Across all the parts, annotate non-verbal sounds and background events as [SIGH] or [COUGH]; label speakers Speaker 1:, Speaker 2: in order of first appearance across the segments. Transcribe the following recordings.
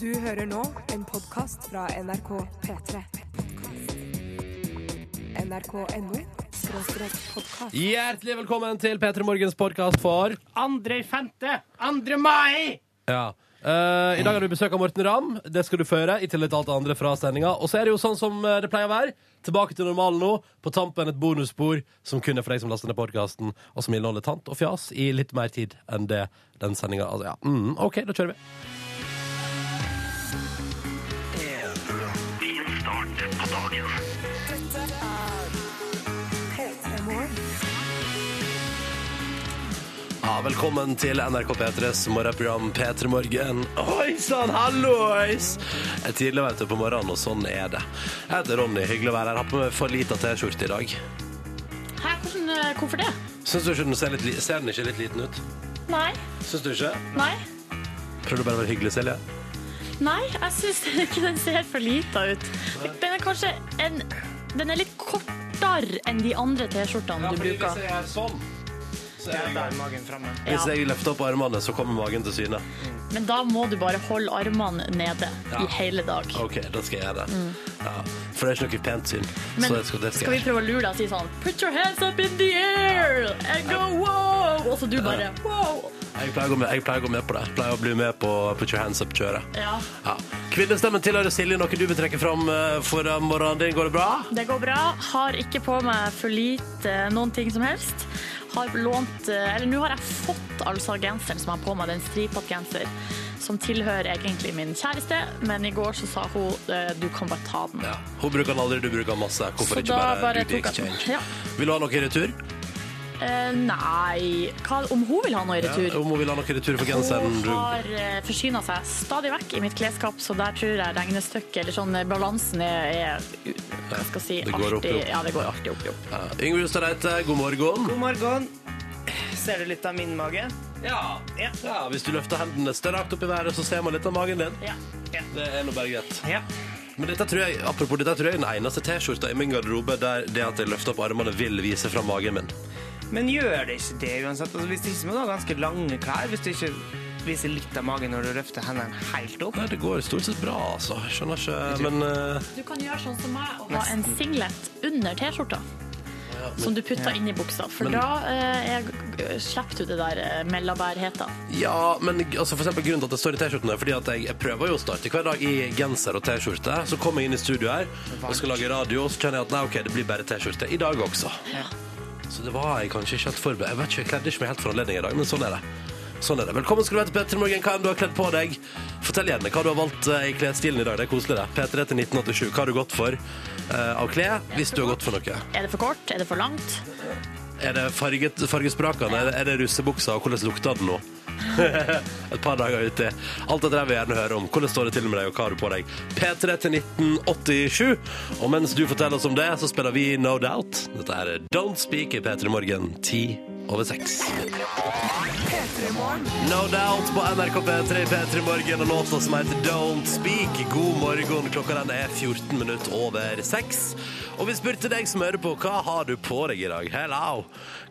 Speaker 1: Du hører nå en podkast fra NRK P3. NRK.no skråstrek podkast.
Speaker 2: Hjertelig velkommen til P3 Morgens podkast for
Speaker 3: Andre i femte! Andre mai!
Speaker 2: ja. Eh, I dag har du besøk av Morten Ramm. Det skal du føre. I tillegg til alt det andre fra sendinga. Og så er det jo sånn som eh, det pleier å være. Tilbake til normalen nå. På tampen et bonusspor som kun er for deg som laster ned podkasten, og som inneholder tant og fjas i litt mer tid enn det den sendinga altså, ja. mm, OK, da kjører vi.
Speaker 1: P3 Morgen.
Speaker 2: Ja, velkommen til NRK P3s morgenprogram P3 Morgen. Oi sann, hallois! Jeg er tidlig vet du, på morgenen, og sånn er det. Jeg heter Ronny, hyggelig å være her. Har på meg for lita T-skjorte i dag.
Speaker 4: Hæ, hvordan, eh, hvorfor det?
Speaker 2: Syns du ikke den ser, litt, li- ser den ikke litt liten ut?
Speaker 4: Nei,
Speaker 2: Syns du ikke?
Speaker 4: nei,
Speaker 2: Prøvde bare å være hyggelig, Silje.
Speaker 4: nei, jeg synes [LAUGHS] ikke den ser for lita ut. Den er kanskje en, den er litt kortere enn de andre T-skjortene du bruker.
Speaker 2: jeg er sånn
Speaker 3: Der magen fremme.
Speaker 2: Hvis
Speaker 4: Ja,
Speaker 2: jeg løfter opp armene, så kommer magen til syne.
Speaker 4: men da må du bare holde armene nede
Speaker 2: Ja.
Speaker 4: i hele dag.
Speaker 2: OK, da skal jeg gjøre det. Ja, for det er ikke noe pent syn.
Speaker 4: Mm. Men
Speaker 2: så jeg skal, det
Speaker 4: skal
Speaker 2: skal
Speaker 4: vi
Speaker 2: jeg.
Speaker 4: prøve å lure deg og si sånn Put your hands up in the air and go wow! Og så du bare wow!
Speaker 2: Jeg pleier å gå med, jeg pleier å gå med på det. Jeg pleier å bli med på Put your hands up-kjøret.
Speaker 4: Ja,
Speaker 2: Ja. Kvinnestemmen tilhører Silje, noe du vil trekke fram eh, for eh, morgenen din. Går det bra?
Speaker 4: det går bra. Har ikke på meg for lite eh, noen ting som helst. Har lånt eh, Eller nå har jeg fått altså genseren som jeg har på meg, den stripete genser. Som tilhører egentlig min kjæreste, men i går så sa hun eh, du kan bare ta den.
Speaker 2: Ja. Hun bruker den aldri, du bruker den masse. Hvorfor
Speaker 4: Så
Speaker 2: ikke
Speaker 4: da
Speaker 2: bare,
Speaker 4: bare
Speaker 2: do the
Speaker 4: tok jeg den.
Speaker 2: exchange?
Speaker 4: Ja.
Speaker 2: Vil du ha noe i retur?
Speaker 4: Eh, nei Hva, Om hun vil ha noe i retur?
Speaker 2: Ja, Om hun vil ha noe i retur for genseren
Speaker 4: Hun
Speaker 2: du
Speaker 4: har eh, forsyna seg stadig vekk i mitt klesskap, så der tror jeg regnestykket, eller sånn eh, balansen, er, er u- hva skal jeg si,
Speaker 2: Det går opp i
Speaker 4: artig.
Speaker 2: opp.
Speaker 4: Ja, det går artig opp i opp.
Speaker 2: ja. Yngve Hustad Reite, god morgen.
Speaker 3: God morgen. Ser du litt av min mage?
Speaker 2: Ja.
Speaker 3: Ja.
Speaker 2: Hvis du løfter hendene strakt opp i været, så ser man litt av magen din.
Speaker 4: Ja.
Speaker 2: Det er nå bare greit.
Speaker 3: Ja.
Speaker 2: Men dette tror jeg, apropos dette tror jeg er den eneste T-skjorta i min garderobe der det at jeg løfter opp armene, vil vise fram magen min.
Speaker 3: Men gjør det ikke det uansett? Altså, hvis det ikke må du ha ganske lange klær. Hvis du ikke viser litt av magen når du løfter hendene helt opp.
Speaker 2: Nei, det går stort sett bra, altså. Skjønner ikke Men eh,
Speaker 4: Du kan gjøre sånn som meg og ha en singlet under T-skjorta. Som du putter inn i buksa, for da eh, er- slipper du det der eh, mellombærheta.
Speaker 2: Ja, men altså for eksempel grunnen til at jeg står i T-skjorten er fordi at jeg, jeg prøver jo å starte hver dag i genser og T-skjorte. Så kommer jeg inn i studio her og skal lage radio, og så kjenner jeg at nei, ok, det blir bare T-skjorte. I dag også. Så det var jeg kanskje ikke helt forberedt. Jeg vet ikke, jeg kledde ikke meg helt for anledning i dag, men sånn er det. Sånn er det. Velkommen skal du være til Petter Morgen. Hva enn du har kledd på deg? Fortell gjerne hva du har valgt eh, i klesstilen i dag. Det er koselig, det. P3 til 1987. Hva har du gått for eh, av klær, hvis du har gått for noe?
Speaker 4: Er det for kort? Er det for langt?
Speaker 2: Er det farget, fargesprakene? Er det- Er det russebuksa? Og hvordan lukter den nå? [LAUGHS] Et par dager uti. Alt dette her vil jeg gjerne høre om. Hvordan står det til med deg, og hva har du på deg? P3 til 1987. Og mens du forteller oss om det, så spiller vi No Doubt. Dette er Don't Speak i P3 Morgen, ti over seks.
Speaker 1: P3 Morgen.
Speaker 2: No Doubt på NRK P3 i P3 Morgen og låta som heter Don't Speak. God morgen. Klokka den er 14 minutter over 6. Og vi spurte deg som hører på, hva har du på deg i dag? Hello!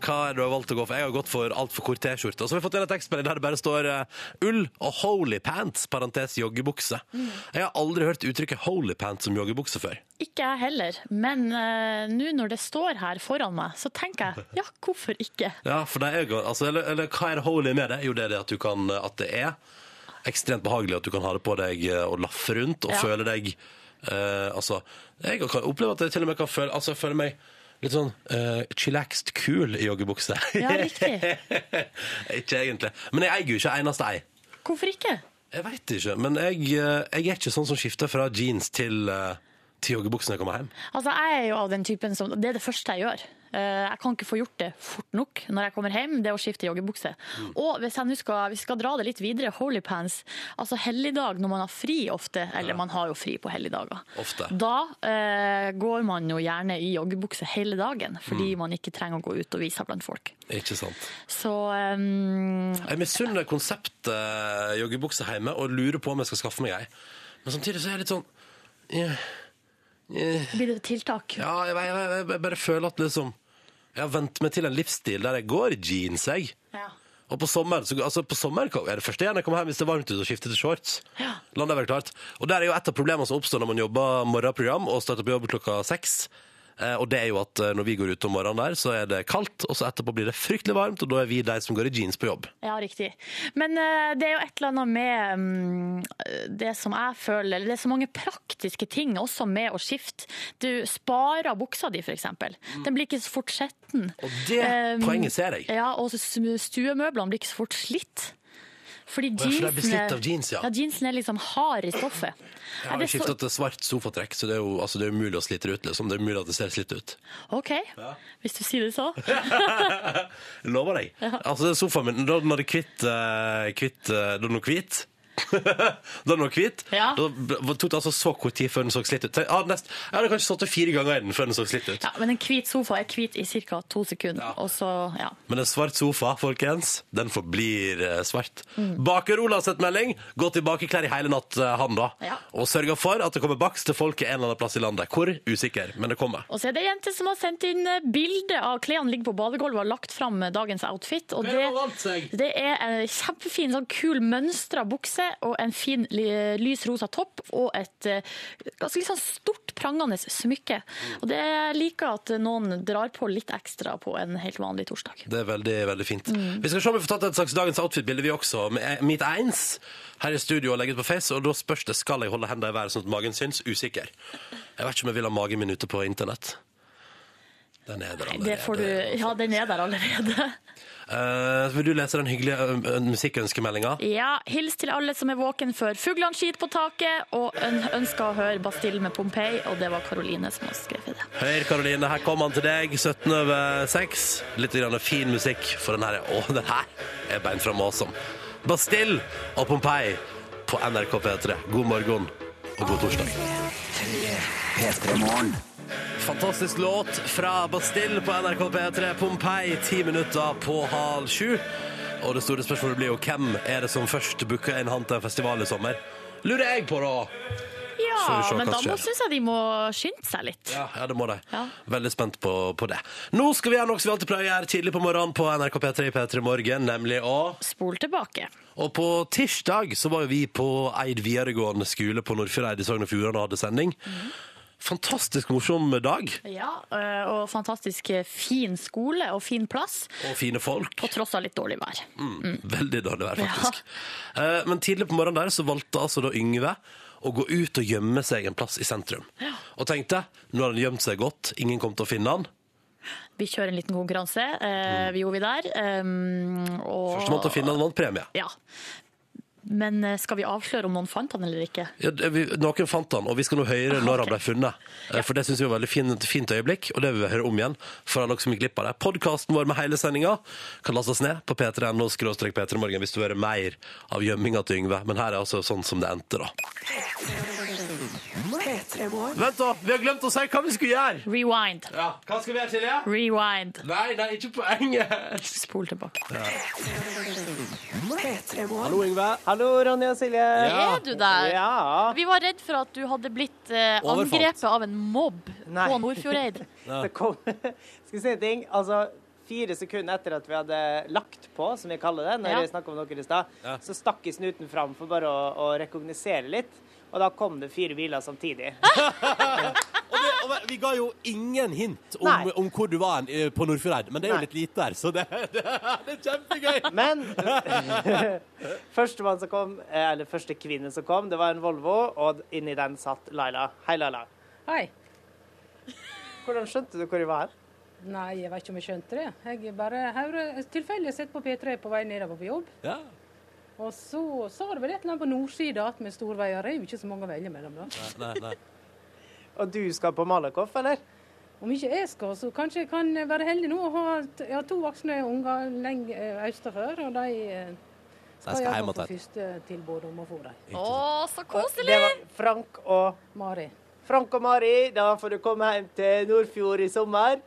Speaker 2: Hva er det du har valgt å gå for? Jeg har gått for altfor kort T-skjorte. Og så har vi fått inn et tekstmelding der det bare står eh, ull og holy pants, parentes joggebukse. Jeg har aldri hørt uttrykket holy pants som joggebukse før.
Speaker 4: Ikke jeg heller, men eh, nå når det står her foran meg, så tenker jeg ja, hvorfor ikke?
Speaker 2: Ja, for det er jo altså, eller, eller hva er det holy med det? Jo, det er det at, du kan, at det er ekstremt behagelig at du kan ha det på deg eh, og laffe rundt og
Speaker 4: Ja.
Speaker 2: føle deg eh, Altså, jeg kan oppleve at jeg til og med kan føle Altså, jeg føler meg litt sånn eh, chillaxed cool i joggebukse.
Speaker 4: Ja, riktig.
Speaker 2: [LAUGHS] ikke egentlig. Men jeg eier jo ikke eneste ei.
Speaker 4: Hvorfor ikke?
Speaker 2: Jeg veit ikke. Men jeg, eh, jeg er ikke sånn som skifter fra jeans til eh, til joggebukse når jeg kommer hjem.
Speaker 4: Altså, jeg er jo av den typen som Det er det første jeg gjør. Eh, Jeg kan ikke få gjort det fort nok når jeg kommer hjem, det er å skifte joggebukse. Og hvis jeg nå skal, hvis vi skal dra det litt videre, holy pants. Altså helligdag når man har fri ofte, eller man har jo fri på helligdager.
Speaker 2: Ofte.
Speaker 4: Da eh, går man jo gjerne i joggebukse hele dagen, fordi man ikke trenger å gå ut og vise seg blant folk.
Speaker 2: Ikke sant?
Speaker 4: Så eh,
Speaker 2: Jeg misunner konseptet eh, joggebukse hjemme og lurer på om jeg skal skaffe meg ei. Men samtidig så er jeg litt sånn eh, eh,
Speaker 4: blir det tiltak.
Speaker 2: Ja, jeg, jeg, jeg, jeg bare føler at liksom Jeg har vent meg til en livsstil der jeg går i jeans, jeg.
Speaker 4: Ja.
Speaker 2: Og på sommeren, så, altså på sommeren kom- er det første igjen jeg kommer hjem hvis det er varmt ute og skifter til shorts.
Speaker 4: Ja.
Speaker 2: La det være klart. Og der er jo et av problemene som oppstår når man jobber morgenprogram og starter på jobb klokka seks. Eh, og det er jo at eh, når vi går ut om morgenen der, så er det kaldt, og så etterpå blir det fryktelig varmt, og da er vi de som går i jeans på jobb.
Speaker 4: Ja, riktig. Men eh, det er jo et eller annet med mm, det som jeg føler eller Det er så mange praktiske ting også med å skifte. Du sparer buksa di, f.eks. Den blir ikke så fort skitten.
Speaker 2: Og det
Speaker 4: Um,
Speaker 2: Mm. poenget ser jeg.
Speaker 4: Ja, og s- stuemøblene blir ikke så fort slitt. Fordi
Speaker 2: for de
Speaker 4: jeansen,
Speaker 2: blir slitt
Speaker 4: er-
Speaker 2: av jeans, ja.
Speaker 4: ja. Jeansen er liksom hard i stoffet.
Speaker 2: Jeg har
Speaker 4: Er
Speaker 2: jo
Speaker 4: det så-
Speaker 2: skifta til svart sofatrekk, så det er jo altså, det er umulig å slite det ut. Liksom. Det er umulig at det ser slitt ut.
Speaker 4: OK, hvis du sier det så.
Speaker 2: [LAUGHS] Jeg Lover deg. Altså, sofaen min, da den hadde kvitt eh, kvitt, eh, Da den var hvit [LAUGHS] da den var hvit,
Speaker 4: Ja.
Speaker 2: da b- tok det altså så kort tid før den så slitt ut. Tenk, ah, nest, jeg hadde kanskje sittet fire ganger i den før den så slitt ut.
Speaker 4: Ja, men en hvit sofa er hvit i ca. to sekunder, og så ja.
Speaker 2: Men en svart sofa, folkens, den forblir eh, svart.
Speaker 4: Mm.
Speaker 2: Baker Ola har sett melding. Gått i bakeklær i hele natt, eh, han da.
Speaker 4: Ja.
Speaker 2: Og sørga for at det kommer bakst til folket en eller annen plass i landet. Hvor? Usikker, men det kommer.
Speaker 4: Og så er det ei jente som har sendt inn eh, bilde av klærne ligger på badegulvet og har lagt fram eh, dagens outfit. Og det, det er en kjempefin, sånn kul mønstra bukse og en fin li- lys rosa topp og et eh, ganske litt sånn stort, prangende smykke. Og det liker at noen drar på litt ekstra på en helt vanlig torsdag.
Speaker 2: Det er veldig, veldig fint.
Speaker 4: Mm.
Speaker 2: Vi skal se om vi får tatt et slags dagens outfit-bilde, vi også. Med mitt eins her i studio og legge ut på Face. Og da spørs det skal jeg holde hendene i været sånn at magen syns. Usikker. Jeg vet ikke om jeg vil ha magen min ute på internett. Den er der allerede.
Speaker 4: Det får du, ja, den er der allerede.
Speaker 2: Eh, vil du lese den hyggelige ø, ø, musikkønskemeldinga?
Speaker 4: [LAUGHS] Ja, hils til alle som er våken før fuglene skyter på taket og øn ønsker å høre Bastille med Pompeii, og det var Karoline som har skrevet det.
Speaker 2: Hør, Karoline, her kom han til deg, 17 over 6. Litt grann fin musikk, for den her er Å, den her er beinfram og awesome. Bastille og Pompeii på NRK P3. God morgen og god torsdag. Fantastisk låt fra Bastille på NRK P3. Pompeii, ti minutter på halv sju. Og det store spørsmålet blir jo hvem er det som først booker en hand til en festival i sommer? Lurer jeg på, da! Så vi
Speaker 4: Ja,
Speaker 2: ser
Speaker 4: men
Speaker 2: hva
Speaker 4: da
Speaker 2: som
Speaker 4: må,
Speaker 2: skjer.
Speaker 4: synes jeg de må skynde seg litt.
Speaker 2: Ja, ja det må de.
Speaker 4: Ja.
Speaker 2: Veldig spent på, på det. Nå skal vi gjøre noe som vi alltid pleier å gjøre tidlig på morgenen på NRK P3 i P3 Morgen, nemlig å
Speaker 4: Spol tilbake.
Speaker 2: Og på tirsdag så var jo vi på Eid videregående skole på Nordfjordeid i Sogn og Fjordane og hadde sending. Fantastisk morsom dag,
Speaker 4: Ja, øh, og fantastisk fin skole og fin plass,
Speaker 2: og fine folk.
Speaker 4: på tross av litt dårlig vær.
Speaker 2: Mm. Veldig dårlig vær, faktisk. Eh, Men tidlig på morgenen der så valgte altså da Yngve å gå ut og gjemme seg en plass i sentrum. Og tenkte nå har han gjemt seg godt, ingen kom til å finne han.
Speaker 4: Vi kjører en liten konkurranse, øh, vi gjorde vi der. ehm, og,
Speaker 2: Førstemann til å finne han vant premie.
Speaker 4: Ja. Men øh, skal vi avsløre om noen fant han eller ikke?
Speaker 2: Ja, det- vi, noen fant han, og vi skal nå høre når han ble funnet. Eh, For det syns vi var et veldig fint, fint øyeblikk, og det vil vi høre om igjen. For alle dere som gikk glipp av det. Podkasten vår med hele sendinga kan lastes ned på p3.no p3morgen hvis du vil høre mer av gjemminga til Yngve. Men her er altså sånn som det endte, da. Vent, da! Vi har glemt å si hva vi skulle gjøre!
Speaker 4: Rewind.
Speaker 2: Ja, Hva skal vi gjøre, Silje?
Speaker 4: Rewind.
Speaker 2: Nei, nei, ikke poenget!
Speaker 4: Spol tilbake.
Speaker 2: Hallo, Yngve.
Speaker 3: Hallo, Ronny og Silje.
Speaker 2: Ja.
Speaker 4: Eh, Er du der?
Speaker 3: Ja.
Speaker 4: Vi var redd for at du hadde blitt eh,
Speaker 2: Overfalt.
Speaker 4: angrepet av en mobb
Speaker 3: Nei.
Speaker 4: på
Speaker 2: [LAUGHS]
Speaker 4: Nordfjordeid.
Speaker 5: Det kom, [LAUGHS] skal vi si en ting? Altså, fire sekunder etter at vi hadde lagt på, som vi kaller det, når
Speaker 4: Ja.
Speaker 5: vi snakket om dere i stad, så stakk jeg snuten fram for bare å, å rekognosere litt. Og da kom det fire biler samtidig.
Speaker 2: Og Vi ga jo ingen hint om,
Speaker 5: Nei.
Speaker 2: om hvor du var hen, eh, på Nordfjordeid, men det er jo
Speaker 5: Nei.
Speaker 2: litt lite her, så det, [LAUGHS] det, det er kjempegøy. [LAUGHS]
Speaker 5: Men førstemann som kom, eh, eller første kvinne som kom, det var en Volvo, og inni den satt Laila. Hei, Laila.
Speaker 6: Hei.
Speaker 5: Hvordan skjønte du hvor jeg var hen?
Speaker 6: Nei, jeg vet ikke om jeg skjønte det. Jeg bare hører tilfeldig sett på P3 på vei nedover på jobb.
Speaker 2: Ja.
Speaker 6: Og så sa det vel et eller annet på nordsida at med storveier er jo ikke så mange å velge mellom, da.
Speaker 2: Nei, nei.
Speaker 5: Og du skal på Malakoff, eller?
Speaker 6: Om ikke jeg skal, så kanskje jeg kan eh, være heldig nå og ha t- jeg har to voksne unger lenge eh, østafør, og de eh,
Speaker 2: skal
Speaker 6: skal iallfall
Speaker 2: hjem
Speaker 6: få
Speaker 2: att.
Speaker 6: første tilbud om å få dem.
Speaker 4: Å, så koselig!
Speaker 5: Det var Frank og
Speaker 6: Mari.
Speaker 5: Frank og Mari, da får du komme hjem til Nordfjord i sommer.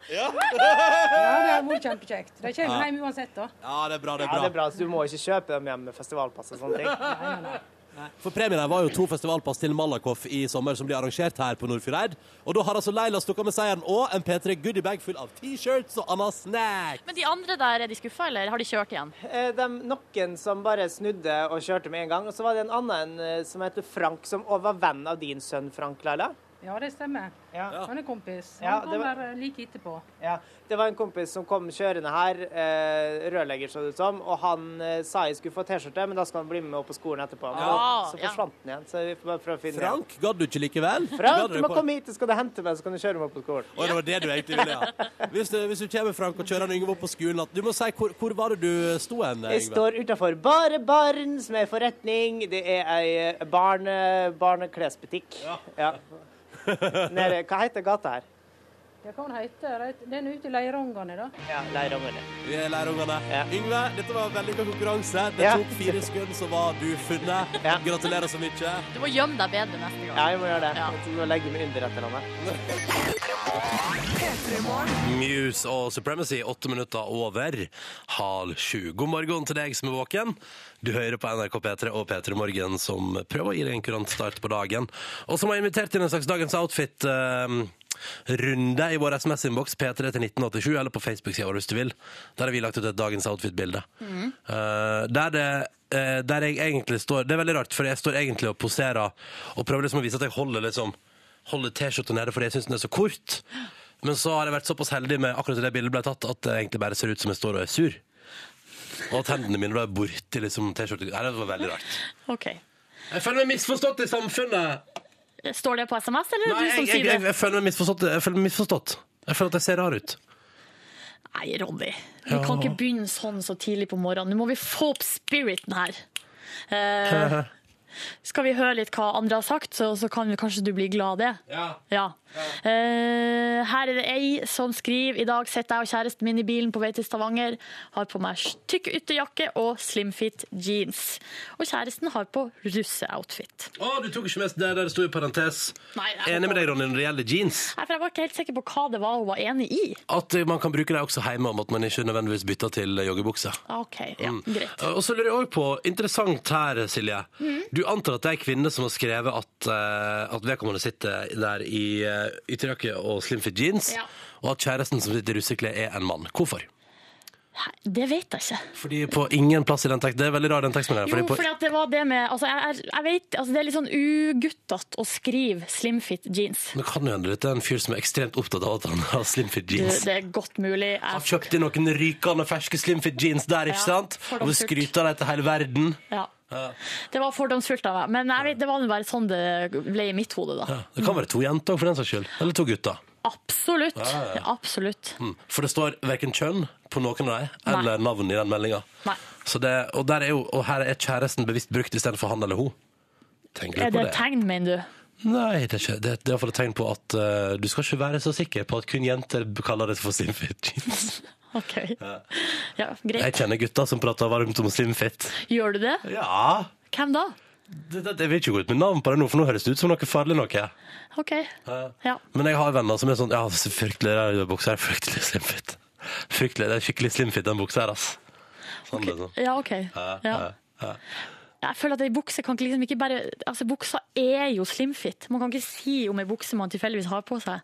Speaker 6: Ja, det har vært kjempekjekt. De kommer hjem uansett, da.
Speaker 2: Ja, det er bra, det er
Speaker 5: Ja,
Speaker 2: bra.
Speaker 5: det er bra, så du må ikke kjøpe dem hjem med festivalpass og sånne ting.
Speaker 6: Nei, nei, nei.
Speaker 7: For premien her var jo to festivalpass til Malakoff i sommer, som blir arrangert her på Nordfjordeid. Og da har altså Leila stukket med seieren og en P3 goodiebag full av T-shirts og annen snack.
Speaker 4: Men de andre der, er de skuffa, eller har de kjørt igjen?
Speaker 3: Eh, De, noen som bare snudde og kjørte med en gang. Og så var det en annen eh, som heter Frank, som også var venn av din sønn Frank, Laila.
Speaker 6: Ja, det stemmer.
Speaker 3: Ja.
Speaker 6: Han er kompis.
Speaker 3: Ja,
Speaker 6: Han
Speaker 3: det var-
Speaker 6: kommer eh, like etterpå.
Speaker 3: Ja, Det var en kompis som kom kjørende her, eh, rørlegger så det ut som, og han eh, sa jeg skulle få T-skjorte, men da skal han bli med opp på skolen etterpå. Men
Speaker 4: Ja,
Speaker 3: så
Speaker 4: ja.
Speaker 3: forsvant den igjen, så vi får bare prøve å finne den igjen.
Speaker 7: Frank, gadd du ikke likevel? Gadd
Speaker 3: Frank, du
Speaker 7: deg
Speaker 3: må
Speaker 7: på-
Speaker 3: komme hit, du skal du hente meg, så kan du kjøre meg opp på skolen.
Speaker 7: Å, det var det du egentlig ville, ja. Hvis du, hvis du kommer, Frank, og kjører han Yngve opp på skolen, at du må si hvor, hvor var det du sto hen,
Speaker 3: Jeg
Speaker 7: Yngve?
Speaker 3: står utafor Bare Barn, som er forretning. Det er ei eh, barne, barneklesbutikk. Ja. Nede, hva heter gata her?
Speaker 6: Ja, hva han heter det? Den er ute i Leirangane, da.
Speaker 3: Ja, Leirangerne.
Speaker 7: Vi er lærerungene.
Speaker 3: Ja.
Speaker 7: Yngve, dette var en vellykka konkurranse. Det
Speaker 3: Ja.
Speaker 7: tok fire sekunder, så var du funnet.
Speaker 3: Ja.
Speaker 7: Gratulerer så mye.
Speaker 4: Du må gjemme deg bedre neste gang.
Speaker 3: Ja, jeg må gjøre det.
Speaker 4: Ja.
Speaker 3: Jeg må legge meg under et eller annet.
Speaker 2: Muse og Supremacy, åtte minutter over halv sju. God morgen til deg som er våken. Du hører på NRK P3 og P3 Morgen, som prøver å gi deg en kurant start på dagen. Og som har invitert til en slags dagens outfit-runde i vår SMS-innboks, P3 til 1987, eller på Facebook-sida vår hvis du vil. Der har vi lagt ut et dagens outfit-bilde. Eh, der det eh, der jeg egentlig står Det er veldig rart, for jeg står egentlig og poserer og prøver liksom å vise at jeg holder liksom holder T-skjorta nede fordi jeg syns den er så kort. Men så har jeg vært såpass heldig med akkurat det bildet ble tatt, at det egentlig bare ser ut som jeg står og er sur. Og at hendene mine da er borti liksom T-skjorta. Nei, Det var veldig rart.
Speaker 4: OK.
Speaker 2: Jeg føler meg misforstått i samfunnet.
Speaker 4: Står det på SMS, eller
Speaker 2: Nei,
Speaker 4: er det du
Speaker 2: jeg, jeg,
Speaker 4: som sier
Speaker 2: jeg,
Speaker 4: det?
Speaker 2: jeg føler meg misforstått. Jeg føler meg misforstått. Jeg føler at jeg ser rar ut.
Speaker 4: Nei, Ronny. Vi kan ikke begynne sånn så tidlig på morgenen. Nå må vi få opp spiriten her.
Speaker 2: [LAUGHS]
Speaker 4: Eh, skal vi høre litt hva andre har sagt, så, så kan vi kanskje du bli glad av det? Ja. Eh, her er det ei som skriver I dag sitter jeg og kjæresten min i bilen på vei til Stavanger. Har på meg tykk ytterjakke og slimfit jeans. Og kjæresten har på russeoutfit.
Speaker 2: Å, du tok ikke med det der det sto i parentes.
Speaker 4: Nei, det er-
Speaker 2: Enig med deg, Ronny, når det gjelder jeans.
Speaker 4: Nei, for Jeg var ikke helt sikker på hva det var hun var enig i.
Speaker 2: At eh, man kan bruke det også hjemme, om at man ikke nødvendigvis bytter til eh, joggebukse.
Speaker 4: Ah, Ok, ja,
Speaker 2: Mm.
Speaker 4: greit.
Speaker 2: Eh,
Speaker 4: Mm.
Speaker 2: Og så lurer jeg også på, interessant her, Silje. Du antar at det er kvinne som har skrevet at, eh, at vedkommende sitter der i eh, ytterjakke og slimfit jeans,
Speaker 4: Ja.
Speaker 2: og at kjæresten som sitter i russeklær er en mann. Hvorfor?
Speaker 4: Nei, Det vet jeg ikke.
Speaker 2: Fordi på ingen plass i den teksten, det er veldig rar den teksten her.
Speaker 4: Jo,
Speaker 2: Fordi på,
Speaker 4: fordi at det var det med altså, jeg, jeg, jeg vet, altså, Det er litt sånn uguttete å skrive slimfit jeans.
Speaker 2: det kan jo hende dette er en fyr som er ekstremt opptatt av at han har slimfit
Speaker 4: Du,
Speaker 2: jeans.
Speaker 4: det er godt mulig.
Speaker 2: Han
Speaker 4: Jeg,
Speaker 2: kjøpte inn noen rykende ferske slimfit jeans der, ikke
Speaker 4: Ja,
Speaker 2: sant?
Speaker 4: for
Speaker 2: Og
Speaker 4: dem
Speaker 2: vi
Speaker 4: surt.
Speaker 2: skryter av det til hele verden.
Speaker 4: ja. Det var fordomsfullt av meg, men jeg vet, det var nå bare sånn det ble i mitt hode, da.
Speaker 2: Det kan være to jenter for den saks skyld, eller to gutter.
Speaker 4: Absolutt.
Speaker 2: Ja, ja, ja.
Speaker 4: Absolutt.
Speaker 2: Mm. For det står hverken kjønn på noen av dem,
Speaker 4: Nei.
Speaker 2: eller navn i den meldinga.
Speaker 4: Nei.
Speaker 2: Og, der er jo- og her er kjæresten bevisst brukt istedenfor han eller hun. Tenker du
Speaker 4: Er
Speaker 2: på
Speaker 4: det
Speaker 2: det?
Speaker 4: et tegn, mener du?
Speaker 2: Nei, det er, ikke, det, det er iallfall et tegn på at eh, du skal ikke være så sikker på at kun jenter kaller det for slimfit
Speaker 4: [LAUGHS]
Speaker 2: jeans.
Speaker 4: OK. Ja, greit.
Speaker 2: Jeg kjenner gutter som prater varmt om slimfit.
Speaker 4: Gjør du det?
Speaker 2: Ja,
Speaker 4: Hvem da?
Speaker 2: det, det, det vil ikke gå ut med navn på det nå, for nå høres det ut som noe farlig noe.
Speaker 4: OK. Ja.
Speaker 2: Men jeg har venner som er sånn Ja, så fryktelig rar den buksa her. Fryktelig slimfit. Fryktelig, det er skikkelig slimfit, den buksa her, ass. Sånn, liksom.
Speaker 4: Ja, OK. Ja. Jeg føler at ei bukse kan ikke liksom ikke bare Altså, buksa er jo slimfit. Man kan ikke si om ei bukse man tilfeldigvis har på seg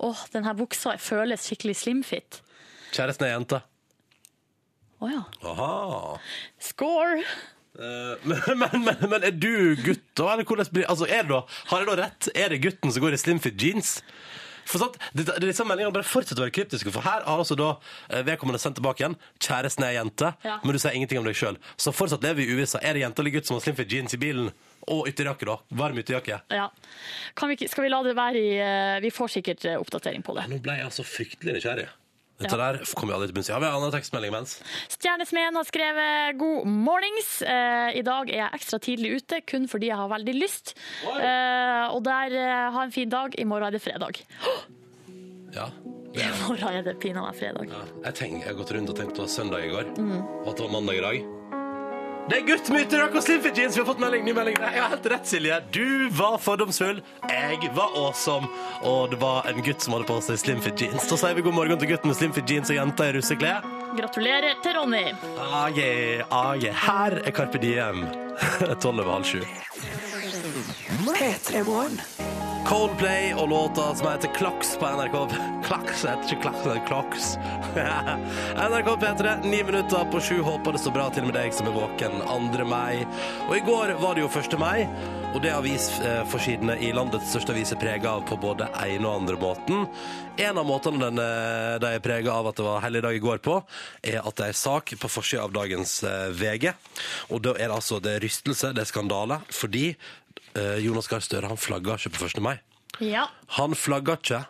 Speaker 4: Åh, den her buksa føles skikkelig slimfit.
Speaker 2: Kjæresten er jente.
Speaker 4: Å ja.
Speaker 2: Aha.
Speaker 4: Score!
Speaker 2: Eh, Men, [LAUGHS] men, men, men er du gutt, da? Eller hvordan blir, altså, er det da? Har jeg da rett? Er det gutten som går i slimfit jeans? For sånn, det, det, disse meldingene bare fortsetter å være kryptiske, for her har altså da eh, vedkommende sendt tilbake igjen. Kjæresten er jente,
Speaker 4: Ja.
Speaker 2: men du sier ingenting om deg sjøl. Så fortsatt lever vi i uvissa. Er det jente eller gutt som har slimfit jeans i bilen? Og ytterjakke, da. Varm ytterjakke.
Speaker 4: Ja. Kan vi, ikke- skal vi la det være i eh, Vi får sikkert eh, oppdatering på det.
Speaker 2: Nå ble jeg altså fryktelig nysgjerrig. Dette der kommer jeg aldri til å begynne å si. Har vi en annen tekstmelding imens?
Speaker 4: Stjernesmeden har skrevet 'God mornings'. Eh, I dag er jeg ekstra tidlig ute, kun fordi jeg har veldig lyst. Eh, og der eh, ha en fin dag. I morgen er det fredag.
Speaker 2: Ja.
Speaker 4: I morgen er det pinadø fredag.
Speaker 2: Jeg, tenker, jeg har gått rundt og tenkt på søndag i går, og at det var mandag i dag. Det er guttmyter, rock og slim fit jeans. Vi har fått melding, ny melding. Nei, Jeg har helt rett, Silje. Du var fordomsfull, jeg var awesome. Og det var en gutt som hadde på seg slim fit jeans. Da sier vi god morgen til gutten med slim fit jeans og jenta i russeklær.
Speaker 4: Gratulerer til Ronny.
Speaker 2: Ah, yeah, ah, yeah. Her er Carpe Diem. [LAUGHS] Tolv over halv sju. Coldplay og låta som heter Klaks på NRK [LAUGHS] Klaks jeg heter ikke Klaks, det heter Klaks. [LAUGHS] NRK P3, ni minutter på sju. Håper det står bra til med deg som er våken 2. mai. Og i går var det jo 1. mai, og det er avisforsidene i landets største avis er prega av på både ene og andre måten. En av måtene den, eh, de er prega av at det var helligdag i går på, er at det er sak på forsida av dagens eh, VG. Og da er det altså det er rystelse, det er skandale, fordi eh, Jonas Gahr Støre han flagga ikke på 1. mai.
Speaker 4: Ja.
Speaker 2: Han flagga ikke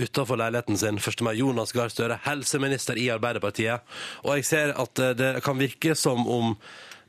Speaker 2: utenfor leiligheten sin 1. mai. Jonas Gahr Støre, helseminister i Arbeiderpartiet. Og jeg ser at eh, det kan virke som om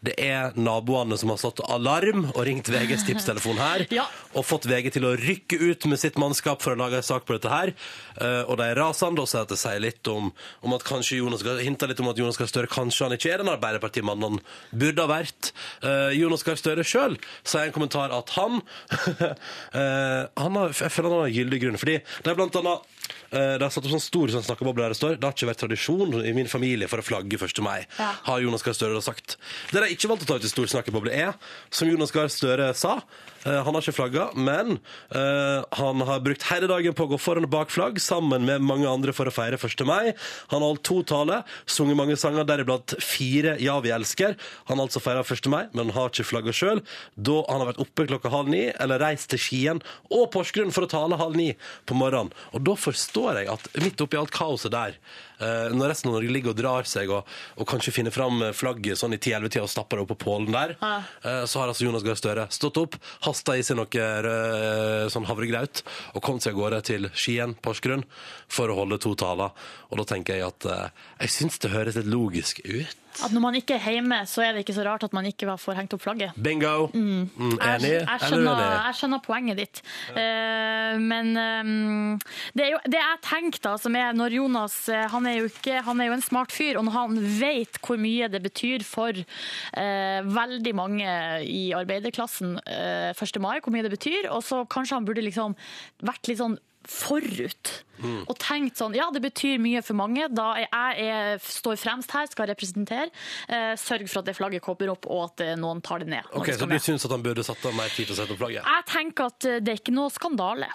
Speaker 2: det er naboene som har slått alarm og ringt VGs tipstelefon her.
Speaker 4: Ja.
Speaker 2: Og fått VG til å rykke ut med sitt mannskap for å lage en sak på dette her. Eh, og de er rasende og sier at det sier litt om, om at kanskje Jonas Gahr hinter litt om at Jonas Gahr Støre kanskje han ikke er den Arbeiderpartimannen han burde ha vært. Eh, Jonas Gahr Støre sjøl sier i en kommentar at han [LAUGHS] eh, han har, Jeg føler han har gyldig grunn. Fordi det er blant annet eh, det er satt opp sånn stor sånn snakkeboble der det står Det har ikke vært tradisjon i min familie for å flagge 1. mai,
Speaker 4: Ja.
Speaker 2: har Jonas Gahr Støre da sagt. Det de ikke valgte å ta ut i stor snakkeboble, er, som Jonas Gahr Støre sa eh, Han har ikke flagga, men eh, han har brukt hele dagen på å gå foran og bak flagg sammen med mange andre for å feire 1. mai. Han har holdt to taler, sunget mange sanger, deriblant fire Ja, vi elsker. Han har altså feira 1. mai, men har ikke flagga sjøl. Da han har vært oppe klokka halv ni, eller reist til Skien og Porsgrunn for å tale halv ni på morgenen. Og da forstår jeg at midt oppi alt kaoset der, eh, når resten av Norge ligger og drar seg og, og kanskje finner fram flagget sånn i 10-11-tida og stapper det opp på pålen der,
Speaker 4: Ja.
Speaker 2: eh, så har altså Jonas Gahr Støre stått opp, hasta i seg noe eh, sånn havregraut og kommet seg av gårde til Skien, Porsgrunn, for å holde to taler. Og da tenker jeg at eh, jeg syns det høres litt logisk ut.
Speaker 4: At når man ikke er hjemme, så er det ikke så rart at man ikke var- får hengt opp flagget.
Speaker 2: Bingo! Mm,
Speaker 4: Jeg,
Speaker 2: enig?
Speaker 4: jeg,
Speaker 2: Eller
Speaker 4: skjønner,
Speaker 2: uenig?
Speaker 4: jeg skjønner poenget ditt. Eh, men ehm, det, er jo, det jeg tenker da, som er når Jonas eh, han er, jo ikke, han er jo en smart fyr, og når han vet hvor mye det betyr for eh, veldig mange i arbeiderklassen eh, 1. mai, hvor mye det betyr, og så kanskje han burde liksom vært litt sånn forut
Speaker 2: Mm.
Speaker 4: og tenkt sånn Ja, det betyr mye for mange. Da jeg er, står fremst her, skal representere. Eh, sørg for at det flagget kommer opp, og at eh, noen tar det ned. når
Speaker 2: Ok,
Speaker 4: det
Speaker 2: Så
Speaker 4: skal ned.
Speaker 2: du syns at han burde satt av mer tid til å sette opp flagget?
Speaker 4: Jeg tenker at eh, det er ikke noe skandale.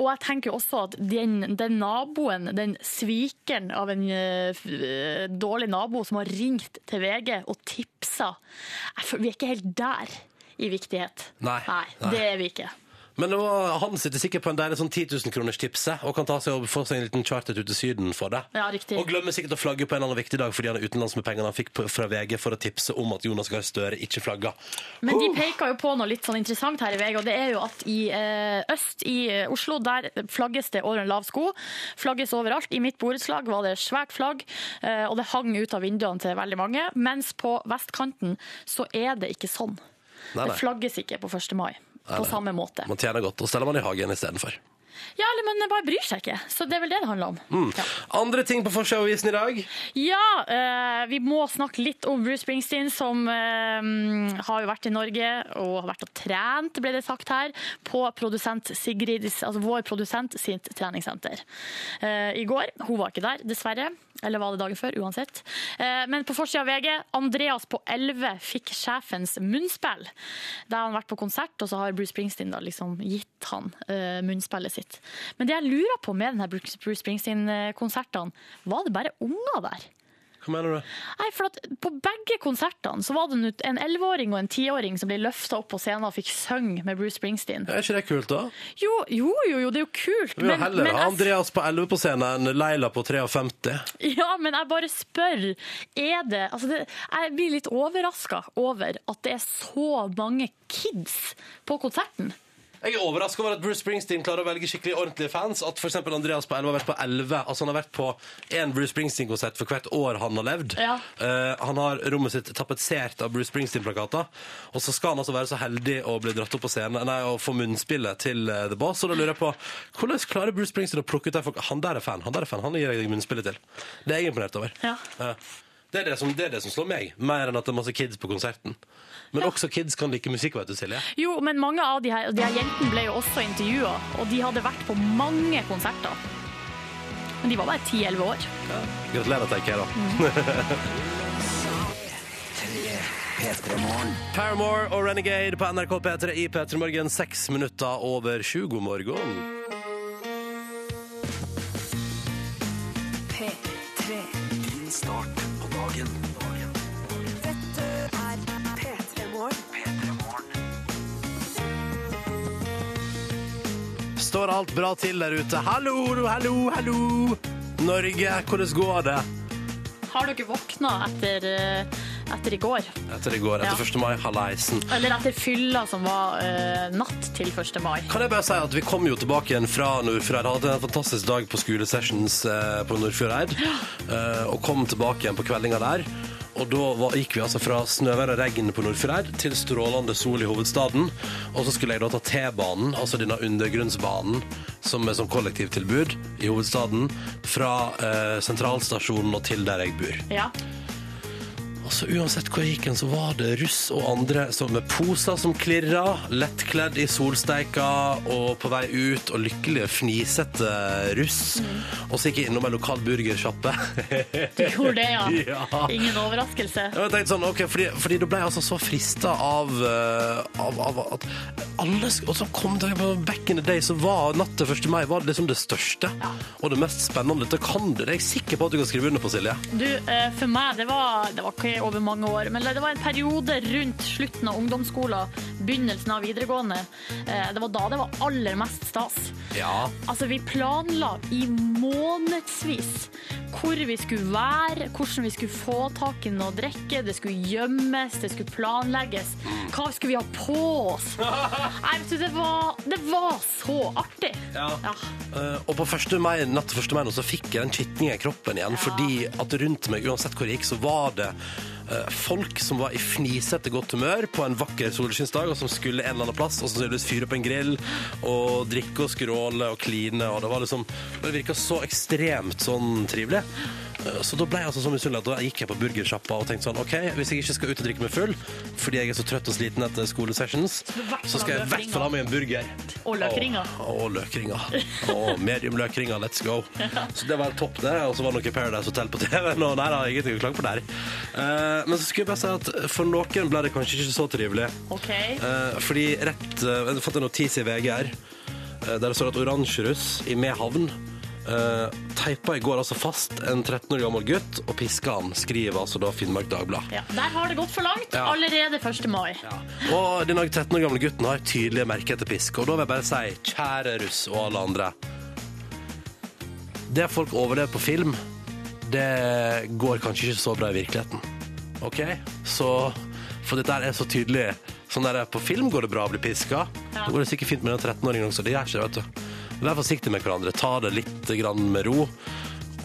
Speaker 4: Og jeg tenker også at den, den naboen, den svikeren av en eh, f- eh, dårlig nabo som har ringt til VG og tipsa jeg føler, Vi er ikke helt der i viktighet.
Speaker 2: Nei, nei.
Speaker 4: det er vi ikke.
Speaker 2: Men det var, han sitter sikkert på en deilig sånn 10 000 kroners tipse og kan ta seg og få seg en liten charter ut til Syden for det.
Speaker 4: Ja, riktig.
Speaker 2: Og glemmer sikkert å flagge på en eller annen viktig dag fordi han er utenlands med pengene han fikk på, fra VG for å tipse om at Jonas Gahr Støre ikke flagga.
Speaker 4: Men de peker jo på noe litt sånn interessant her i VG, og det er jo at i eh, øst i eh, Oslo, der flagges det over en lav sko. Flagges overalt. I mitt borettslag var det svært flagg, eh, og det hang ut av vinduene til veldig mange. Mens på vestkanten så er det ikke sånn.
Speaker 2: Nei,
Speaker 4: Det
Speaker 2: nei.
Speaker 4: flagges ikke på 1. mai på samme måte.
Speaker 2: Man tjener godt, og steller man i hagen istedenfor.
Speaker 4: Ja, eller men bare bryr seg ikke. Så det er vel det det handler om. Ja.
Speaker 2: Andre ting på forsida av avisen i dag.
Speaker 4: Ja, eh, vi må snakke litt om Bruce Springsteen, som eh, har jo vært i Norge og har vært og trent, ble det sagt her, på produsent Sigrid, altså vår produsent sitt treningssenter. Eh, I går, hun var ikke der, dessverre. Eller var det dagen før, uansett. Eh, men på forsida av VG, Andreas på 11 fikk sjefens munnspill. Da har han vært på konsert, og så har Bruce Springsteen da liksom gitt han eh, munnspillet sitt. Men det jeg lurer på med denne Bruce Bruce Springsteen-konsertene, var det bare unger der?
Speaker 2: Hva mener du?
Speaker 4: Nei, for at på begge konsertene så var det en- en 11-åring og en 10-åring som ble løfta opp på scenen og fikk synge med Bruce Springsteen.
Speaker 2: Er ikke det kult, da?
Speaker 4: Jo, jo, jo, jo det er jo kult,
Speaker 2: Vi vil
Speaker 4: men,
Speaker 2: heller
Speaker 4: men, altså-
Speaker 2: ha
Speaker 4: jeg,
Speaker 2: Andreas på 11 på scenen enn Leila på 53.
Speaker 4: ja, men jeg bare spør. Er det Altså, det, jeg blir litt overraska over at det er så mange kids på konserten.
Speaker 2: Jeg er overraska over at Bruce Springsteen klarer å velge skikkelig ordentlige fans. At f.eks. Andreas på 11 har vært på 11. Altså Han har vært på én Bruce Springsteen-konsert for hvert år han har levd.
Speaker 4: Ja.
Speaker 2: Eh, han har rommet sitt tapetsert av Bruce Springsteen-plakater. Og så skal han altså være så heldig å bli dratt opp på scenen Nei, å få munnspillet til eh, The Boss. Og da lurer jeg på hvordan klarer Bruce Springsteen å plukke ut de folk Han der er fan, han der er fan, han gir jeg deg munnspillet til. Det er jeg imponert over.
Speaker 4: Ja.
Speaker 2: Eh, Det er det, som, det er det som slår meg, mer enn at det er masse kids på konserten. Men også kids kan like musikk, vet du, Silje.
Speaker 4: Jo, men mange av de her, de her jentene ble jo også intervjua, og de hadde vært på mange konserter. Men de var bare 10-11 år.
Speaker 2: Gratulerer til deg, da. Paramore og Renegade på NRK P3 i P3 Morgen, seks minutter over sju. God morgen.
Speaker 1: P3. Dette er P3 Morgen.
Speaker 2: Står alt bra til der ute? Hallo, hallo, hallo! Norge, hvordan går det?
Speaker 4: Har dere våkna etter, eh, etter i går?
Speaker 2: Etter det går, etter
Speaker 4: Ja.
Speaker 2: 1. mai, halleisen.
Speaker 4: Eller etter fylla som var eh, natt til 1. mai?
Speaker 2: Kan jeg bare si at vi kom jo tilbake igjen fra Nordfjordeid. Hadde en fantastisk dag på skolesessions eh, på Nordfjordeid. Eh, og kom tilbake igjen på kveldinga der. Og da var, gikk vi altså fra snøvær og regn på Nordfjordeid til strålende sol i hovedstaden. Og så skulle jeg da ta T-banen, altså denne undergrunnsbanen som er som kollektivtilbud i hovedstaden, fra eh, sentralstasjonen og til der jeg bor.
Speaker 4: Ja.
Speaker 2: Altså, uansett hvor jeg gikk hen, så var det russ og andre som med poser som klirra, lettkledd i solsteika og på vei ut, og lykkelige, fnisete russ. Og så gikk jeg innom en lokal burgersjappe. [LAUGHS]
Speaker 4: Du gjorde det, ja.
Speaker 2: Ja.
Speaker 4: Ingen overraskelse.
Speaker 2: Jeg tenkte sånn, ok, fordi, fordi da ble jeg altså så frista av, eh, av, av at alle sk- Og så kom det på back in the day, så var natt til 1. mai var det liksom det største og det mest spennende. Dette kan du, det er jeg sikker på at du kan skrive under på, Silje.
Speaker 4: Du, eh, for meg, det var, det var ikke over mange år, men det var en periode rundt slutten av ungdomsskolen, begynnelsen av videregående. Eh, Det var da det var aller mest stas.
Speaker 2: Ja.
Speaker 4: Altså, vi planla i månedsvis hvor vi skulle være, hvordan vi skulle få tak i noe å drikke, det skulle gjemmes, det skulle planlegges. Hva skulle vi ha på oss? Nei, vet du, det var, det var så artig.
Speaker 2: Ja.
Speaker 4: ja.
Speaker 2: Eh, og på 1. mai, natt til 1. mai nå, så fikk jeg den kitningen i kroppen igjen, fordi at rundt meg, uansett hvor jeg gikk, så var det eh, folk som var i fnisete godt humør på en vakker solskinnsdag, og som skulle en eller annen plass, og så skulle de fyre opp en grill, og drikke og skråle og kline, og det var liksom, det virket så ekstremt sånn trivelig. Eh, Så da ble jeg altså så misunnelig at da gikk jeg på burgersjappa og tenkte sånn, ok, hvis jeg ikke skal ut og drikke meg full, fordi jeg er så trøtt og sliten etter skolesessions,
Speaker 4: hvert fall
Speaker 2: så skal jeg
Speaker 4: ha
Speaker 2: i hvert fall ha meg en burger.
Speaker 4: Og løkringer.
Speaker 2: Å, å, løkringer. Å, mediumløkringer, let's go. Så det var topp, det. Og så var det noe Paradise Hotel på TV. Nå, nei da, ingenting å klage på der. Eh, men så skulle jeg bare si at for noen ble det kanskje ikke så trivelig.
Speaker 4: OK.
Speaker 2: Eh, fordi rett eh, Jeg fant en notis i VG her eh, der det står at oransjeruss i Mehamn uh, teipa i går altså fast en 13 år gammel gutt og piska han, skriver altså da Finnmark Dagblad.
Speaker 4: Ja. Der har det gått for langt.
Speaker 2: Ja.
Speaker 4: Allerede 1. mai.
Speaker 2: Og denne 13 år gamle gutten har tydelige merker etter pisk. Og da vil jeg bare si, kjære russ og alle andre Det folk overlever på film, det går kanskje ikke så bra i virkeligheten. OK? Så For dette her er så tydelig. Sånn der, På film går det bra å bli piska.
Speaker 4: Ja.
Speaker 2: Det går det sikkert fint med den 13-åringen også. Det gjør ikke det, vet du. Vær forsiktig med hverandre. Ta det litt grann med ro.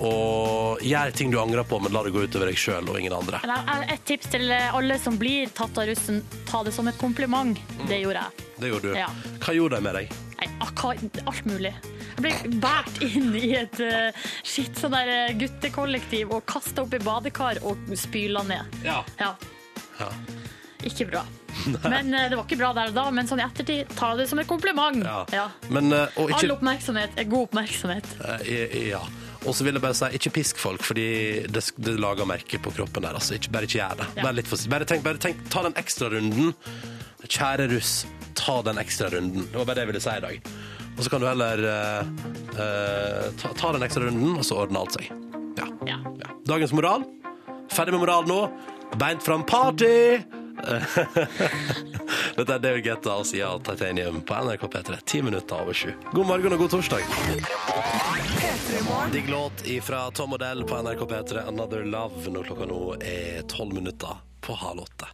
Speaker 2: Og gjør ting du angrer på, men la det gå utover deg sjøl og ingen andre.
Speaker 4: Men jeg- jeg- Et tips til alle som blir tatt av russen, ta det som et kompliment. Det gjorde jeg.
Speaker 2: Det gjorde du.
Speaker 4: Ja.
Speaker 2: Hva gjorde de med deg?
Speaker 4: Nei, akka- alt mulig. Jeg ble båret inn i et eh, skitt sånn der eh, guttekollektiv og kasta opp i badekar og spyla ned.
Speaker 2: Ja.
Speaker 4: Ja.
Speaker 2: Ja.
Speaker 4: Ikke bra. Men eh, Det var ikke bra der og da, men sånn i ettertid, ta det som et kompliment.
Speaker 2: Ja.
Speaker 4: Ja.
Speaker 2: Men, eh, og
Speaker 4: All
Speaker 2: ikke,
Speaker 4: oppmerksomhet er god oppmerksomhet.
Speaker 2: eh, ja. Og så vil jeg bare si, ikke pisk folk, fordi det, sk- det lager merke på kroppen der. Altså. Ikke, bare ikke gjør det.
Speaker 4: Ja.
Speaker 2: Bare, litt forsiktig. bare, tenk, bare tenk, ta den ekstrarunden. Kjære russ, ta den ekstrarunden. Det var bare det jeg ville si i dag. Og så kan du heller eh, eh, ta, ta den ekstrarunden, og så ordner alt seg. Ja.
Speaker 4: Ja.
Speaker 2: Ja. Dagens moral. Ferdig med moral nå. Beint fram party! [LAUGHS] Dette er David Guetta og Sia Titanium på NRK P3. Ti minutter over sju. God morgen og god torsdag. Digg låt ifra Tom Odell på NRK P3. 'Another Love' når klokka nå er tolv minutter på halv åtte.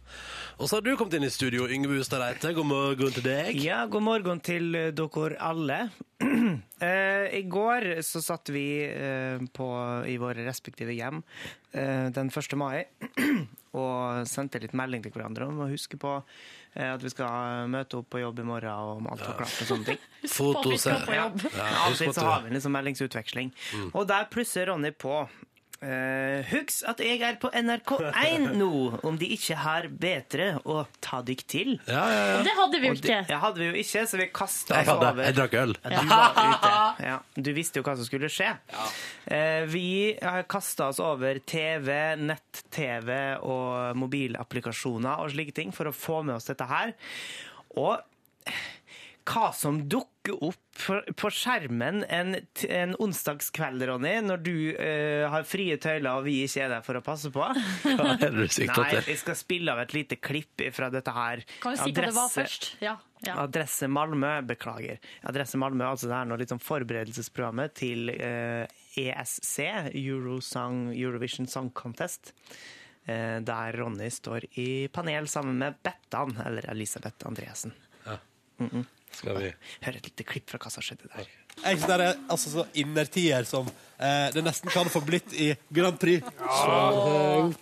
Speaker 2: Og så har du kommet inn i studio, Yngve Hustad Reite. God morgen til deg.
Speaker 3: Ja, god morgen til eh, dere alle. [CLEARS THROAT] Eh, I går så satt vi eh, på, i våre respektive hjem eh, den 1. mai [CLEARS THROAT] og sendte litt melding til hverandre om å huske på eh, at vi skal møte opp på jobb i morgen og om alt var klart og
Speaker 2: [LAUGHS]
Speaker 3: sånne ting.
Speaker 4: Folk skal på
Speaker 2: Fotose.
Speaker 4: jobb.
Speaker 3: Ja, Av og
Speaker 2: husk
Speaker 3: til
Speaker 2: at
Speaker 3: så
Speaker 2: du- Mm.
Speaker 3: har vi en liksom meldingsutveksling. Og der plusser Ronny på. Eh, husk at jeg er på NRK1 nå, om de ikke har bedre å ta dykk til.
Speaker 2: Ja, ja, ja.
Speaker 4: Det hadde vi jo
Speaker 3: Og det
Speaker 4: ikke.
Speaker 3: ja, hadde vi jo ikke, så vi kasta
Speaker 2: Jeg,
Speaker 3: oss
Speaker 2: hadde,
Speaker 3: over.
Speaker 2: jeg drakk øl.
Speaker 3: Du var
Speaker 4: [LAUGHS]
Speaker 3: ute. Ja, du visste jo hva som skulle skje. Eh, vi har kasta oss over TV, nett-TV og mobilapplikasjoner og slike ting for å få med oss dette her. Og hva som dukker opp på- på skjermen en, t- en onsdagskveld, Ronny, når du eh, har frie tøyler og vi ikke er der for å passe på.
Speaker 2: Hva er [LAUGHS] [LAUGHS] det du sikter
Speaker 3: Nei,
Speaker 2: til?
Speaker 3: vi skal spille av et lite klipp fra dette her.
Speaker 4: Kan vi si hva det var
Speaker 3: Adresse-
Speaker 4: først? Ja. ja.
Speaker 3: Adresse Malmö, beklager. Adresse Malmö, altså det er nå liksom forberedelsesprogrammet til eh, ESC, Eurosong, Eurovision Song Contest. eh, der Ronny står i panel sammen med Bettan, eller Elisabeth Andreassen.
Speaker 2: Skal vi
Speaker 3: Hør et lite klipp fra hva som skjedde der.
Speaker 8: Jeg synes det er altså, så innertier som eh, det nesten kan få blitt i Grand Prix.
Speaker 9: Sånn.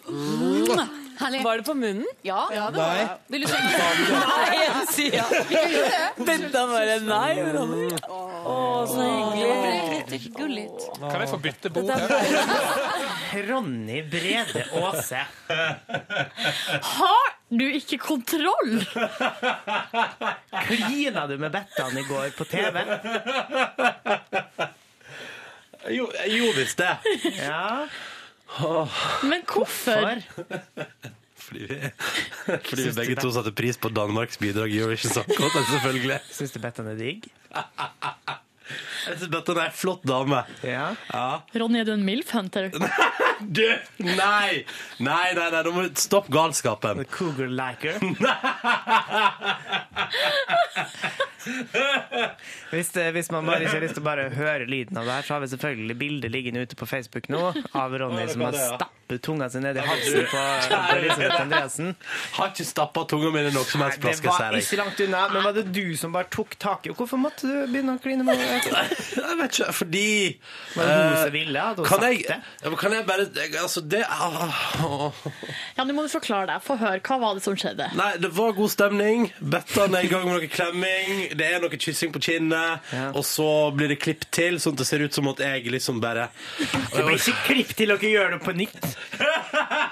Speaker 9: Var det på munnen?
Speaker 10: Ja,
Speaker 8: Nei.
Speaker 10: Vil du se? Nei, jeg sier
Speaker 9: Bedda bare nei. Ronny. Å, så hyggelig.
Speaker 10: litt gullig.
Speaker 11: Kan jeg få bytte bord?
Speaker 3: Ronny Brede Aase.
Speaker 4: Har du ikke kontroll?
Speaker 3: Klina du med Bettan i går på TV?
Speaker 2: Jo, jeg gjorde visst det.
Speaker 3: Ja,
Speaker 4: Men hvorfor?
Speaker 3: for
Speaker 2: Fordi vi, [LAUGHS] fordi vi begge to satte pris på Danmarks bidrag i Eurovision Song Contest, selvfølgelig.
Speaker 3: Syns du Bettan er digg?
Speaker 2: Jeg synes Bettan er en flott dame.
Speaker 3: Ja.
Speaker 4: Ronny, er du en MILF Hunter?
Speaker 2: Du! Nei! Nei, nei, nei, nå må du stoppe galskapen.
Speaker 3: Cougar [LAUGHS] liker. hvis, det, hvis man bare ikke har lyst til å bare høre lyden av det her, så har vi selvfølgelig bildet liggende ute på Facebook nå av Ronny som har stappet tunga si ned i halsen på på Elisabeth Andreassen.
Speaker 2: Har ikke stappa tunga mi i noe som helst
Speaker 3: Det
Speaker 2: plaske,
Speaker 3: var
Speaker 2: sier jeg.
Speaker 3: ikke langt unna, men var det du som bare tok tak i Hvorfor måtte du begynne å kline med henne?
Speaker 2: Jeg vet ikke, fordi
Speaker 3: Var det hun
Speaker 2: eh,
Speaker 3: som ville? Hadde hun
Speaker 2: kan
Speaker 3: sagt
Speaker 2: jeg,
Speaker 3: det?
Speaker 2: ja, men kan jeg bare jeg, Altså, det ah,
Speaker 4: Ja, nå må du forklare deg. Få høre. Hva var det som skjedde?
Speaker 2: Nei, det var god stemning. Bettan er i gang med noe klemming. Det er noe kyssing på kinnet. Og så blir det klipp til, sånn at det ser ut som at jeg liksom bare
Speaker 3: Det blir ikke klipp til dere gjør det på nytt. [LAUGHS]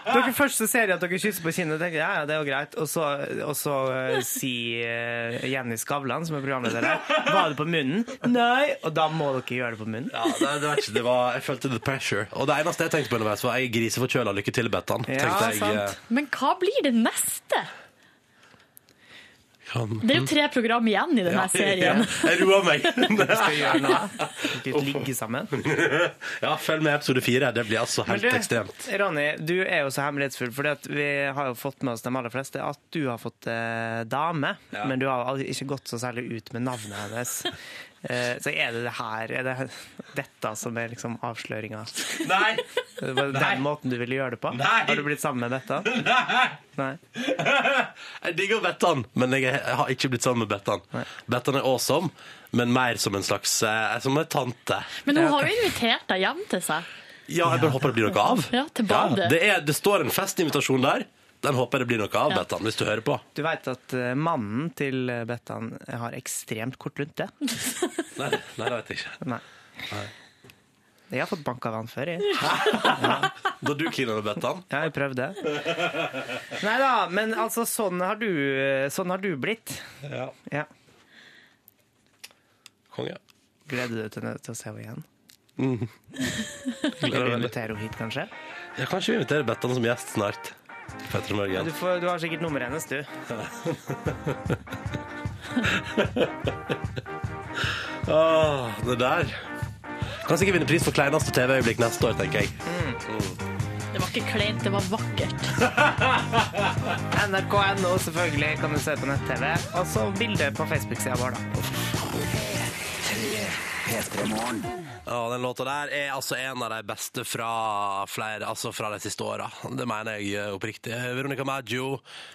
Speaker 3: Dere først så ser jeg at dere kysser på kinnet og tenker ja, ja, det er jo greit. Og så, og så eh, sier eh, Jenny Skavlan, som er programleder her, var det på munnen? Nei. Og da må dere gjøre det på munnen.
Speaker 2: Ja, det, det var ikke, det var, Jeg følte the pressure. Og det eneste jeg tenkte på underveis, var jeg er griseforkjøla. Lykke til, Bettan.
Speaker 3: Ja,
Speaker 2: tenkte jeg.
Speaker 3: sant.
Speaker 2: eh,
Speaker 4: Men hva blir det neste?
Speaker 2: Kan,
Speaker 4: Det er jo tre program igjen i denne serien.
Speaker 2: Ja, [LAUGHS] jeg roer meg.
Speaker 3: Skal vi gjøre noe? Litt ligge sammen.
Speaker 2: Ja, følg med i episode fire. Det blir altså
Speaker 3: Men
Speaker 2: helt ekstremt.
Speaker 3: Ronny, du er jo så hemmelighetsfull, for vi har jo fått med oss de aller fleste at du har fått eh, dame, men du har jo aldri- ikke gått så særlig ut med navnet hennes.
Speaker 2: [LAUGHS]
Speaker 3: Eh, så er det det her Er det [LAUGHS] dette som er liksom avsløringa?
Speaker 2: Nei!
Speaker 3: Det var den måten du ville gjøre det på?
Speaker 2: Nei.
Speaker 3: Har du blitt sammen med Bettan? Nei.
Speaker 2: [LAUGHS] Jeg digger Bettan, men jeg, jeg har ikke blitt sammen med Bettan. Bettan er awesome, men mer som en slags eh, Som en tante.
Speaker 4: Men hun har jo invitert deg hjem til seg.
Speaker 2: Ja, jeg bare håper det blir noe av.
Speaker 4: Ja, til badet.
Speaker 2: det, er, det står en festinvitasjon der. Den håper jeg det blir noe av, Bettan, hvis du hører på.
Speaker 3: Du veit at eh, mannen til eh, Bettan har ekstremt kort lunte?
Speaker 2: Nei, nei det vet jeg ikke.
Speaker 3: Nei. Jeg har fått bank av han før, jeg.
Speaker 2: Da du klina med Bettan
Speaker 3: Ja, jeg
Speaker 2: [LAUGHS]
Speaker 3: prøvde. Nei da, men altså, sånn har du, sånn har du blitt.
Speaker 2: Ja.
Speaker 3: Ja.
Speaker 2: Konge.
Speaker 3: Gleder du deg til, til å se henne igjen?
Speaker 2: Gleder
Speaker 3: Eller
Speaker 2: meg veldig.
Speaker 3: invitere henne hit, kanskje?
Speaker 2: Ja, kanskje vi inviterer Bettan som gjest snart. Petter Morgen.
Speaker 3: Du, får, du har sikkert nummeret hennes, du.
Speaker 2: Åh, det der. Kan sikkert vinne pris for kleineste TV-øyeblikk neste år, tenker jeg.
Speaker 4: Det var ikke kleint, det var vakkert.
Speaker 3: NRK.no, selvfølgelig, kan du se på nett-TV. Og så bilde på Facebook-sida vår, da.
Speaker 2: Ja, den låta der er altså en av de beste fra flere, altså fra de siste åra. Det mener jeg eh, oppriktig. Veronica Maggio,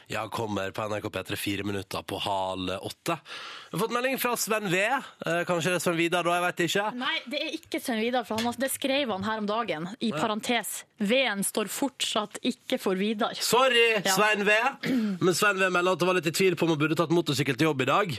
Speaker 2: jeg kommer på NRK P3 fire minutter på hal åtte. Vi har fått melding fra Sven V. Eh, Kanskje det er Sven Vidar da, jeg vet ikke.
Speaker 4: Nei, det er ikke Svein Vidar, for han, har- det skrev han her om dagen, i parentes. V-en står fortsatt ikke for Vidar.
Speaker 2: Sorry,
Speaker 4: Ja.
Speaker 2: Svein V. Men Svein V melder at han var litt i tvil på om han burde tatt motorsykkel til jobb i dag,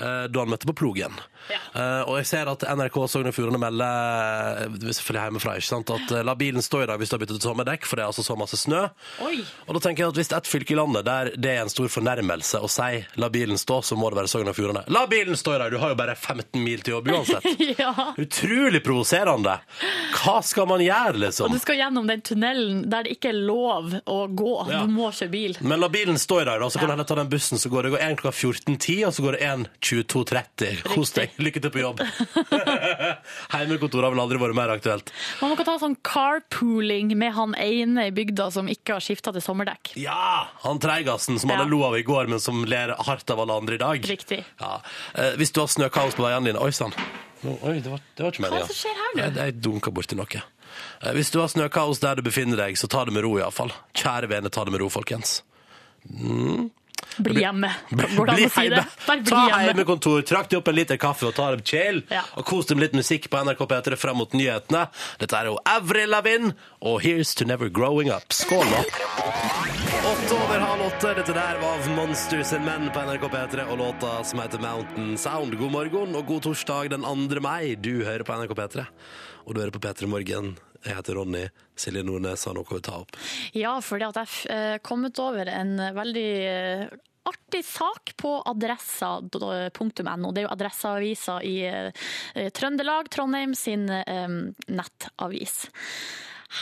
Speaker 2: eh, da han møtte på plogen.
Speaker 4: Ja.
Speaker 2: Eh, Og jeg ser at NRK Sogn og Fjordane melder eh, selvfølgelig hjemmefra ikke sant? at eh, la bilen stå i dag hvis du har byttet ut sommerdekk, for det er altså så masse snø.
Speaker 4: Oi.
Speaker 2: Og da tenker jeg at Hvis det er et fylke i landet der det er en stor fornærmelse å si 'la bilen stå', så må det være Sogn og Fjordane. La bilen stå i dag! Du har jo bare 15 mil til jobb
Speaker 4: [LAUGHS]
Speaker 2: uansett.
Speaker 4: [LAUGHS] Ja.
Speaker 2: Utrolig provoserende! Hva skal man gjøre,
Speaker 4: Du
Speaker 2: liksom?
Speaker 4: skal gjennom den tunnelen der det ikke er lov å gå.
Speaker 2: Ja.
Speaker 4: Du må kjøre bil.
Speaker 2: Men la bilen stå i dag, da, så kan du heller ta den bussen. Så går det går 1 klokka 14.10, og så går det 1 22.30. Kos deg. Lykke til på jobb. [LAUGHS] Heimekontor har vel aldri vært mer aktuelt.
Speaker 4: Man kan ta sånn carpooling med han ene i bygda som ikke har skifta til sommerdekk.
Speaker 2: Ja! Han treigassen som alle
Speaker 4: Ja.
Speaker 2: lo av i går, men som ler hardt av alle andre i dag.
Speaker 4: Riktig.
Speaker 2: Ja. Eh, hvis du har snøkaos på veiene dine Oi sann. Nå- Oi, det var, det var ikke
Speaker 4: Hva er
Speaker 2: meningen.
Speaker 4: det som skjer her nå?
Speaker 2: Jeg, jeg dunka borti noe. Eh, Hvis du har snøkaos der du befinner deg, så ta det med ro, iallfall. Kjære vene, ta det med ro, folkens.
Speaker 4: Bli hjemme. Går det
Speaker 2: [LAUGHS]
Speaker 4: an
Speaker 2: Bli
Speaker 4: å si det?
Speaker 2: hjemme!
Speaker 4: Bare bli
Speaker 2: Ta
Speaker 4: hjemme.
Speaker 2: hjemmekontor, trakk deg opp en liter kaffe og ta deg en chill.
Speaker 4: Ja.
Speaker 2: Og kos deg med litt musikk på NRK P3 frem mot nyhetene. Dette er jo Avril Lavigne og Here's to Never Growing Up. Skål, da! Åtte over halv åtte. Dette der var Monsters and Men på NRK P3 og låta som heter Mountain Sound. God morgen og god torsdag den 2. mai. Du hører på NRK P3, og du hører på P3 Morgen. Jeg heter Ronny. Silje Nordnes har noe å ta opp.
Speaker 4: Ja, fordi at jeg f- eh, kom ut over en veldig eh, artig sak på adressa.no. Det er jo Adresseavisa i eh, Trøndelag, Trondheim sin eh, nettavis.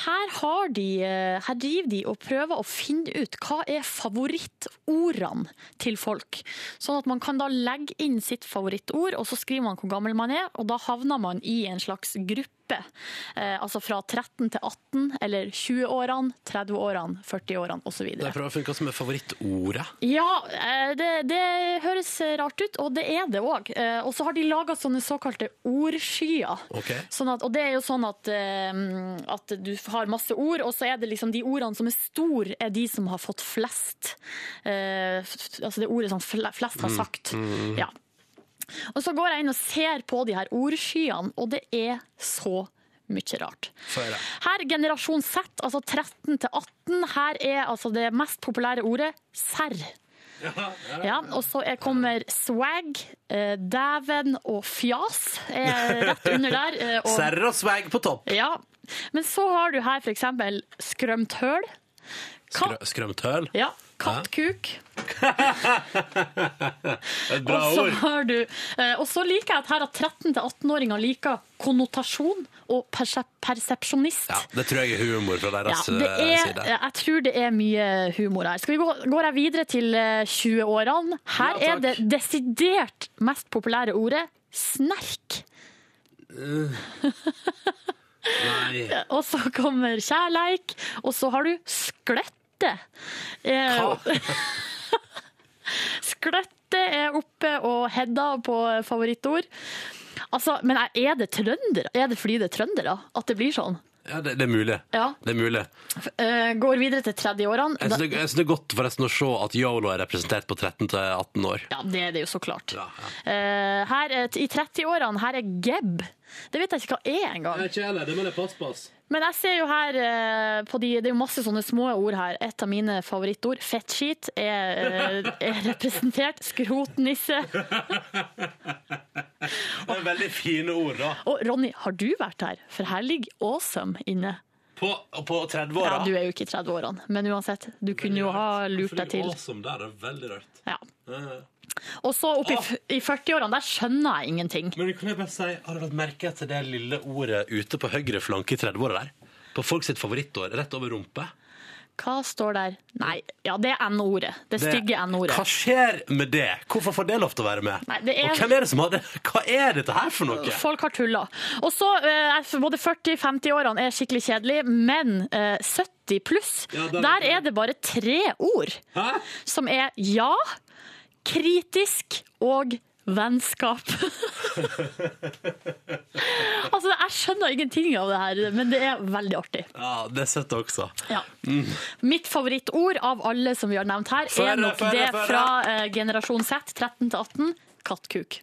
Speaker 4: Her, har de, eh, her driver de og prøver å finne ut hva er favorittordene til folk. Sånn at man kan da legge inn sitt favorittord, og så skriver man hvor gammel man er, og da havner man i en slags gruppe. Eh, altså fra 13 til 18, eller 20-årene, 30-årene, 40-årene osv.
Speaker 2: Jeg prøver å finne hva som er favorittordet.
Speaker 4: Ja, eh, det, det høres rart ut, og det er det òg. Og så har de laga sånne såkalte ordskyer.
Speaker 2: Ok.
Speaker 4: Sånn at, og det er jo sånn at, eh, at du har masse ord, og så er det liksom de ordene som er store, er de som har fått flest. Eh, f- f- altså det ordet som fle- flest har sagt. Ja. Og så går jeg inn og ser på de her ordskyene, og det er så mye rart. Her generasjon Z, altså 13 til 18, her er altså det mest populære ordet serr. Ja, og så er- kommer swag, eh, dæven og fjas er rett under der. eh, og-
Speaker 2: Serr og swag på topp.
Speaker 4: ja. Men så har du her for eksempel skrømt høl. Katt,
Speaker 2: Skrø- Skrømtøl.
Speaker 4: ja, kattkuk.
Speaker 2: [LAUGHS] Et bra
Speaker 4: Og så
Speaker 2: ord.
Speaker 4: har du eh, Og så liker jeg at her at 13 til 18-åringer liker konnotasjon og perse- persepsjonist.
Speaker 2: Ja, det tror jeg er humor fra
Speaker 4: Ja,
Speaker 2: deres
Speaker 4: det
Speaker 2: eh,
Speaker 4: er,
Speaker 2: side.
Speaker 4: jeg tror det er mye humor her. Skal vi gå, går jeg videre til eh, 20-årene? Her er det desidert mest populære ordet snerk.
Speaker 2: Eh, Nei.
Speaker 4: [LAUGHS] Og så kommer kjærleik, og så har du skløtte. Eh, [LAUGHS] skløtte er oppe og Hedda på favorittord. Altså, men er det trøndere? Er det fordi det er trøndere at det blir sånn?
Speaker 2: Ja, det, det er mulig.
Speaker 4: Ja.
Speaker 2: Det er mulig.
Speaker 4: Eh, går videre til 30-årene.
Speaker 2: Jeg
Speaker 4: Da-
Speaker 2: syns det, jeg synes det er godt forresten å se at Yolo er representert på 13 til 18 år.
Speaker 4: Ja, det er det jo så klart.
Speaker 2: Ja,
Speaker 4: Eh, her, er- I 30-årene, her er gebb. Det vet jeg ikke hva er engang.
Speaker 2: Ikke heller, det må jeg passe på.
Speaker 4: Men jeg ser jo her eh, på de, Det er jo masse sånne små ord her. Et av mine favorittord, fettskit, er, eh, er representert. Skrotnisse.
Speaker 2: Det er veldig fine ord, da.
Speaker 4: Og Ronny, har du vært her? For her ligger awesome inne.
Speaker 2: På, på
Speaker 4: Ja,
Speaker 2: 30-åra.
Speaker 4: du er jo ikke i 30-årene, men uansett. Du kunne jo ha lurt deg til.
Speaker 2: Awesome der, det er veldig rart.
Speaker 4: Ja. Og så opp i,
Speaker 2: Ah.
Speaker 4: f- i 40-årene, der skjønner jeg ingenting.
Speaker 2: Men kunne jeg bare si, har du lagt merke til det lille ordet ute på høyre flanke i 30-åra der? På folk sitt favorittår, rett over rumpe.
Speaker 4: Hva står der? Nei, ja, det er N-ordet. Det
Speaker 2: Det-
Speaker 4: stygge N-ordet.
Speaker 2: Hva skjer med det? Hvorfor får det lov til å være med?
Speaker 4: Nei, det er-
Speaker 2: Og hvem er det som har det? Hva er dette her for noe?
Speaker 4: Folk har tulla. Og så, eh, er- Både 40-50-årene er skikkelig kjedelig, men eh, 70 pluss,
Speaker 2: Ja, der
Speaker 4: der,
Speaker 2: er det.
Speaker 4: er det bare tre ord.
Speaker 2: Hæ?
Speaker 4: Som er ja, kritisk og [LAUGHS] vennskap. altså, jeg skjønner ingenting av det her, men det er veldig artig.
Speaker 2: Ja, det setter jeg også.
Speaker 4: Ja.
Speaker 2: Mm.
Speaker 4: Mitt favorittord av alle som vi har nevnt her,
Speaker 2: Føre,
Speaker 4: er nok
Speaker 2: føre,
Speaker 4: det
Speaker 2: føre.
Speaker 4: fra eh, generasjon Z, 13 til 18, kattkuk.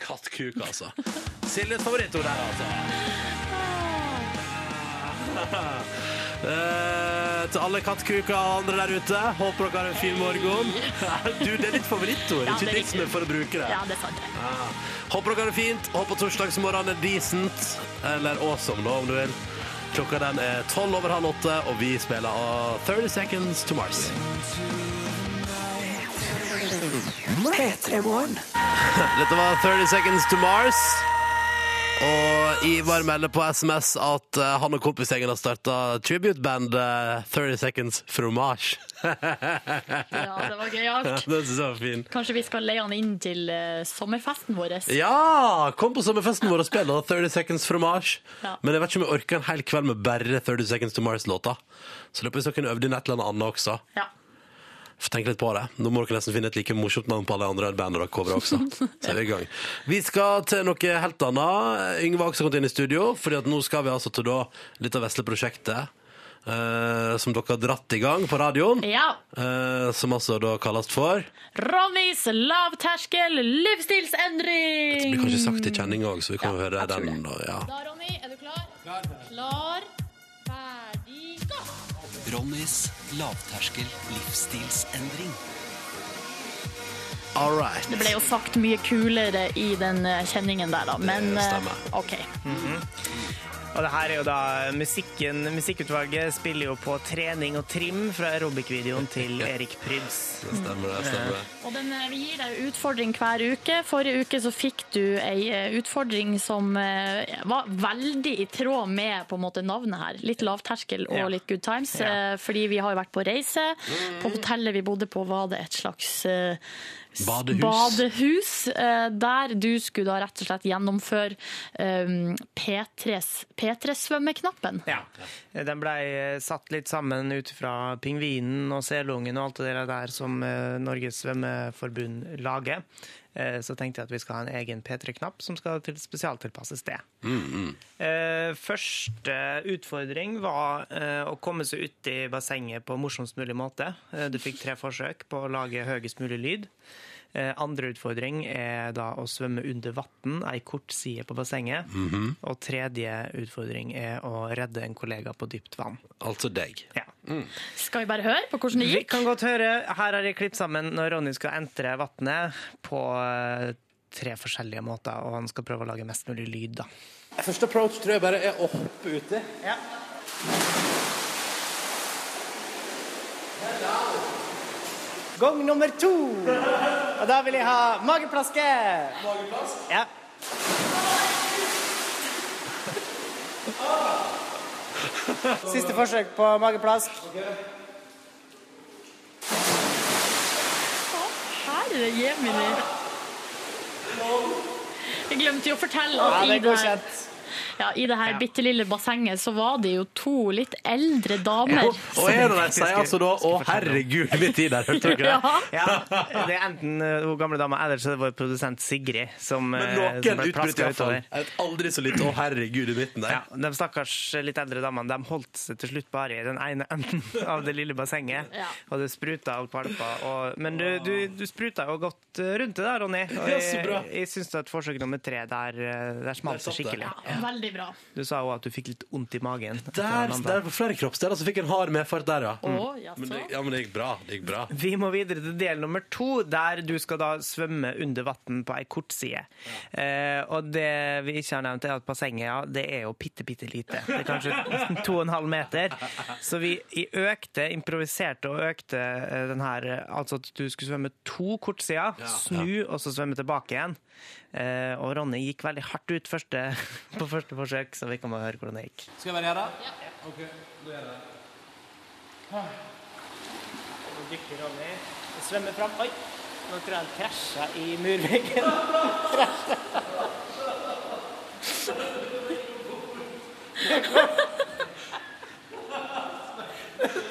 Speaker 2: Kattkuk, altså.
Speaker 4: Ah.
Speaker 2: Siljes favorittord der, altså. Eh, til alle kattkuker og andre der ute, håper dere har en fin
Speaker 4: [LAUGHS]
Speaker 2: morgen. Du, det er ditt favorittord,
Speaker 4: Ja, det
Speaker 2: ikke
Speaker 4: er
Speaker 2: ditt som
Speaker 4: riktig.
Speaker 2: er for å bruke det.
Speaker 4: Ja, det er sant. det.
Speaker 2: Ja. Håper dere har det fint. Håper torsdagsmorgenen er decent, eller awesome nå, om du vil. Klokka den er tolv over halv åtte, og vi spiller av 30 Seconds to Mars. [LAUGHS] Dette var 30 Seconds to Mars. Og Ivar melder på SMS at eh, han og kompisgjengen har starta tributebandet 30 Seconds [LAUGHS] Fromage.
Speaker 4: Ja, det var gøyalt.
Speaker 2: Den synes jeg var fin.
Speaker 4: Kanskje vi skal leie han inn til eh, sommerfesten vår?
Speaker 2: Ja! Kom på sommerfesten vår og spill da, 30 Seconds Fromage.
Speaker 4: Ja.
Speaker 2: Men jeg vet ikke om jeg orker en hel kveld med bare 30 Seconds to Mars-låta. Så det er på hvis dere kunne øvd inn et eller annet annet også.
Speaker 4: Ja.
Speaker 2: Få tenke litt på det. Nå må dere nesten finne et like morsomt navn på alle andre band dere covrer
Speaker 4: [LAUGHS]
Speaker 2: også. Så er vi i gang. Vi skal til noe helt annet. Yngve har også kommet inn i studio, fordi at nå skal vi altså til da dette vesle prosjektet. eh, som dere har dratt i gang på radioen.
Speaker 4: ja.
Speaker 2: eh, som altså da kalles for Det
Speaker 4: Ronnys lavterskel livsstilsendring!
Speaker 2: blir kanskje sagt i kjenning òg, så vi kan jo høre
Speaker 4: jeg tror
Speaker 2: den. da, Ja.
Speaker 4: Da, Ronny, er du klar? Klar. ferdig, gå!
Speaker 11: Ronnys lavterskel livsstilsendring.
Speaker 2: All right.
Speaker 4: Det ble jo sagt mye kulere i den eh, kjenningen der, da. Men
Speaker 2: Det
Speaker 4: eh,
Speaker 2: stemmer.
Speaker 4: OK.
Speaker 3: Og det her er jo da musikken, musikkutvalget spiller jo på trening og trim fra aerobic-videoen til Erik Pryds.
Speaker 2: Det stemmer, det stemmer.
Speaker 4: Og den, eh, vi gir deg utfordring hver uke. Forrige uke så fikk du ei eh, utfordring som eh, var veldig i tråd med på en måte navnet her. Litt lavterskel og
Speaker 3: Ja.
Speaker 4: litt good times.
Speaker 3: Ja. Mm.
Speaker 4: eh, Fordi vi har jo vært på reise. På hotellet vi bodde på var det et slags eh, s-
Speaker 2: Badehus.
Speaker 4: badehus eh, der du skulle da rett og slett gjennomføre eh, P3s P3-svømmeknappen.
Speaker 3: Ja. Den blei satt litt sammen ut fra pingvinen og selungen og alt det der som eh, Norges svømmeforbund lager. Eh, Så tenkte jeg at vi skal ha en egen P3-knapp som skal til spesialtilpasses det. Eh, Første utfordring var eh, å komme seg uti bassenget på morsomst mulig måte. Eh, Du fikk tre forsøk på å lage høyest mulig lyd. Eh, Andre utfordring er da å svømme under vann, ei kort side på bassenget. Og tredje utfordring er å redde en kollega på dypt vann.
Speaker 2: Altså deg.
Speaker 3: Ja.
Speaker 4: Skal vi bare høre på hvordan det
Speaker 3: Vi
Speaker 4: gikk?
Speaker 3: kan godt høre, her har jeg klippet sammen når Ronny skal entre vannet på eh, tre forskjellige måter, og han skal prøve å lage mest mulig lyd, da.
Speaker 8: Første approach tror jeg bare er å hoppe uti.
Speaker 5: Gang nummer to. Og da vil jeg ha mageplaske. Ja.
Speaker 8: Ah.
Speaker 5: Siste forsøk på mageplask.
Speaker 4: Herre jemini. Jeg glemte jo å fortelle
Speaker 5: Ja,
Speaker 4: at
Speaker 5: det er
Speaker 4: i det her,
Speaker 5: godkjent.
Speaker 4: ja, i det her
Speaker 3: Ja.
Speaker 4: bitte lille bassenget så var det jo to litt eldre damer.
Speaker 2: Og, og er det der, sier altså da Å, herregud, litt tid der,
Speaker 4: [LAUGHS]
Speaker 2: hørte dere det?
Speaker 3: [LAUGHS] [LAUGHS] Ja, det er enten eh, hun gamle dama eller så er det vår produsent Sigrid som, eh,
Speaker 2: Men
Speaker 3: som
Speaker 2: noen
Speaker 3: ble
Speaker 2: utbryter i
Speaker 3: plaska
Speaker 2: hvert fall.
Speaker 3: utover.
Speaker 2: Et aldri så lite Å, herregud i midten der.
Speaker 3: Ja, de stakkars eh, litt eldre damene de holdt seg til slutt bare i den ene enden av det lille bassenget.
Speaker 4: Ja.
Speaker 3: Og det spruta og palpa. Og, men du, du, du spruta jo godt eh, rundt det, da, Ronny. Og jeg, jeg syns at forsøk nummer tre der, eh, der smalt
Speaker 2: Der
Speaker 3: det
Speaker 2: satt det.
Speaker 3: skikkelig.
Speaker 4: Ja, veldig bra.
Speaker 3: Du sa jo at du fikk litt vondt i magen. etter
Speaker 2: Der,
Speaker 3: den andre.
Speaker 2: der på flere kroppsdeler så fikk jeg en hard medfart der, ja.
Speaker 3: Mm.
Speaker 4: Å, sånn. jaså.
Speaker 2: Men det, ja, men det gikk bra. Det gikk bra.
Speaker 3: Vi må videre til del nummer to, der du skal da svømme under vann på ei kortside. Eh, og det vi ikke har nevnt, er at bassenget ja, det er jo bitte, bitte lite. Det er kanskje to og en halv meter. Så vi i økte, improviserte og økte eh, den her eh, Altså at du skulle svømme to kortsider, snu og så svømme tilbake igjen. Eh, og Ronny gikk veldig hardt ut første, [LAUGHS] på første forsøk, så vi kan bare høre hvordan det gikk.
Speaker 8: Skal jeg være her, da?
Speaker 5: Nå dykker Ronny. Jeg svømmer fram. Oi, nå tror jeg han krasja i murveggen. Krasja.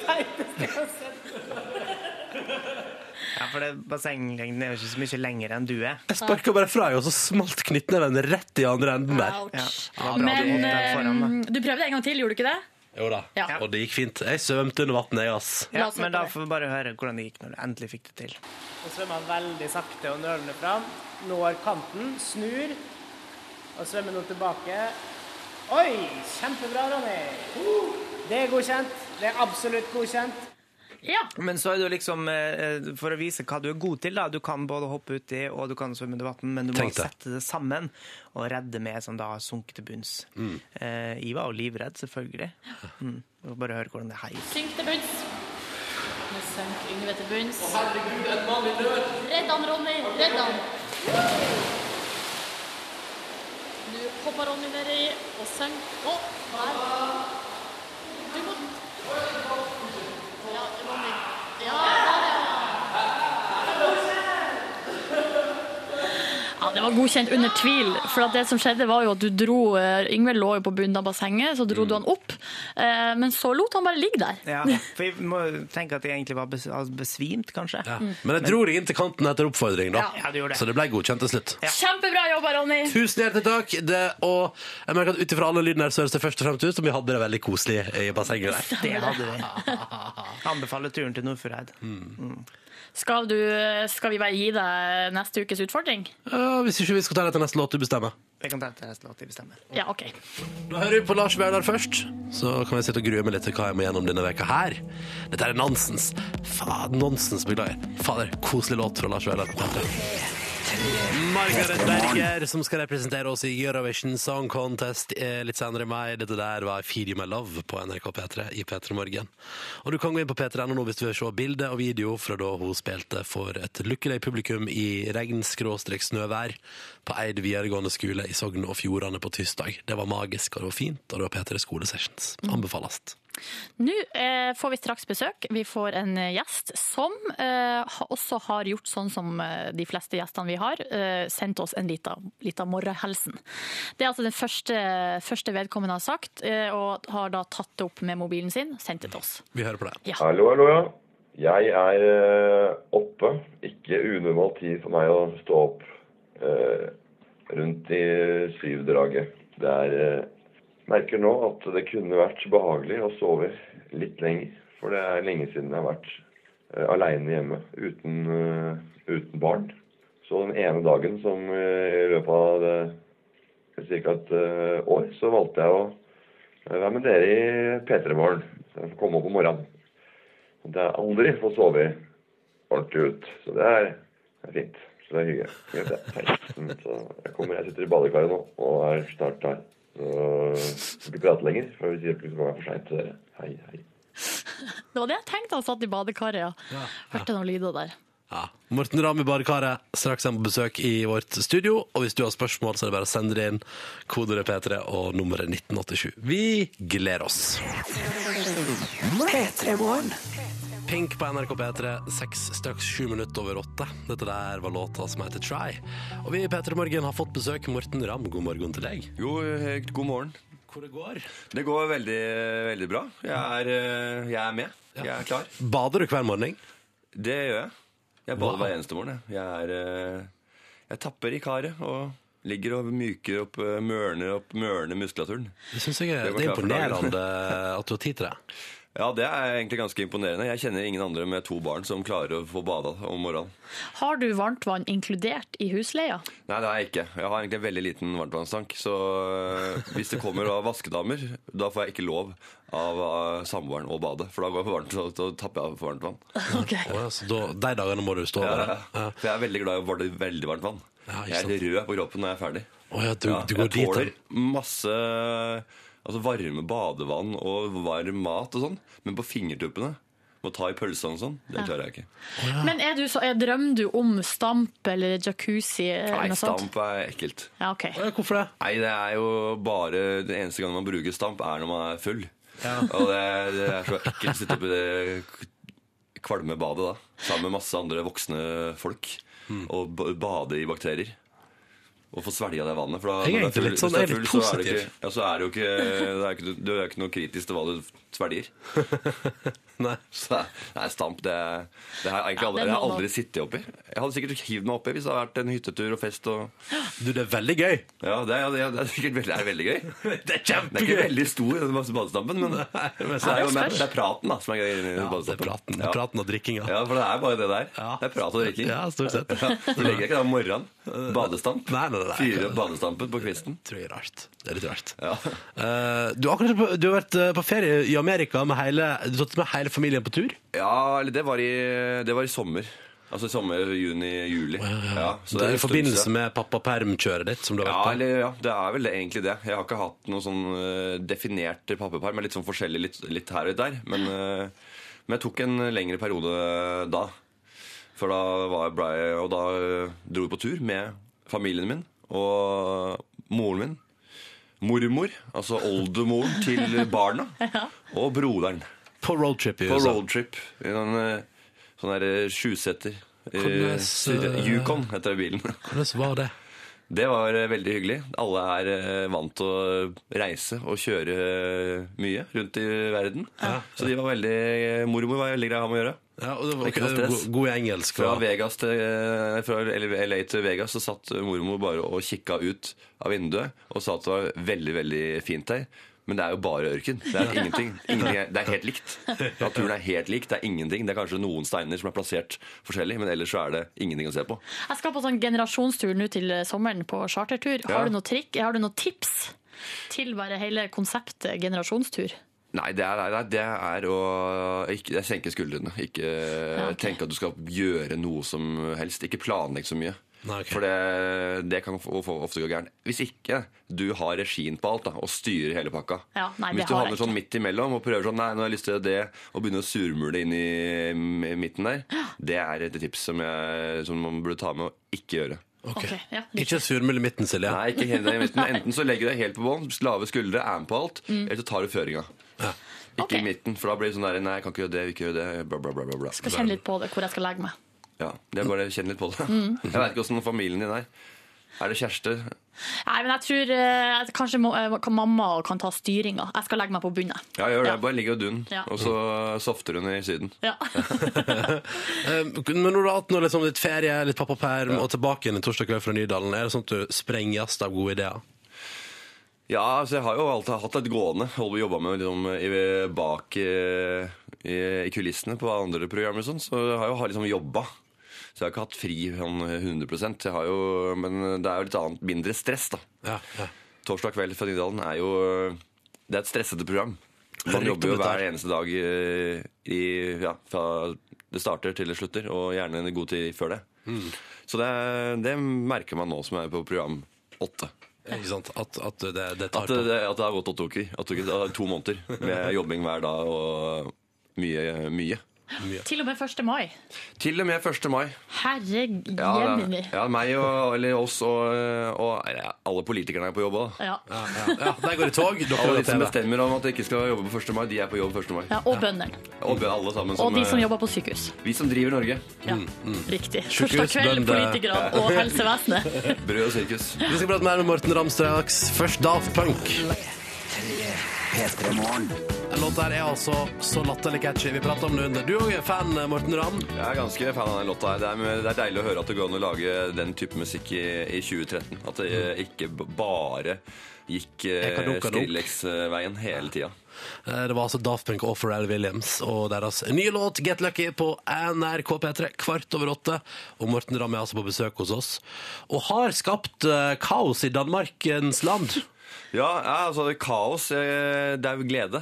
Speaker 5: Nei, det skal jeg se.
Speaker 3: Ja, For det- bassenglengden er jo ikke så mye lenger enn du er.
Speaker 2: Jeg sparka bare fra, og så smalt knyttneven rett i andre enden der.
Speaker 4: Ouch.
Speaker 3: Ja.
Speaker 4: Men
Speaker 3: Der foran, da.
Speaker 4: eh, du prøvde en gang til, gjorde du ikke det?
Speaker 2: Jo da.
Speaker 4: Ja.
Speaker 2: Og det gikk fint. Jeg svømte under vannet, jeg, ass.
Speaker 4: La
Speaker 3: Ja,
Speaker 4: oss
Speaker 3: men
Speaker 4: høre på
Speaker 3: da
Speaker 4: det.
Speaker 3: får vi bare høre hvordan det gikk når du endelig fikk det til.
Speaker 5: Nå svømmer han veldig sakte og nølende fram. Når kanten, snur og svømmer nå tilbake. Oi, kjempebra, Ronny. Det er godkjent. Det er absolutt godkjent.
Speaker 3: Men så er det jo liksom, eh, for å vise hva du er god til, da. Du kan både hoppe uti og du kan svømme under vann, men du må
Speaker 2: Tenk det.
Speaker 3: sette det sammen og redde med som da har sunket til bunns.
Speaker 2: Mm.
Speaker 3: Eh, jeg var jo livredd, selvfølgelig. Mm. Vi får Bare høre hvordan det heier.
Speaker 4: Synk til bunns. Nå sank Yngve til bunns. Redd han, Ronny! Redd han! Nå hopper Ronny nedi og sank Å, der. Du må Ja, Ronny. Ja, der, ja. Ja, Det var godkjent under tvil. For at det som skjedde var jo at du dro eh, Yngve lå jo på bunnen av bassenget, så dro du han opp. eh, Men så lot han bare ligge der.
Speaker 3: Ja, for jeg må tenke at jeg egentlig var bes altså besvimt, kanskje.
Speaker 2: Men jeg dro deg inn til kanten etter oppfordring, da.
Speaker 3: Mm. Ja, du gjorde det.
Speaker 2: Så det ble godkjent til slutt.
Speaker 4: Kjempebra jobba, Ronny!
Speaker 2: Tusen hjertelig takk. Det, og jeg merker at ut ifra alle lyden her, så høres det først og fremst ut som vi hadde det veldig koselig i bassenget der.
Speaker 3: Det hadde vi. [LAUGHS] Anbefaler turen til Nordfjordeid. Mm.
Speaker 4: Skal, du, eh, skal vi bare gi deg eh, neste ukes utfordring?
Speaker 2: Ja, hvis ikke vi skal ta det til neste låt du bestemmer.
Speaker 3: Jeg kan ta etter neste låt, jeg bestemmer.
Speaker 4: Ja, OK.
Speaker 2: Da hører vi på Lars Vaular først. Så kan jeg sitte og grue meg litt til hva jeg må gjennom denne veka her. Dette er nonsens. Faen, nonsens, beklager. Fader, koselig låt fra Lars Vaular. Margaret Berger, som skal representere oss i Eurovision Song Contest eh, litt senere i mai. Dette der var Feed You My Love på NRK P3 i P3 Morgen. Og du kan gå inn på P3.no nå hvis du vil se bilde og video fra da hun spilte for et lykkelig publikum i regn-snøvær på Eid videregående skole i Sogn og Fjordane på tirsdag. Det var magisk, og det var fint, og det var P3 Skolesessions. Anbefales.
Speaker 4: Nå eh, får vi straks besøk. Vi får en gjest som eh, ha- også har gjort sånn som eh, de fleste gjestene vi har, eh, sendt oss en lita, lita morgenhilsen. Det er altså den første, første vedkommende har sagt, eh, og har da tatt det opp med mobilen sin, sendt det til oss.
Speaker 2: Vi hører på det.
Speaker 12: Hallo, hallo, ja. Jeg er eh, oppe. Ikke unormal tid for meg å stå opp eh, rundt i syvdraget. Det er eh, Merker nå at det kunne vært behagelig å sove litt lenger. For det er lenge siden jeg har vært eh, aleine hjemme uten, eh, uten barn. Så den ene dagen som eh, i løpet av det, ca. et eh, år, så valgte jeg å eh, være med dere i P3 Morgen. Så jeg får komme opp om morgenen. Og Det er aldri få sove ordentlig ut. Så det er, det er fint. Så det er hyggelig. Greit, det er 16, Så jeg, kommer, jeg sitter i badekaret nå og er snart her. Så jeg skal ikke prate lenger, for hvis det hjelper, så kommer jeg for seint til dere. Hei, hei.
Speaker 4: Det var det jeg tenkte altså, han satt i badekaret, ja. Hørte noen lyder der.
Speaker 2: Morten Ramm i Badekaret, straks igjen på besøk i vårt studio. Og hvis du har spørsmål, så er det bare å sende det inn. Kodet er P3 og nummeret 1987. Vi gleder oss. Pink på NRK P3, seks straks sju minutter over åtte. Dette der var låta som heter Try. Og vi i P3 Morgen har fått besøk. Morten Ramm, god morgen til deg.
Speaker 13: Jo, eh, god morgen.
Speaker 2: Hvor det går?
Speaker 13: Det går veldig, veldig bra. Jeg er, eh, jeg er med. Jeg er klar.
Speaker 2: Bader du hver morgen?
Speaker 13: Det gjør jeg. Jeg bader
Speaker 2: Wow.
Speaker 13: hver eneste morgen. jeg. Jeg, er, eh, jeg tapper i karet og ligger og myker opp, eh, mørner opp mørner muskulaturen.
Speaker 2: Det syns jeg er,
Speaker 13: Det var
Speaker 2: det er
Speaker 13: klart for dagen.
Speaker 2: imponerende at du har tid til det.
Speaker 13: Ja, det er egentlig ganske imponerende. Jeg kjenner ingen andre med to barn som klarer å få bada om morgenen.
Speaker 4: Har du varmtvann inkludert i husleia?
Speaker 13: Nei, det har jeg ikke. Jeg har egentlig en veldig liten varmtvannstank. Så øh, hvis det kommer da vaskedamer, da får jeg ikke lov av øh, samboeren å bade. For da går jeg på varmt, så, så tapper jeg for varmt vann.
Speaker 2: Å, ja, så da, de dagene må du stå
Speaker 13: Ja,
Speaker 2: over
Speaker 13: ja.
Speaker 2: det.
Speaker 13: For jeg er veldig glad i å bade i veldig varmt vann.
Speaker 2: Ja, ikke
Speaker 13: jeg er
Speaker 2: sant.
Speaker 13: helt rød på kroppen når jeg er ferdig.
Speaker 2: Å ja, du- du går
Speaker 13: jeg
Speaker 2: dit, ja.
Speaker 13: tåler masse altså varme badevann og varm mat og sånn, men på fingertuppene må ta i pølsene og sånn. Det
Speaker 4: Ja.
Speaker 13: klarer jeg ikke.
Speaker 4: Men er du så, er, drømmer du om stamp eller jacuzzi? eh, eller
Speaker 13: Nei,
Speaker 4: noe sånt?
Speaker 13: stamp er ekkelt.
Speaker 4: Ja, ok.
Speaker 2: Hvorfor det?
Speaker 13: Nei, det er jo bare Den eneste gangen man bruker stamp, er når man er full. Og det, det er så ekkelt å sitte oppi det kvalmebadet da, sammen med masse andre voksne folk,
Speaker 2: Hmm.
Speaker 13: og ba- bade i bakterier. Og få svelge det vannet. For da,
Speaker 2: Jeg er
Speaker 13: når du
Speaker 2: egentlig litt
Speaker 13: hvis
Speaker 2: sånn-
Speaker 13: du
Speaker 2: jeg er litt
Speaker 13: full, så er det
Speaker 2: positiv.
Speaker 13: ikke- Ja, så er det jo ikke, det er ikke, du er ikke noe kritisk til hva du
Speaker 2: [LAUGHS]
Speaker 13: svelger.
Speaker 2: nei.
Speaker 13: Så det er- nei, stamp, det, er- det har jeg egentlig
Speaker 2: Ja,
Speaker 13: aldri,
Speaker 2: det
Speaker 13: det
Speaker 2: må
Speaker 13: har jeg
Speaker 2: man-
Speaker 13: aldri sittet oppi. Jeg hadde sikkert hivd meg oppi hvis det hadde vært en hyttetur og fest og
Speaker 2: Du, det er veldig gøy.
Speaker 13: Ja, det er, det er, det er sikkert veldig, det er veldig
Speaker 2: [LAUGHS]
Speaker 13: gøy. Det er
Speaker 2: kjempegøy.
Speaker 13: Den er ikke veldig stor, den masse badestampen, men, [LAUGHS] men så er
Speaker 2: Ja, det er
Speaker 13: jo, men det er praten da, som er gøy. inni badestampen.
Speaker 2: praten, praten og drikkinga.
Speaker 13: Ja, for det er bare det der. Det er prat og drikking. [LAUGHS]
Speaker 2: Ja, stort sett. [LAUGHS]
Speaker 13: Ja, Du legger deg ikke da om morgenen. Badestamp.
Speaker 2: Nei, nei, nei.
Speaker 13: Fyre opp badestampen på kvisten.
Speaker 2: Tror jeg er rart. Det er litt rart.
Speaker 13: Ja.
Speaker 2: Eh, du, har akkurat, vært på- du har vært eh, på ferie i Amerika med hele, du har tatt med hele familien på tur.
Speaker 13: Ja, eller det var i, det var i sommer. Altså i sommer, juni, juli. Ja, så
Speaker 2: det
Speaker 13: er
Speaker 2: er
Speaker 13: en
Speaker 2: Eh, I
Speaker 13: stund
Speaker 2: forbindelse
Speaker 13: siden.
Speaker 2: med pappapermkjøret ditt som du har
Speaker 13: Ja,
Speaker 2: vært på.
Speaker 13: eller, ja, det er vel det, egentlig det. Jeg har ikke hatt noe sånn eh, definert pappaperm. men Litt sånn forskjellig litt, litt her og litt der. Men, eh, men jeg tok en lengre periode da. For da var jeg blei, Og da eh, dro vi på tur med familien min og moren min. Mormor, altså oldemoren til barna. Og broderen.
Speaker 2: På roadtrip i
Speaker 13: På
Speaker 2: USA.
Speaker 13: roadtrip. I en eh, sånn der eh, sjuseter. Eh,
Speaker 2: Hvordan, eh,
Speaker 13: syrre- Yukon heter det bilen.
Speaker 2: Hvordan var det?
Speaker 13: Det var eh, veldig hyggelig. Alle er eh, vant til å reise og kjøre eh, mye rundt i verden. Så de var veldig eh, Mormor var veldig grei å ha med å gjøre.
Speaker 2: Ja, og det var
Speaker 13: Ikke noe
Speaker 2: eh,
Speaker 13: stress.
Speaker 2: go- god engelsk.
Speaker 13: Fra,
Speaker 2: og-
Speaker 13: Vegas til, eh, fra LA til Vegas så satt mormor bare og kikka ut av vinduet og sa at det var veldig, veldig fint her. Men det er jo bare ørken. Det er ingenting. ingenting er, det er helt likt. Naturen er helt lik. Det er ingenting. Det er kanskje noen steiner som er plassert forskjellig, men ellers så er det ingenting å se på.
Speaker 4: Jeg skal på sånn generasjonstur nå til sommeren på chartertur.
Speaker 13: Ja.
Speaker 4: Har du noe trikk? Har du noe tips til bare hele konseptet generasjonstur?
Speaker 13: Nei, det er, nei, nei, det er å ikke, det er senke skuldrene. Ikke tenke at du skal gjøre noe som helst. Ikke planlegge så mye.
Speaker 2: Nei, ok.
Speaker 13: For det, det kan få- få- ofte gå gærent. Hvis ikke du har regien på alt da, og styrer hele pakka.
Speaker 4: Ja, nei, det
Speaker 13: Hvis du
Speaker 4: har
Speaker 13: havner
Speaker 4: jeg
Speaker 13: sånn midt imellom og prøver sånn Nei, nå har jeg lyst til det, og begynner å surmule inn i mm, midten der, det er et tips som, jeg, som man burde ta med og ikke gjøre.
Speaker 4: Ok, ja.
Speaker 2: Ikke surmul i midten, Silje.
Speaker 13: Nei, ikke helt i midten. Enten så legger du deg helt på bånn, lave skuldre, er med på alt,
Speaker 4: Mm.
Speaker 13: eller så tar du føringa. Ikke i midten, for da blir det sånn der Nei, jeg kan ikke gjøre det, vi kan ikke gjøre det, bla, bla, bla. bla, bla.
Speaker 4: Skal kjenne litt på det, hvor jeg skal legge meg.
Speaker 13: Ja, det er bare å kjenne litt på det.
Speaker 4: Mm.
Speaker 13: Jeg veit ikke åssen familien din er. Er det kjærester?
Speaker 4: Nei, men jeg tror eh, at kanskje må, eh, kan mamma kan ta styringa. Jeg skal legge meg på bunnen.
Speaker 13: Ja, gjør det. Bare ligg og dun,
Speaker 4: Ja.
Speaker 13: og så softer hun i Syden.
Speaker 4: Ja.
Speaker 2: Eh, Men når du har hatt noe liksom, litt ferie, litt pappaperm, og tilbake igjen en torsdag kveld fra Nydalen, er det sånn at du sprenges av gode ideer?
Speaker 13: Ja, altså jeg har jo alltid hatt et gående. Holdt på å jobbe med liksom, i, bak eh, i, i kulissene på andre programmer og sånn, så jeg har jo har liksom jobba. Så jeg har ikke hatt fri sånn 100 jeg har jo, Men det er jo litt annet, mindre stress, da. Torsdag kveld fra Nydalen er jo Det er et stressete program. Man
Speaker 2: Riktig
Speaker 13: jobber jo
Speaker 2: om dette
Speaker 13: hver
Speaker 2: her.
Speaker 13: eneste dag eh, i, ja, fra det starter til det slutter, og gjerne en god tid før det.
Speaker 2: Mm.
Speaker 13: Så det, er- det merker man nå som er på program åtte.
Speaker 2: Ikke sant? At, at det, det tar
Speaker 13: At eh, det, at det har gått åtte uker. Åtte uker det er to måneder med jobbing hver dag og mye. mye.
Speaker 4: [LAUGHS] Til og med 1. mai.
Speaker 13: Til og med 1. mai.
Speaker 4: Herregud.
Speaker 13: Ja, det
Speaker 4: Ja,
Speaker 13: er- ja meg og eller oss og, og ja, alle politikerne er på jobb òg.
Speaker 4: ja.
Speaker 2: Ja, der går det tog.
Speaker 13: [LAUGHS]
Speaker 2: Dere
Speaker 13: Alle de
Speaker 2: vet
Speaker 13: som
Speaker 2: det.
Speaker 13: bestemmer om at de ikke skal jobbe på 1. mai, de er på jobb 1. mai.
Speaker 4: og bøndene.
Speaker 13: Og alle sammen
Speaker 4: Og de som
Speaker 13: eh,
Speaker 4: jobber på sykehus.
Speaker 13: Vi som driver Norge.
Speaker 4: Ja,
Speaker 13: mm.
Speaker 4: Riktig.
Speaker 2: Sykehus,
Speaker 4: Torsdag kveld,
Speaker 2: bønder.
Speaker 4: politikerne
Speaker 13: [LAUGHS]
Speaker 4: og helsevesenet.
Speaker 13: Brød og sirkus.
Speaker 2: Vi skal prate mer med Morten Ramm straks. Først Daft Punk. Den låta her er altså så latterlig catchy. Vi prater om det under. Du òg er fan, Morten Ramm.
Speaker 13: Jeg er ganske fan av den låta. her. Det er, det er deilig å høre at det går an å lage den type musikk i, i 2013. At det eh, ikke b- bare gikk eh,
Speaker 2: Ekadok, ekadok.
Speaker 13: Skrillex-veien hele tida.
Speaker 2: Eh, Det var altså Daft Punk og Pharrell Williams og deres nye låt Get Lucky på NRK P3 kvart over åtte. Og Morten Ramm er altså på besøk hos oss og har skapt eh, kaos i Danmarkens land.
Speaker 13: Ja, ja, altså det er kaos. eh, Det er jo glede.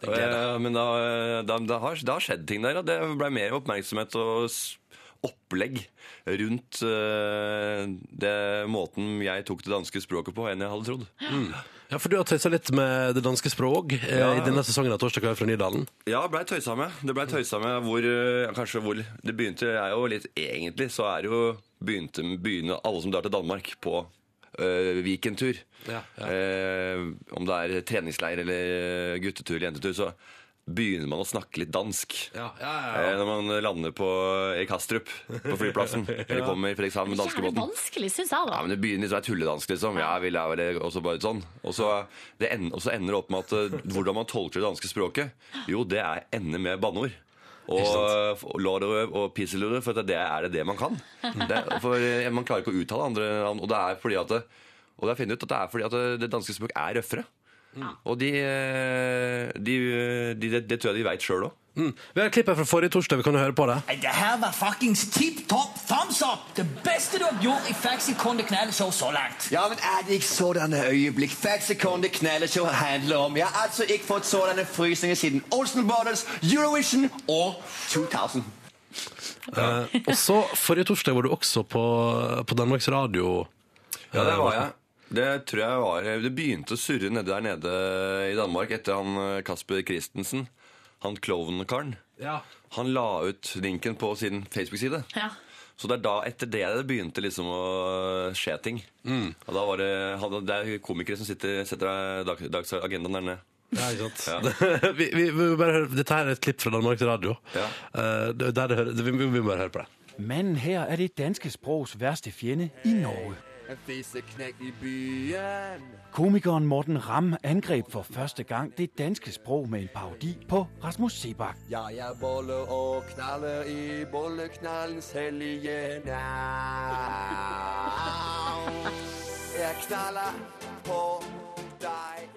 Speaker 13: Eh, Men da, eh, da, da, har, det har skjedd ting der. og Det ble mer oppmerksomhet og s- opplegg rundt eh, det måten jeg tok det danske språket på, enn jeg hadde trodd.
Speaker 2: Ja, for du har tøysa litt med det danske språk eh,
Speaker 13: Ja.
Speaker 2: i denne sesongen av Torsdag kveld fra Nydalen.
Speaker 13: Ja, blei tøysa med. Det blei tøysa med hvor eh, Kanskje hvor Det begynte er jo litt Egentlig så er det jo begynte, Begynner alle som drar til Danmark på eh, Vikentur.
Speaker 2: Ja,
Speaker 13: Eh, om det er treningsleir eller eh, guttetur eller jentetur, så begynner man å snakke litt dansk.
Speaker 2: Ja, ja, ja, ja.
Speaker 13: Eh, når man lander på i Kastrup på
Speaker 2: [LAUGHS]
Speaker 13: flyplassen. Eller
Speaker 2: Ja.
Speaker 13: kommer i Fredrikshavn med
Speaker 4: Jævlig
Speaker 13: danskebåten.
Speaker 4: vanskelig, syns jeg,
Speaker 13: Ja,
Speaker 4: da.
Speaker 13: men Det begynner liksom å være tulledansk, liksom. Ja, vi lærer det, og så bare sånn. Og så, det ender, og så ender det opp med at eh, hvordan man tolker det danske språket, jo, det er ender med banneord. Og, og lorø og pisselorø, for at det er det det man kan. Det, for eh, Man eh, klarer ikke å uttale andre navn. Og det er fordi at det, og det er funnet ut at det er fordi at det, det danske eh, språk er røffere. Og de, eh, de, eh, de, det- det tror jeg de veit sjøl òg.
Speaker 2: Mm. Vi har klippet fra forrige torsdag, vi kan jo høre på det.
Speaker 10: Det her var fuckings tipp topp thumbs up! Det beste du har gjort i Faxikonde knallshow så langt.
Speaker 14: Ja, men er det ikke sådanne øyeblikk Faxikonde knalleshow handler om? Jeg har altså ikke fått sådanne frysninger siden Olsen Brothers, Eurovision og 2000.
Speaker 2: Eh, og så forrige torsdag var du også på, på Danmarks Radio.
Speaker 13: Ja, det
Speaker 2: Eh,
Speaker 13: var jeg. Det tror jeg var Det begynte å surre nede der nede i Danmark etter han eh, Kasper Christensen. Han klovnekaren.
Speaker 2: Ja.
Speaker 13: Han la ut linken på sin Facebook-side.
Speaker 4: Ja.
Speaker 13: Så det er da, etter det, det begynte liksom å skje ting.
Speaker 2: Mm.
Speaker 13: Og da var det, han, det er komikere som sitter, setter dag, dagsagendaen der nede.
Speaker 2: Ja, ikke sant. [LAUGHS] vi, vi, vi må bare høre, dette her er et klipp fra Danmarks Radio. Eh, det- der det hører, det, vi, vi må bare høre på det.
Speaker 15: Manden her er det danske sprogs værste fjende i Norge.
Speaker 14: En fiseknekt i byen.
Speaker 15: Komikeren Morten Ram angreb for første gang det danske sprog med en parodi på Rasmus Sebak.
Speaker 14: Jeg er bolle og knaller i bolleknallens hellige navn. Jeg knaller på deg.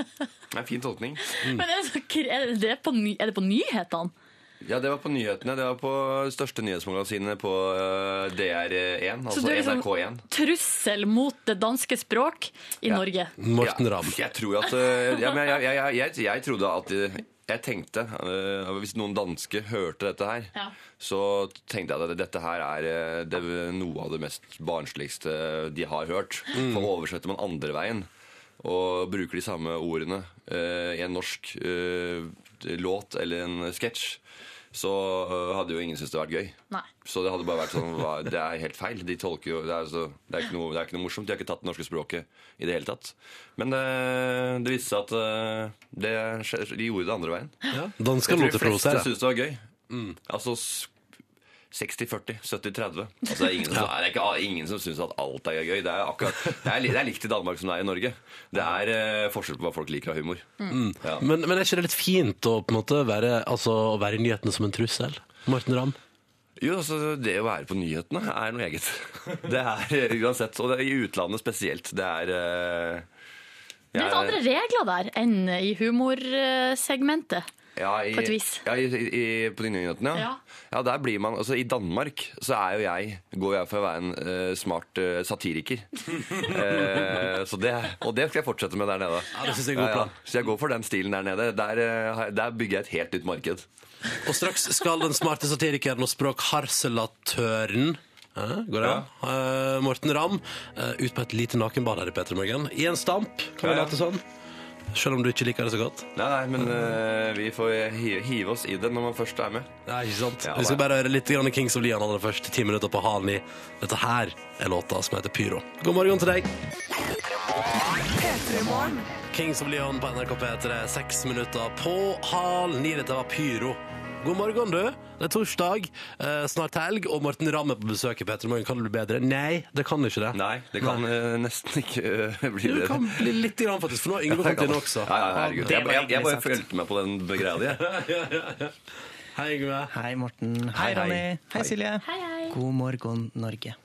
Speaker 13: Det er en fin tolkning.
Speaker 4: Men er det, så, kr- er, det- det er, på ny, er det på nyhetene?
Speaker 13: Altså Ja, det var på nyhetene. Det var på største nyhetsmagasinet på eh, DR1,
Speaker 4: Så
Speaker 13: altså
Speaker 4: du er liksom-
Speaker 13: NRK1.
Speaker 4: Trussel mot det danske språk i Norge.
Speaker 2: Morten Ramm.
Speaker 13: Jeg tror at eh, ja, men jeg, jeg, jeg, jeg, jeg trodde at eh, Jeg tenkte eh, Hvis noen danske hørte dette her,
Speaker 4: Ja.
Speaker 13: så tenkte jeg at dette her er eh, det, er noe av det mest barnsligste de har hørt.
Speaker 2: Mm.
Speaker 13: For oversetter man andre veien og bruker de samme ordene eh, i en norsk eh, låt eller en sketsj, så eh, hadde jo ingen syntes det hadde vært gøy.
Speaker 4: Nei.
Speaker 13: Så det hadde bare vært sånn hva, Det er helt feil. De tolker jo Det er, altså- det er, ikke, noe, det er ikke noe morsomt. De har ikke tatt det norske språket i det hele tatt. Men det, det viste seg at eh, det, skje- de gjorde det andre veien.
Speaker 2: Dansker lot
Speaker 13: Jeg
Speaker 2: det
Speaker 13: tror de fleste
Speaker 2: provosere.
Speaker 13: syntes det var gøy. Altså s- 60-40, 70-30. Altså, det, er ingen som-
Speaker 2: Ja.
Speaker 13: det er ikke a- ingen som syns at alt er gøy. Det er, akkurat, det, er, li- det er likt i Danmark som det er i Norge. Det er eh, forskjell på hva folk liker av humor.
Speaker 2: Mm.
Speaker 13: Ja.
Speaker 2: Men, men er ikke det litt fint å, på en måte, være, altså, å være i nyhetene som en trussel? Morten Ramm?
Speaker 13: Jo, altså Det å være på nyhetene er noe eget. [LAUGHS] Det er eh, uansett, og det er i utlandet spesielt. Det er eh,
Speaker 4: Det er litt andre regler der enn i humorsegmentet.
Speaker 13: ja, i,
Speaker 4: på et vis.
Speaker 13: Ja, i, i, i- på de nyhetene, ja.
Speaker 4: Ja.
Speaker 13: ja. der blir man, altså I Danmark så er jo jeg, går jeg for å være en eh, smart eh,
Speaker 2: [LAUGHS]
Speaker 13: satiriker. Eh, så det, og det skal jeg fortsette med der nede.
Speaker 2: Ja, det synes jeg er god plan.
Speaker 13: Så jeg går for den stilen der nede. Der, eh, har- der bygger jeg et helt nytt marked.
Speaker 2: Og straks skal den smarte satirikeren og språkharselatøren eh, Går det an? Eh, Morten Ramm eh, ut på et lite nakenbad her i P3 Morgen. I en stamp, kan vi
Speaker 13: Ja, ja.
Speaker 2: late som. Selv om du ikke liker det så godt.
Speaker 13: Nei, nei, men eh, vi får hive, hive oss i det når man først er med.
Speaker 2: Nei, ikke sant?
Speaker 13: Ja,
Speaker 2: vi skal
Speaker 13: da.
Speaker 2: bare høre litt grann Kings of Leon aller først. Ti minutter på halen i. Dette her er låta som heter Pyro. God morgen til deg. Kings of Leon på NRK P3. Seks minutter på halen i. Dette var Pyro. God morgen, du. Det er torsdag, eh, snart helg, og Morten Ramm er på besøk i P3 Morgen. Kan det bli bedre? Nei, det kan ikke det.
Speaker 13: Nei, det kan eh, nesten ikke eh, bli
Speaker 2: Jo,
Speaker 13: det.
Speaker 2: det kan bli litt grann, faktisk, for nå har Yngve
Speaker 13: Ja, det
Speaker 2: kommet inn
Speaker 13: kan.
Speaker 2: også. [LAUGHS]
Speaker 13: Ja, ja, herregud.
Speaker 2: Det
Speaker 13: Jeg,
Speaker 2: var
Speaker 13: jeg, jeg bare
Speaker 2: hyggelig sagt.
Speaker 13: følte meg på den greia di. jeg.
Speaker 2: Hei, Yngve.
Speaker 3: Hei, Morten. Mm, Hei,
Speaker 2: Hei, hei.
Speaker 3: Ronny. Hei,
Speaker 2: Hei.
Speaker 3: Silje.
Speaker 4: Hei, hei.
Speaker 3: God morgen, [LAUGHS] Norge.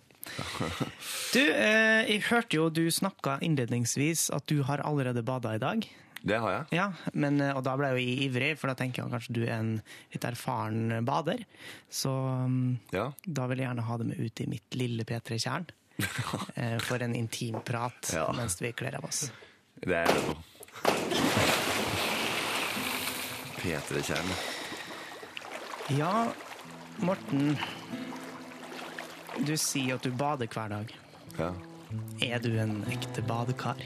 Speaker 3: Du, eh, jeg hørte jo du snakka innledningsvis at du har allerede bada i dag.
Speaker 13: Det har jeg.
Speaker 3: Ja, men, eh, Og da ble jeg jo i- ivrig, for da tenker jeg kanskje du er en litt erfaren bader. Så um,
Speaker 13: Ja.
Speaker 3: da vil jeg gjerne ha dem ut i mitt lille
Speaker 13: [LAUGHS]
Speaker 3: P3-tjern. eh, For en intim prat
Speaker 13: Ja.
Speaker 3: mens vi kler av oss.
Speaker 13: Det er det nå. P3-kjerne.
Speaker 3: Ja, Morten. Du sier at du bader hver dag.
Speaker 13: Ja. [LAUGHS]
Speaker 3: Er du en ekte badekar?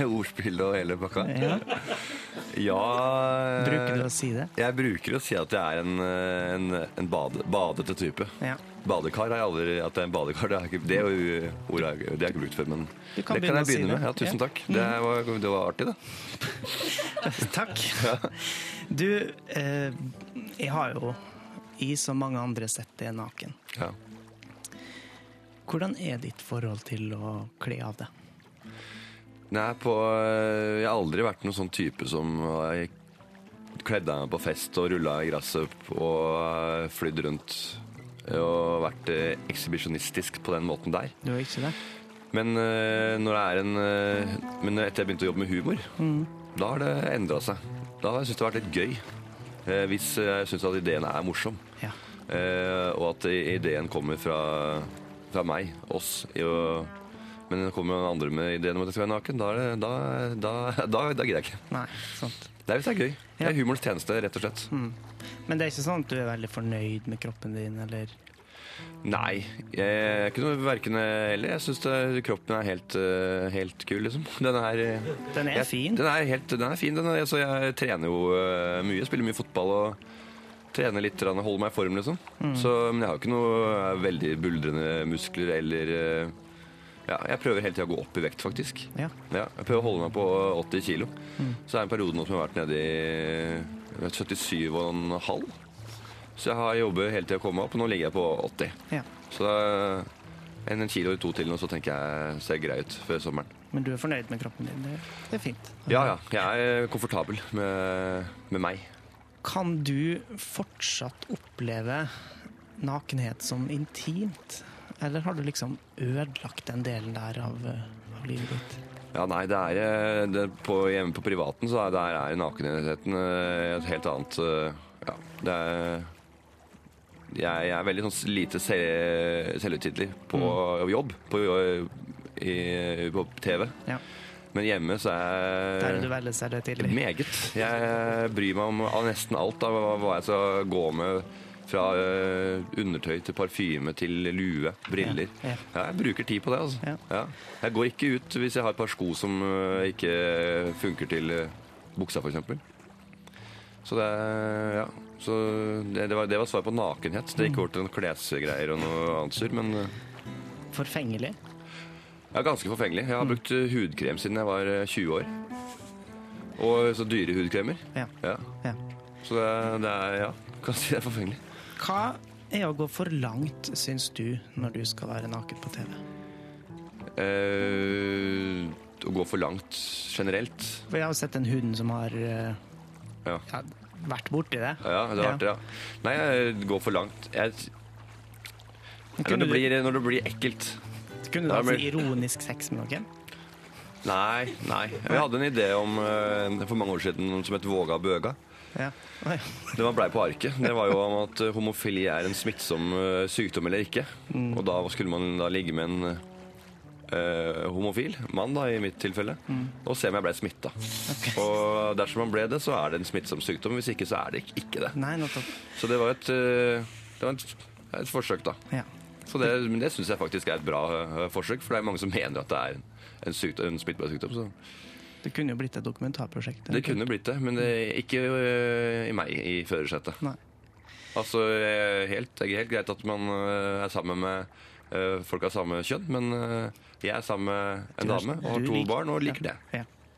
Speaker 13: Ordspill og hele pakka.
Speaker 3: Ja.
Speaker 13: Ja
Speaker 3: Bruker du å si det?
Speaker 13: Jeg bruker å si at jeg er en, eh, en, en bade, badete type.
Speaker 3: Ja.
Speaker 13: Badekar har jeg aldri At jeg er en badekar, det har jeg ikke, det er jo ordet har jeg ikke- det har jeg ikke brukt før, men
Speaker 3: Du kan
Speaker 13: det kan
Speaker 3: begynne
Speaker 13: jeg
Speaker 3: å si
Speaker 13: begynne med.
Speaker 3: det.
Speaker 13: Ja,
Speaker 3: Ja.
Speaker 13: tusen
Speaker 3: Mm.
Speaker 13: takk. Det var, det var artig, det.
Speaker 3: Takk. Du, eh, jeg har jo i så mange andre sett deg naken.
Speaker 13: Ja.
Speaker 3: Hvordan er ditt forhold til å kle av deg?
Speaker 13: Nei, på, jeg har aldri vært noen sånn type som har kledde meg på fest og rulla i gresset og flydd rundt og vært eh, ekshibisjonistisk på den måten der.
Speaker 3: Du er ikke det?
Speaker 13: Men, eh, når det er en, eh, men etter jeg begynte å jobbe med humor,
Speaker 16: Mm.
Speaker 13: da har det endra seg. Da har jeg syntes det har vært litt gøy. eh, hvis jeg syns at ideen er morsom. Eh, og at ideen kommer fra, fra meg, oss. i å- men kommer noen andre med ideen om at jeg skal være naken, da, er det- da, da, da, da gidder jeg ikke.
Speaker 3: Nei, sant.
Speaker 13: Det er hvis det er gøy. Det er humorens tjeneste, rett og slett.
Speaker 3: Mm. Men det er ikke sånn at du er veldig fornøyd med kroppen din, eller
Speaker 13: Nei, jeg er ikke noe verken eller. Jeg syns kroppen er helt, eh, helt kul, liksom. [LAUGHS] Den er, eh,
Speaker 3: Den er
Speaker 13: jeg,
Speaker 3: fin.
Speaker 13: Den er, helt, den er fin. Den er, altså, jeg trener jo eh, mye, spiller mye fotball og trener litt, grann, holder meg i form, liksom.
Speaker 16: Mm.
Speaker 13: Så, men jeg har jo ikke noe eh, veldig buldrende muskler eller eh, ja, Jeg prøver hele tida å gå opp i vekt, faktisk.
Speaker 3: Ja.
Speaker 13: jeg prøver å holde meg på 80 kilo.
Speaker 3: Mm.
Speaker 13: Så er det en periode nå som jeg har vært nede i eh, 77,5. Så jeg har jobbet hele tida å komme opp, og nå ligger jeg på 80.
Speaker 3: Ja.
Speaker 13: Så da en, en kilo eller to til nå, så tenker jeg ser grei ut før sommeren.
Speaker 3: Men du er fornøyd med kroppen din. Det, det er fint.
Speaker 13: Ja, ja. Jeg er komfortabel med, med meg.
Speaker 3: Kan du fortsatt oppleve nakenhet som intimt? Eller har du liksom ødelagt den delen der av, eh, av livet ditt?
Speaker 13: Ja, nei, det er eh, det, på, Hjemme på privaten så er, der er nakenheten eh, et helt annet eh, Ja, det er Jeg, jeg er veldig sånn lite selv, selvhøytidelig på
Speaker 3: Mm.
Speaker 13: jobb, på, jo- i, på TV.
Speaker 3: Ja.
Speaker 13: Men hjemme så er
Speaker 3: Der er du veldig selvhøytidelig.
Speaker 13: Meget. Jeg bryr meg om av nesten alt av hva jeg skal gå med. Fra eh, undertøy til parfyme til lue, briller.
Speaker 16: Ja, ja.
Speaker 13: jeg bruker tid på det. altså. Ja. Jeg går ikke ut hvis jeg har et par sko som eh, ikke funker til eh, buksa, f.eks. Så det er- ja. Så det, det, var, det var svaret på nakenhet. Det gikk
Speaker 16: Mm.
Speaker 13: over til noen klesgreier og noe annet surr, men eh,
Speaker 3: Forfengelig.
Speaker 13: ja, ganske forfengelig.
Speaker 3: Mm.
Speaker 13: Jeg har brukt eh, hudkrem siden jeg var eh, 20 år. Og så dyre hudkremer.
Speaker 3: Ja. Ja.
Speaker 13: Så det, er- det er ja, [LAUGHS] kan si det er forfengelig.
Speaker 3: Hva er å gå for langt, syns du, når du skal være naken på TV?
Speaker 13: Eh, å gå for langt generelt.
Speaker 3: For jeg har sett den hunden som har eh,
Speaker 13: Ja.
Speaker 3: ja, vært borti det.
Speaker 13: Ja, det har vært det, ja. Nei, jeg går for langt. Jeg,
Speaker 3: kunne du-
Speaker 13: når, det blir, når det blir ekkelt.
Speaker 3: Kunne du
Speaker 13: Da
Speaker 3: hatt sånn
Speaker 13: blir-
Speaker 3: ironisk sex med noen?
Speaker 13: Nei, nei. Vi hadde en idé om eh, for mange år siden som het Våga bøga.
Speaker 3: Ja. Oi.
Speaker 13: Det man blei på arket, det var jo om at eh, homofili er en smittsom eh, sykdom eller ikke.
Speaker 16: Mm.
Speaker 13: Og da skulle man da ligge med en eh, homofil mann, da, i mitt tilfelle,
Speaker 16: Mm.
Speaker 13: og se om jeg blei smitta. Og dersom man ble det, så er det en smittsom sykdom. Hvis ikke, så er det ikke- ikke det.
Speaker 3: Nei, nettopp.
Speaker 13: Så det var et, eh, det var et, et forsøk, da.
Speaker 3: Ja.
Speaker 13: Så det, men det syns jeg faktisk er et bra eh, forsøk, for det er mange som mener at det er en, en, sykdom, en smittbar sykdom. Så.
Speaker 3: Det kunne jo blitt et dokumentarprosjekt.
Speaker 13: Det kunne blitt det, men det, ikke øh, i meg i førersetet.
Speaker 3: Nei.
Speaker 13: Altså, jeg er helt, det er helt greit at man øh, er sammen med øh, folk av samme kjønn, men øh, jeg er sammen med en
Speaker 3: Du er-
Speaker 13: dame og har
Speaker 3: du
Speaker 13: to
Speaker 3: liker-
Speaker 13: barn og liker
Speaker 3: ja.
Speaker 13: det.
Speaker 3: Ja.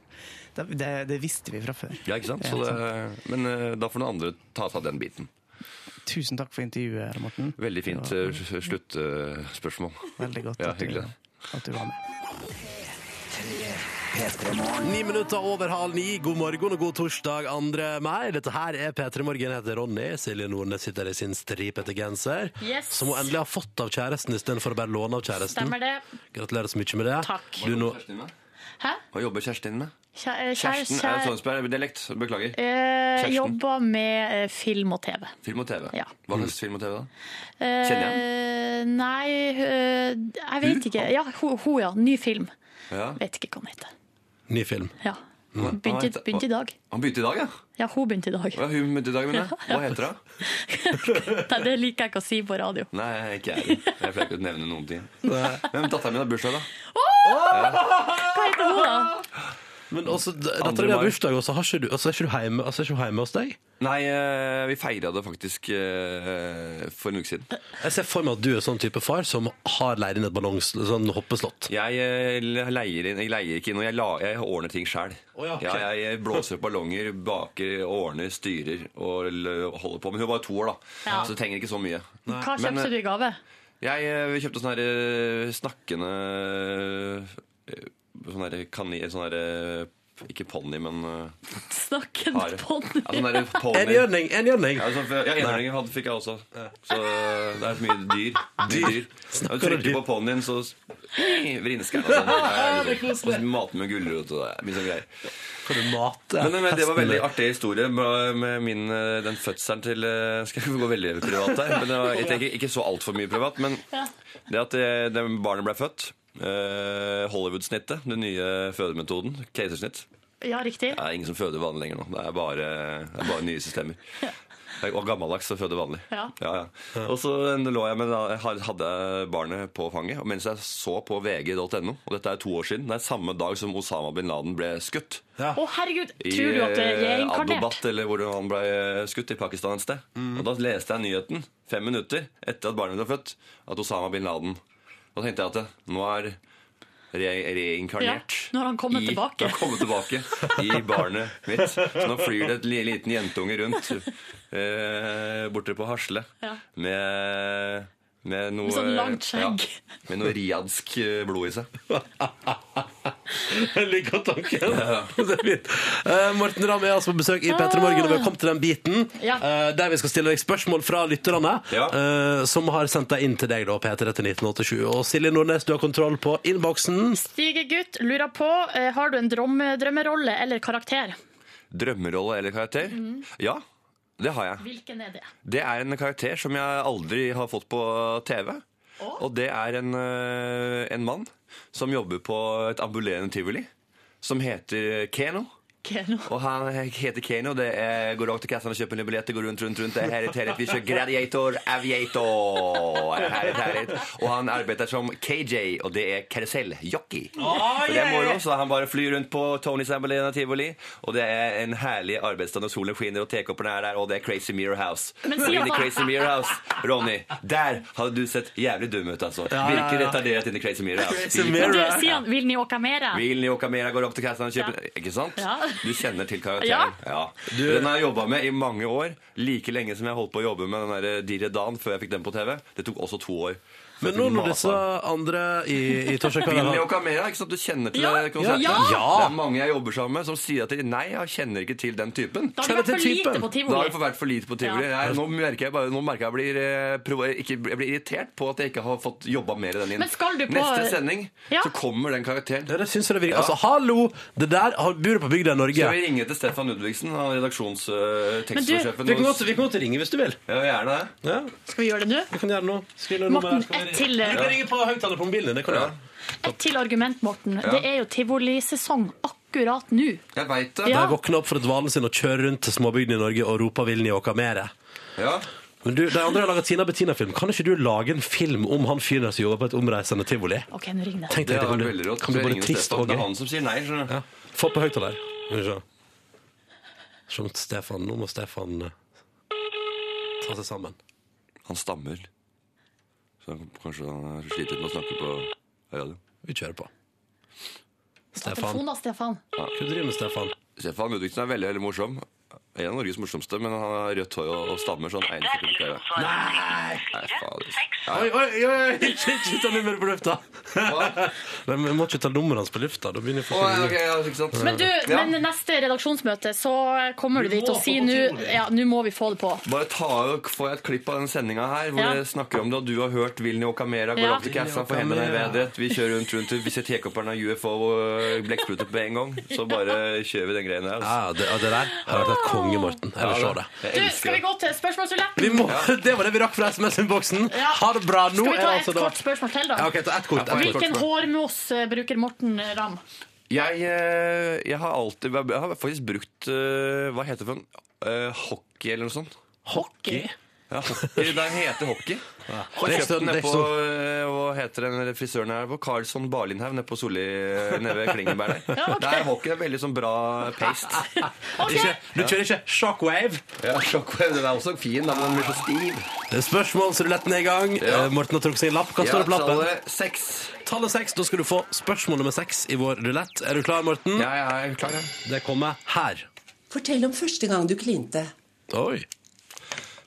Speaker 3: Det, det. Det visste vi fra før.
Speaker 13: Ja, ikke sant?
Speaker 3: Ja,
Speaker 13: Så det, men øh, da får noen andre ta seg av den biten.
Speaker 3: Tusen takk for intervjuet, Morten.
Speaker 13: Veldig fint
Speaker 3: Det var
Speaker 13: øh, sluttspørsmål.
Speaker 3: Veldig godt
Speaker 13: Ja,
Speaker 3: at, du,
Speaker 13: hyggelig.
Speaker 3: at du var med.
Speaker 2: Ni minutter over halv ni. God morgen og god torsdag 2. mai. Dette her er P3 Morgen. Jeg heter Ronny. Silje Nordnes sitter i sin stripete genser.
Speaker 4: Yes.
Speaker 2: Som hun endelig har fått av kjæresten istedenfor å bare låne av kjæresten.
Speaker 4: Stemmer det.
Speaker 2: Gratulerer så mye med det.
Speaker 4: Takk.
Speaker 2: Du nå-
Speaker 4: Hæ?
Speaker 13: Hva jobber Kjerstin med?
Speaker 4: Kjæ- eh, kjære-
Speaker 13: Kjersten er
Speaker 4: kjære-
Speaker 13: Tønsberg-dialekt. Beklager.
Speaker 4: Eh,
Speaker 13: Kjæresten.
Speaker 4: jobber med eh, film og TV.
Speaker 13: Film og TV. Hva slags film og TV, da?
Speaker 4: Eh,
Speaker 13: Kjenner
Speaker 4: Nei, eh, jeg vet ikke. Ja, hun, hun, ja. Ny film.
Speaker 13: Ja.
Speaker 4: Vet ikke hva den heter.
Speaker 2: Ny film.
Speaker 4: Ja.
Speaker 13: Hva- hva
Speaker 4: Begynte,
Speaker 13: heter-
Speaker 4: begynte i dag.
Speaker 13: Han begynte i dag, ja?
Speaker 4: Ja, hun begynte i dag.
Speaker 13: Ja, hun begynte i dag, mener jeg.
Speaker 4: Ja,
Speaker 13: Hva heter hun?
Speaker 4: Nei, det liker jeg ikke å si på radio.
Speaker 13: Nei, ikke jeg. Jeg pleier ikke å nevne noen ting. Men datteren min har bursdag, da.
Speaker 4: Hva heter hun, da?
Speaker 2: Men også, datteren
Speaker 13: Andre
Speaker 2: din har
Speaker 13: mai.
Speaker 2: bursdag, og så har ikke du- og så er ikke du hjemme og så er ikke hun hjemme hos deg?
Speaker 13: Nei, eh, vi feira det faktisk eh, for en uke siden.
Speaker 2: Jeg ser for meg at du er sånn type far som har leid inn et ballongs... Sånn hoppeslott.
Speaker 13: Jeg eh, leier, inn, jeg leier ikke inn, og jeg, la, jeg ordner ting sjæl.
Speaker 2: Å ja, ok.
Speaker 13: jeg blåser opp ballonger, baker, ordner, styrer og l- holder på. Men hun var jo to år, da,
Speaker 4: Ja.
Speaker 13: så du trenger ikke så mye.
Speaker 4: Hva
Speaker 13: Men,
Speaker 4: kjøpte du
Speaker 13: eh,
Speaker 4: i gave?
Speaker 13: Jeg eh, kjøpte sånn her eh, snakkende eh, Sånn her kanin Sånn her eh, Ikke ponni, men uh,
Speaker 4: Snakkende
Speaker 13: hare.
Speaker 4: [LAUGHS] ponni.
Speaker 13: Ja, sånn der ponni.
Speaker 2: Enhjørning, enhjørning.
Speaker 13: Ja, sånn, for- ja, enhjørning hadde- fikk jeg også. Så uh, det er så mye
Speaker 2: [LAUGHS]
Speaker 13: dyr. Mye dyr. Når du trykker på ponnien, så s- vrinsker
Speaker 2: [LAUGHS]
Speaker 13: den. og sånn.
Speaker 2: Det er
Speaker 13: Og
Speaker 2: koselig.
Speaker 13: så mater med gulrot og det er mye sånn greier.
Speaker 2: Kan du mate
Speaker 13: Men, men Det var veldig
Speaker 2: hestene?
Speaker 13: artig historie med med min, eh, den fødselen til eh, [LAUGHS] Skal vi gå veldig privat her? Men det var, jeg tenker ikke så altfor mye privat. Men det at det, det barnet ble født eh, Hollywood-snittet, den nye fødemetoden, keisersnitt
Speaker 4: Ja, riktig.
Speaker 13: Det er ingen som føder vanlig lenger nå. Det er bare, det er bare nye systemer. Det er- Og gammeldags å føde vanlig.
Speaker 4: Ja.
Speaker 13: Ja, ja. Og så eh, lå jeg med, da hadde jeg barnet på fanget, og mens jeg så på vg.no, og dette er to år siden, det er samme dag som Osama bin Laden ble skutt.
Speaker 4: Å, herregud!
Speaker 13: I
Speaker 4: Tror du at det er
Speaker 13: eh,
Speaker 4: reinkarnert?
Speaker 13: Adobat, eller hvor han ble eh, skutt i Pakistan et sted.
Speaker 2: Mm.
Speaker 13: Og da leste jeg nyheten, fem minutter etter at barnet ble født, at Osama bin Laden Da tenkte jeg at det- nå er re reinkarnert.
Speaker 4: Ja, nå har han kommet
Speaker 13: i,
Speaker 4: tilbake.
Speaker 13: Han har kommet tilbake i barnet mitt. Så nå flyr det et li- liten jentunge rundt eh, borte på Hasle
Speaker 4: Ja.
Speaker 13: med, med noe eh,
Speaker 4: Med sånn langt skjegg.
Speaker 13: Ja, med noe riadsk eh, blod i seg.
Speaker 2: [LAUGHS] Jeg liker tanken. Det er fint. Eh, Morten Ramm er altså på besøk i P3 Morgen, og vi har kommet til den biten
Speaker 4: Ja.
Speaker 2: eh, der vi skal stille deg spørsmål fra lytterne eh, som har sendt deg inn til deg, da, P3 til 1987. Og Silje Nordnes, du har kontroll på innboksen.
Speaker 4: Stigegutt lurer på eh, har du en drøm, drømmerolle eller karakter.
Speaker 13: Drømmerolle eller karakter? Ja, det har jeg.
Speaker 4: Hvilken er det?
Speaker 13: Det er en karakter som jeg aldri har fått på TV. Og det er en, eh, en mann som jobber på et ambulerende tivoli som heter Keno.
Speaker 4: Keno.
Speaker 13: Og han heter Keno. Det er, går rakt til kassen og kjøper en billett. Det går rundt, rundt, rundt. Det er herret, herret. Vi kjører Gladiator, Aviator. Herret, herret. Og han arbeider som KJ, og det er karuselljockey.
Speaker 2: Å,
Speaker 13: Og det er moro,
Speaker 2: yeah.
Speaker 13: så han bare flyr rundt på Tonys Ambulerende Tivoli. Og det er en herlig arbeidsdag når solen skinner og tekoppene er der, og det er Crazy Mirror House.
Speaker 4: Men
Speaker 13: og
Speaker 4: sier
Speaker 13: inni
Speaker 4: han-
Speaker 13: Crazy Mirror House, Ronny, der hadde du sett jævlig dum ut, altså.
Speaker 2: Ja, ja,
Speaker 13: Virker
Speaker 2: ja.
Speaker 13: retardert inni Crazy Mirror House.
Speaker 2: Crazy
Speaker 4: Men du, sier han, vil ni åka mera?
Speaker 13: Vil ni åka mera, går opp til kassen og kjøper
Speaker 4: Ja.
Speaker 13: Ikke sant?
Speaker 4: Ja.
Speaker 13: Du kjenner til
Speaker 4: Ja.
Speaker 13: karakteren. Ja. Den har jeg jobba med i mange år. Like lenge som jeg holdt på å jobbe med den der eh, Dire Dan før jeg fikk den på TV. Det tok også to år. Så
Speaker 2: Men
Speaker 13: jeg
Speaker 2: nå
Speaker 13: fikk
Speaker 2: når
Speaker 13: masa.
Speaker 2: disse andre i, i Torsjøkara
Speaker 13: Willy og Camera, ikke sant? Du kjenner til
Speaker 2: Ja,
Speaker 13: det konseptet?
Speaker 2: ja, ja.
Speaker 13: Det er mange jeg jobber sammen med som sier at de nei, jeg kjenner ikke til den typen.
Speaker 4: Da har du vært for
Speaker 13: Kjenner til
Speaker 4: lite
Speaker 13: typen.
Speaker 4: på tivoli.
Speaker 13: Da har jeg vært for lite på tivoli.
Speaker 4: Ja.
Speaker 13: Nei, nå merker jeg bare, nå merker jeg blir, eh, provo- ikke, jeg blir irritert på at jeg ikke har fått jobba mer i den inn.
Speaker 4: Men skal du på-
Speaker 13: Neste sending
Speaker 4: Ja.
Speaker 13: så kommer den karakteren.
Speaker 2: Det syns jeg det virker. Altså, hallo! Det der har- bor på bygda i Norge.
Speaker 13: Skal vi ringe til Stefan Ludvigsen, han
Speaker 2: Men du-
Speaker 13: redaksjonstekstforsjefen?
Speaker 2: Vi kan godt- vi kan godt ringe hvis du vil.
Speaker 13: Ja, gjerne det.
Speaker 4: Skal vi gjøre det nå?
Speaker 2: Vi kan gjøre det nå. Skriv ned
Speaker 4: Morten,
Speaker 2: nummeret. Skal vi
Speaker 4: ett
Speaker 2: ringe-
Speaker 4: til, eh.
Speaker 2: Du kan ringe på høyttaler på mobilen din. Det kan du gjøre.
Speaker 4: Et til argument, Morten.
Speaker 2: Ja.
Speaker 4: Det er jo tivolisesong akkurat nå.
Speaker 13: Jeg veit
Speaker 4: Ja.
Speaker 2: De våkner opp fra dvalen sin og kjører rundt til småbygdene i Norge og roper 'Vil ni åka mere?'
Speaker 13: Ja.
Speaker 2: Men du, De andre har laga Tina Bettina-film. Kan ikke du lage en film om han fyren der som jobber på et omreisende tivoli?
Speaker 4: OK, nå ringer
Speaker 2: Tenk deg, det
Speaker 13: Det hadde
Speaker 2: kan
Speaker 13: vært
Speaker 2: bli-
Speaker 13: veldig rått.
Speaker 2: kan bli
Speaker 13: Så jeg
Speaker 2: både
Speaker 13: ringer
Speaker 2: trist
Speaker 13: Stefan.
Speaker 2: og
Speaker 13: Det
Speaker 2: gøy.
Speaker 13: er han som sier nei. skjønner du.
Speaker 2: Få på høyttaler. Skal vi se. Som Stefan, nå må Stefan eh, ta seg sammen.
Speaker 13: Han stammer. Så han- kanskje han er sliter med å snakke på radio.
Speaker 2: Vi kjører på.
Speaker 4: Telefon da, Stefan.
Speaker 13: Ja.
Speaker 2: Hva driver du med, Stefan? [LAUGHS]
Speaker 13: Stefan Ludvigsen er veldig, veldig morsom. En av Norges morsomste, men han har rødt hår og, og stammer. Så han egner seg ikke til å klare Nei! Nei, fader. Ja,
Speaker 2: Oi, oi, oi! Ikke, ikke ta nummeret på lufta! [LAUGHS] Nei, men Vi må ikke ta nummeret hans på lufta. Da begynner jeg å få
Speaker 13: Å, ja, ok, ja, ikke sant.
Speaker 4: Men du,
Speaker 13: Ja.
Speaker 4: men neste redaksjonsmøte så kommer du dit og sier nå ja, nå må vi få det på.
Speaker 13: Bare ta, Får jeg et klipp av den sendinga her hvor
Speaker 4: Ja.
Speaker 13: dere snakker om det, og du har hørt Vilni Okamera går
Speaker 4: Ja.
Speaker 13: opp til kassa for henne
Speaker 2: Vilni
Speaker 13: der
Speaker 2: Okamera.
Speaker 13: vedrett. Vi kjører rundt rundt, vi ser tekopperen av UFO og blekkspruter på en gang. Så bare kjører vi den greia der. altså.
Speaker 2: Ja, det, ja, det der har vært et konge, Morten. Jeg vil se det.
Speaker 13: Jeg
Speaker 4: Du,
Speaker 13: elsker
Speaker 4: skal vi
Speaker 13: det.
Speaker 4: gå til spørsmålsruletten?
Speaker 2: Vi må, [LAUGHS] det var det vi rakk fra SMS-innboksen. Ha det bra. Nå
Speaker 4: Skal vi
Speaker 2: er
Speaker 4: ta
Speaker 2: det
Speaker 4: et
Speaker 2: altså da-
Speaker 4: kort spørsmål til, da?
Speaker 2: Ja, ok, ta ett kort, ett kort
Speaker 4: Hvilken
Speaker 2: spørsmål.
Speaker 4: hårmos eh, bruker Morten Ramm?
Speaker 13: Jeg, eh, jeg har alltid Jeg har faktisk brukt eh, Hva heter det for en? Eh, hockey eller noe sånt.
Speaker 2: Hockey?
Speaker 13: Ja, hockey. Den heter hockey. Ja.
Speaker 2: Det er ikke
Speaker 13: Kjøpte
Speaker 2: sånn-
Speaker 13: den
Speaker 2: det er
Speaker 13: nede
Speaker 2: ikke
Speaker 13: på eh, Hva heter den frisøren her? På Carlsson Barlindhaug nede på Solli eh, nede ved Klingenberg der.
Speaker 2: Ja, ok.
Speaker 13: Der hockey er veldig sånn bra
Speaker 2: [LAUGHS]
Speaker 13: paste.
Speaker 2: Ikke, du kjører ikke shockwave?
Speaker 13: Ja, shockwave den er også fin, da, men den blir så stiv.
Speaker 2: Det er Spørsmålsruletten er i gang. Eh, Morten har trukket seg en lapp. Hva
Speaker 13: Ja,
Speaker 2: står det på lappen?
Speaker 13: tallet seks.
Speaker 2: Tallet seks. Da skal du få spørsmål nummer seks i vår rulett. Er du klar, Morten?
Speaker 13: Ja, jeg er klar.
Speaker 2: Det kommer her.
Speaker 16: Fortell om første gang du klinte.
Speaker 2: Oi.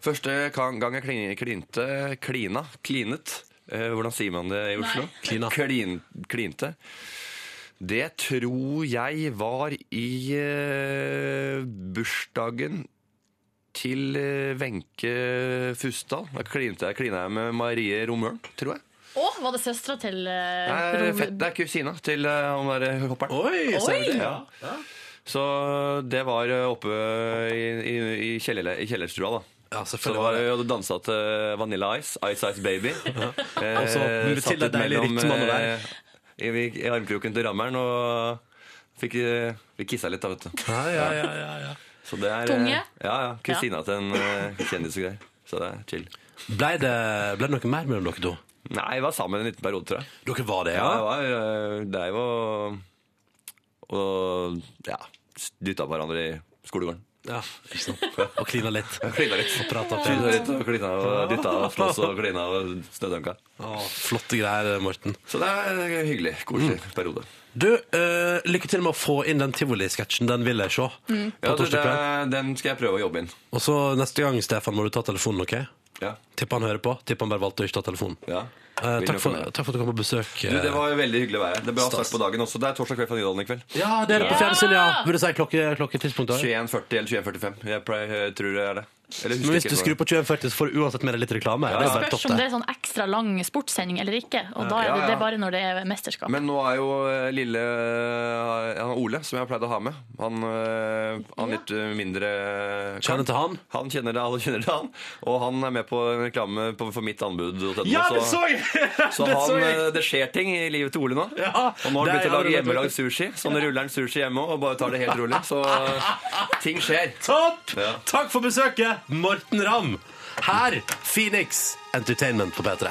Speaker 13: Første kan- gang jeg klin- klinte Klina. Klinet. Eh, hvordan sier man det i Oslo? Klina. Klin, klinte. Det tror jeg var i eh, bursdagen til eh, Wenche Fusdal. Da klinte jeg, klina jeg med Marie Romøren, tror jeg.
Speaker 4: Å, var det søstera til eh,
Speaker 13: Nei,
Speaker 4: Rom-
Speaker 13: fett, det er kusina til eh, han der hopperen.
Speaker 4: Oi, stemmer det.
Speaker 13: Ja. Så det var eh, oppe i, i, i, kjeller, i kjellerstua, da. Så det var, jeg hadde dansa til Vanilla Ice, Ice Ice [LAUGHS] Baby. Eh,
Speaker 2: Og så med
Speaker 13: satt
Speaker 2: til det
Speaker 13: litt
Speaker 2: deilige
Speaker 13: mellom,
Speaker 2: rytmene der.
Speaker 13: eh, I, I armkroken til rammeren, og fikk, eh, vi kissa litt, da, vet du.
Speaker 2: ja, ja, ja, ja.
Speaker 13: Så det er, eh,
Speaker 2: Tunge?
Speaker 13: Ja, ja. Kusina til en eh, kjendis og greier. Så det er chill.
Speaker 2: Ble det, ble det noe mer mellom dere to?
Speaker 13: Nei, vi var sammen en liten periode, tror jeg.
Speaker 2: Dere var det,
Speaker 13: Ja,
Speaker 2: ja?
Speaker 13: jeg var eh, dreiv og, og ja, dytta på hverandre i skolegården.
Speaker 2: Ja, ikke sant. Og klina [LAUGHS] litt.
Speaker 13: Og klina litt.
Speaker 2: Og prata
Speaker 13: Klina litt, og klina og dytta og slåss og klina og snødunka.
Speaker 2: Flotte greier, Morten.
Speaker 13: Så det er hyggelig. Koselig
Speaker 2: Mm.
Speaker 13: periode.
Speaker 2: Du, eh, lykke til med å få inn den tivolisketsjen. Den vil jeg se. På
Speaker 13: Mm. Ja, du,
Speaker 2: torsdag
Speaker 13: det,
Speaker 2: kveld.
Speaker 13: den skal jeg prøve å jobbe inn.
Speaker 2: Og så neste gang, Stefan, må du ta telefonen, OK?
Speaker 13: Ja.
Speaker 2: Tipper han hører på. Tipper han bare valgte å ikke ta telefonen. Eh,
Speaker 13: Vil
Speaker 2: takk,
Speaker 13: nok
Speaker 2: for,
Speaker 13: komme.
Speaker 2: takk for at du kom på besøk. eh.
Speaker 13: Du, det var jo veldig hyggelig å være her. Det er bra
Speaker 2: Stas.
Speaker 13: start på dagen også. Det er torsdag kveld fra Nydalen i kveld.
Speaker 2: Ja, Ah, det er det på fjernsyn, ja! Vil du si klokke, klokketidspunktet?
Speaker 13: 21.40 eller 21.45. Jeg pleier, eh, tror det er det. Eller husker
Speaker 2: Men hvis du
Speaker 13: ikke helt
Speaker 2: skrur
Speaker 13: hvordan.
Speaker 2: på 2140, så får du uansett med deg litt reklame.
Speaker 13: Ja,
Speaker 2: Det
Speaker 13: ja.
Speaker 2: er bare
Speaker 4: Spørs
Speaker 2: topp,
Speaker 4: om det
Speaker 2: det.
Speaker 4: er sånn ekstra lang sportssending eller ikke. Og
Speaker 13: Ja.
Speaker 4: da er det,
Speaker 13: Ja, ja.
Speaker 4: det er bare når det er mesterskap.
Speaker 13: Men nå er jo eh, lille eh, han Ole, som jeg pleide å ha med, han, eh, han litt eh, mindre Kjenner til
Speaker 2: han?
Speaker 13: Han kjenner det, alle kjenner til han. Og han er med på en reklame på, for mitt anbud. hos NMO,
Speaker 2: Ja, det så jeg!
Speaker 13: [LAUGHS] Så
Speaker 2: Det
Speaker 13: han,
Speaker 2: så jeg!
Speaker 13: eh, det skjer ting i livet til Ole nå. og nå har han
Speaker 2: det er
Speaker 13: begynt å lage
Speaker 2: jeg allerede
Speaker 13: hjemmelagd sushi. Så nå ruller han sushi hjemme og bare tar det helt rolig. Så eh, ting skjer.
Speaker 2: Topp!
Speaker 13: Ja.
Speaker 2: Takk for besøket, Morten Ramm. Her, Phoenix Entertainment på P3.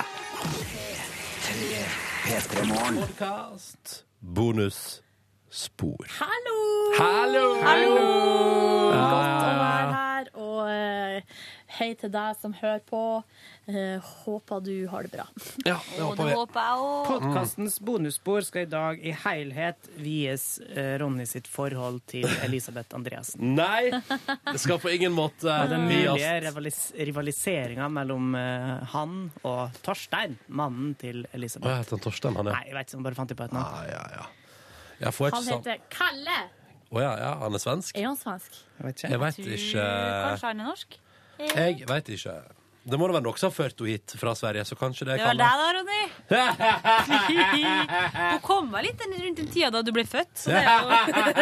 Speaker 2: Bonusspor.
Speaker 4: Hallo!
Speaker 2: Hallo!
Speaker 4: Godt å være her. Og eh, hei til deg som hører på. Eh, håper du har det bra.
Speaker 2: Ja,
Speaker 4: det håper vi. håper jeg også.
Speaker 3: Podkastens bonusspor skal i dag i helhet vies eh, Ronny sitt forhold [LAUGHS] til Elisabeth Andreassen.
Speaker 2: Nei, det skal på ingen måte
Speaker 3: Og den mulige
Speaker 2: vies.
Speaker 3: rivalis rivaliseringa mellom eh, han og Torstein, mannen til
Speaker 2: Å, jeg
Speaker 3: Elisabeth.
Speaker 2: heter han Torstein, han, ja.
Speaker 3: Nei, jeg vet ikke, han bare fant jeg på et navn.
Speaker 2: Jeg får ikke
Speaker 4: Han
Speaker 2: sånn.
Speaker 4: heter Kalle.
Speaker 2: Å ja, ja, han er svensk?
Speaker 4: Er han svensk?
Speaker 2: Jeg vet ikke.
Speaker 4: Kanskje han er norsk?
Speaker 2: Jeg vet ikke. Det må da være noen som har ført henne hit fra Sverige, så kanskje det
Speaker 17: Det var
Speaker 2: kan
Speaker 17: deg da, Ronny. Hun kom vel litt rundt den tida da du ble født. Så det er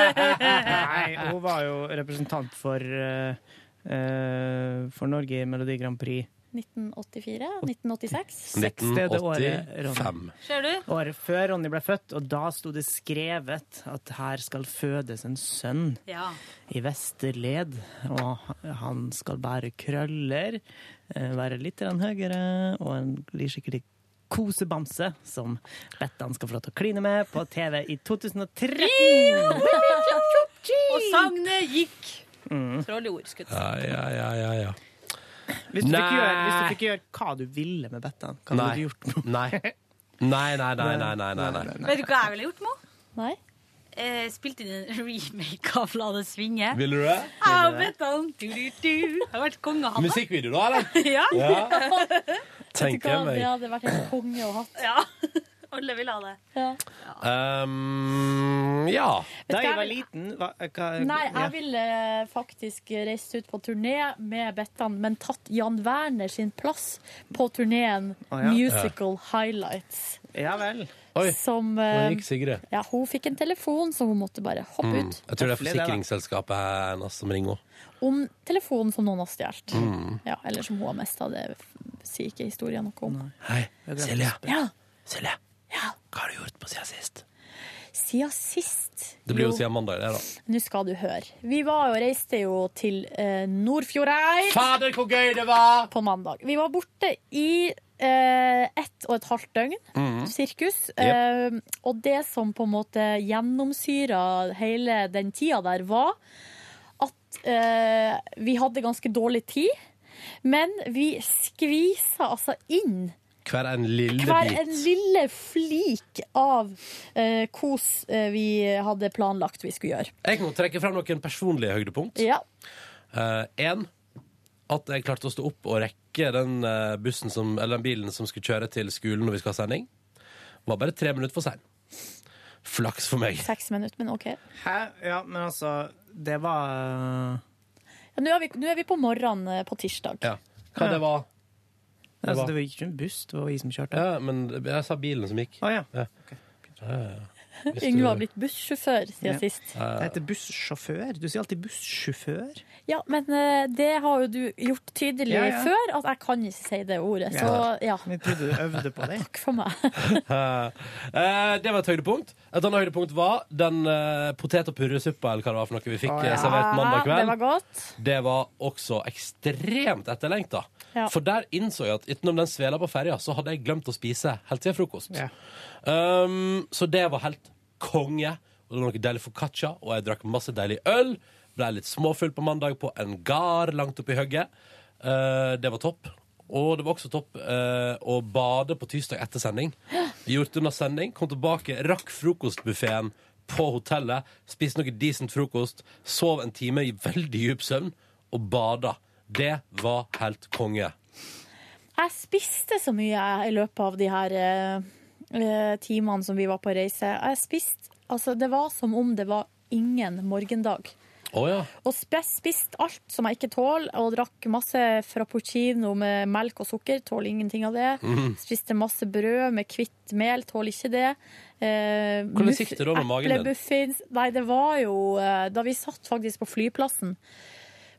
Speaker 17: [LAUGHS] jo
Speaker 3: Nei, hun var jo representant for, eh, eh, for Norge i Melodi Grand Prix.
Speaker 4: 1984? 1986?
Speaker 3: Seks det er det året, Ronny.
Speaker 17: Ser du?
Speaker 3: Året før Ronny ble født, og da sto det skrevet at her skal fødes en sønn
Speaker 17: Ja.
Speaker 3: i Vesterled. Og han skal bære krøller, eh, være litt grann høyere og en blir skikkelig kosebamse som Bettan skal få lov til å kline med på TV i 2013.
Speaker 17: Og sagnet gikk.
Speaker 3: Mm.
Speaker 17: Troll i ordskudd.
Speaker 2: ja, ja, ja, ja.
Speaker 3: Hvis du, fikk
Speaker 2: Nei.
Speaker 3: gjøre, hvis du fikk gjøre hva du ville med Bettan, hva
Speaker 2: Nei.
Speaker 3: ville du gjort?
Speaker 2: Nei. Nei, nei, nei, nei, nei, nei, nei.
Speaker 17: Vet du hva jeg ville gjort nå?
Speaker 4: Nei.
Speaker 17: Eh, spilt inn en [LAUGHS] remake av La det svinge.
Speaker 2: Vil du det?
Speaker 17: Jeg og Bettan. Du, du, du. Jeg har vært konge av han.
Speaker 2: Musikkvideo, da, eller?
Speaker 17: Ja.
Speaker 2: Ja.
Speaker 4: Vet du
Speaker 2: Tenker
Speaker 4: hva,
Speaker 2: jeg meg.
Speaker 4: det hadde vært en konge å hatt.
Speaker 17: Alle vil ha det.
Speaker 2: Um, ja.
Speaker 3: Da
Speaker 4: hva
Speaker 3: jeg var
Speaker 4: jeg vil-
Speaker 3: liten hva, hva,
Speaker 4: Nei,
Speaker 3: ja.
Speaker 4: jeg ville faktisk reist ut på turné med Bettan, men tatt Jan Werner sin plass på turneen
Speaker 2: Å, ja.
Speaker 4: Musical Highlights.
Speaker 3: Ja vel.
Speaker 2: Oi,
Speaker 4: Som
Speaker 2: nå
Speaker 4: eh,
Speaker 2: gikk Sigrid.
Speaker 4: ja, Hun fikk en telefon, så hun måtte bare hoppe
Speaker 2: Mm.
Speaker 4: ut.
Speaker 2: Jeg tror det er
Speaker 4: Høflig, da.
Speaker 2: forsikringsselskapet hennes som ringer henne.
Speaker 4: Om telefonen som noen har stjålet.
Speaker 2: Mm.
Speaker 4: Ja, eller som hun har mista, det sier ikke historien noe om.
Speaker 2: Hei, Silje.
Speaker 4: Ja.
Speaker 2: Silje. Hva har du gjort på siden sist?
Speaker 4: Siden sist
Speaker 2: Det blir jo
Speaker 4: Jo,
Speaker 2: siden mandag, det, da.
Speaker 4: Nå skal du høre. Vi var jo, reiste jo til eh, Nordfjordeid.
Speaker 2: Fader, hvor gøy det var!
Speaker 4: På mandag. Vi var borte i eh, ett og et halvt døgn.
Speaker 17: Mhm.
Speaker 4: Sirkus.
Speaker 17: Jep.
Speaker 4: Eh, og det som på en måte gjennomsyra hele den tida der, var at eh, vi hadde ganske dårlig tid. Men vi skvisa altså inn
Speaker 2: Hver en lille
Speaker 4: hver
Speaker 2: bit.
Speaker 4: en lille flik av eh, kos eh, vi hadde planlagt vi skulle gjøre.
Speaker 2: Jeg kan trekke frem noen personlige høydepunkt.
Speaker 4: Ja.
Speaker 2: Én at jeg klarte å stå opp og rekke den, eh, bussen som, eller den bilen som skulle kjøre til skolen når vi skal ha sending. Var bare tre minutter for sein. Flaks for meg.
Speaker 4: Seks minutter, men OK.
Speaker 3: Hæ? Ja, men altså, det var
Speaker 4: Ja, Nå er, vi- nå er vi på morgenen eh, på tirsdag.
Speaker 2: Ja. Hva det var?
Speaker 3: Det altså, det var ikke en buss, det var vi som kjørte.
Speaker 2: Ja, men jeg sa bilen som gikk.
Speaker 3: Å ja.
Speaker 2: Ja, ja, ja. Hvis du-
Speaker 4: [LAUGHS] Yngve har blitt bussjåfør siden
Speaker 3: Ja.
Speaker 4: sist.
Speaker 3: Det heter bussjåfør. Du sier alltid bussjåfør.
Speaker 4: Ja, men eh, det har jo du gjort tydelig
Speaker 3: Ja, ja.
Speaker 4: før, at jeg kan ikke si det ordet. Så ja.
Speaker 3: Vi trodde du øvde på det.
Speaker 4: Takk for meg.
Speaker 2: Eh, det var et høydepunkt. Et annet høydepunkt var den eh, potet- og purresuppa eller hva det var for noe vi fikk
Speaker 4: Å,
Speaker 2: eh,
Speaker 4: [LAUGHS] ja.
Speaker 2: servert mandag kveld.
Speaker 4: Det var godt.
Speaker 2: Det var også ekstremt etterlengta.
Speaker 4: Ja.
Speaker 2: For der innså jeg at utenom den svela på ferja, så hadde jeg glemt å spise helt siden frokost. Um, så det var helt konge. Og det var noe deilig foccaccia, og jeg drakk masse deilig øl. Ble litt småfull på mandag på en gard langt oppi hugget. Uh, det var topp. Og det var også topp uh, å bade på tirsdag etter sending. Gjort unna sending, kom tilbake, rakk frokostbuffeen på hotellet, spiste noe decent frokost, sov en time i veldig djup søvn og bada. Det var helt konge.
Speaker 4: Jeg spiste så mye jeg, i løpet av de her eh, eh, timene som vi var på reise. Jeg spiste, altså Det var som om det var ingen morgendag.
Speaker 2: Å ja.
Speaker 4: Og spe- spiste alt som jeg ikke tåler, og drakk masse frappuccino med melk og sukker. Tåler ingenting av det.
Speaker 2: Mhm.
Speaker 4: Spiste masse brød med hvitt mel. Tåler ikke det. Eh,
Speaker 2: Hvordan
Speaker 4: muff-
Speaker 2: gikk det da med magen din?
Speaker 4: eplemuffins. Nei, det var jo eh, Da vi satt faktisk på flyplassen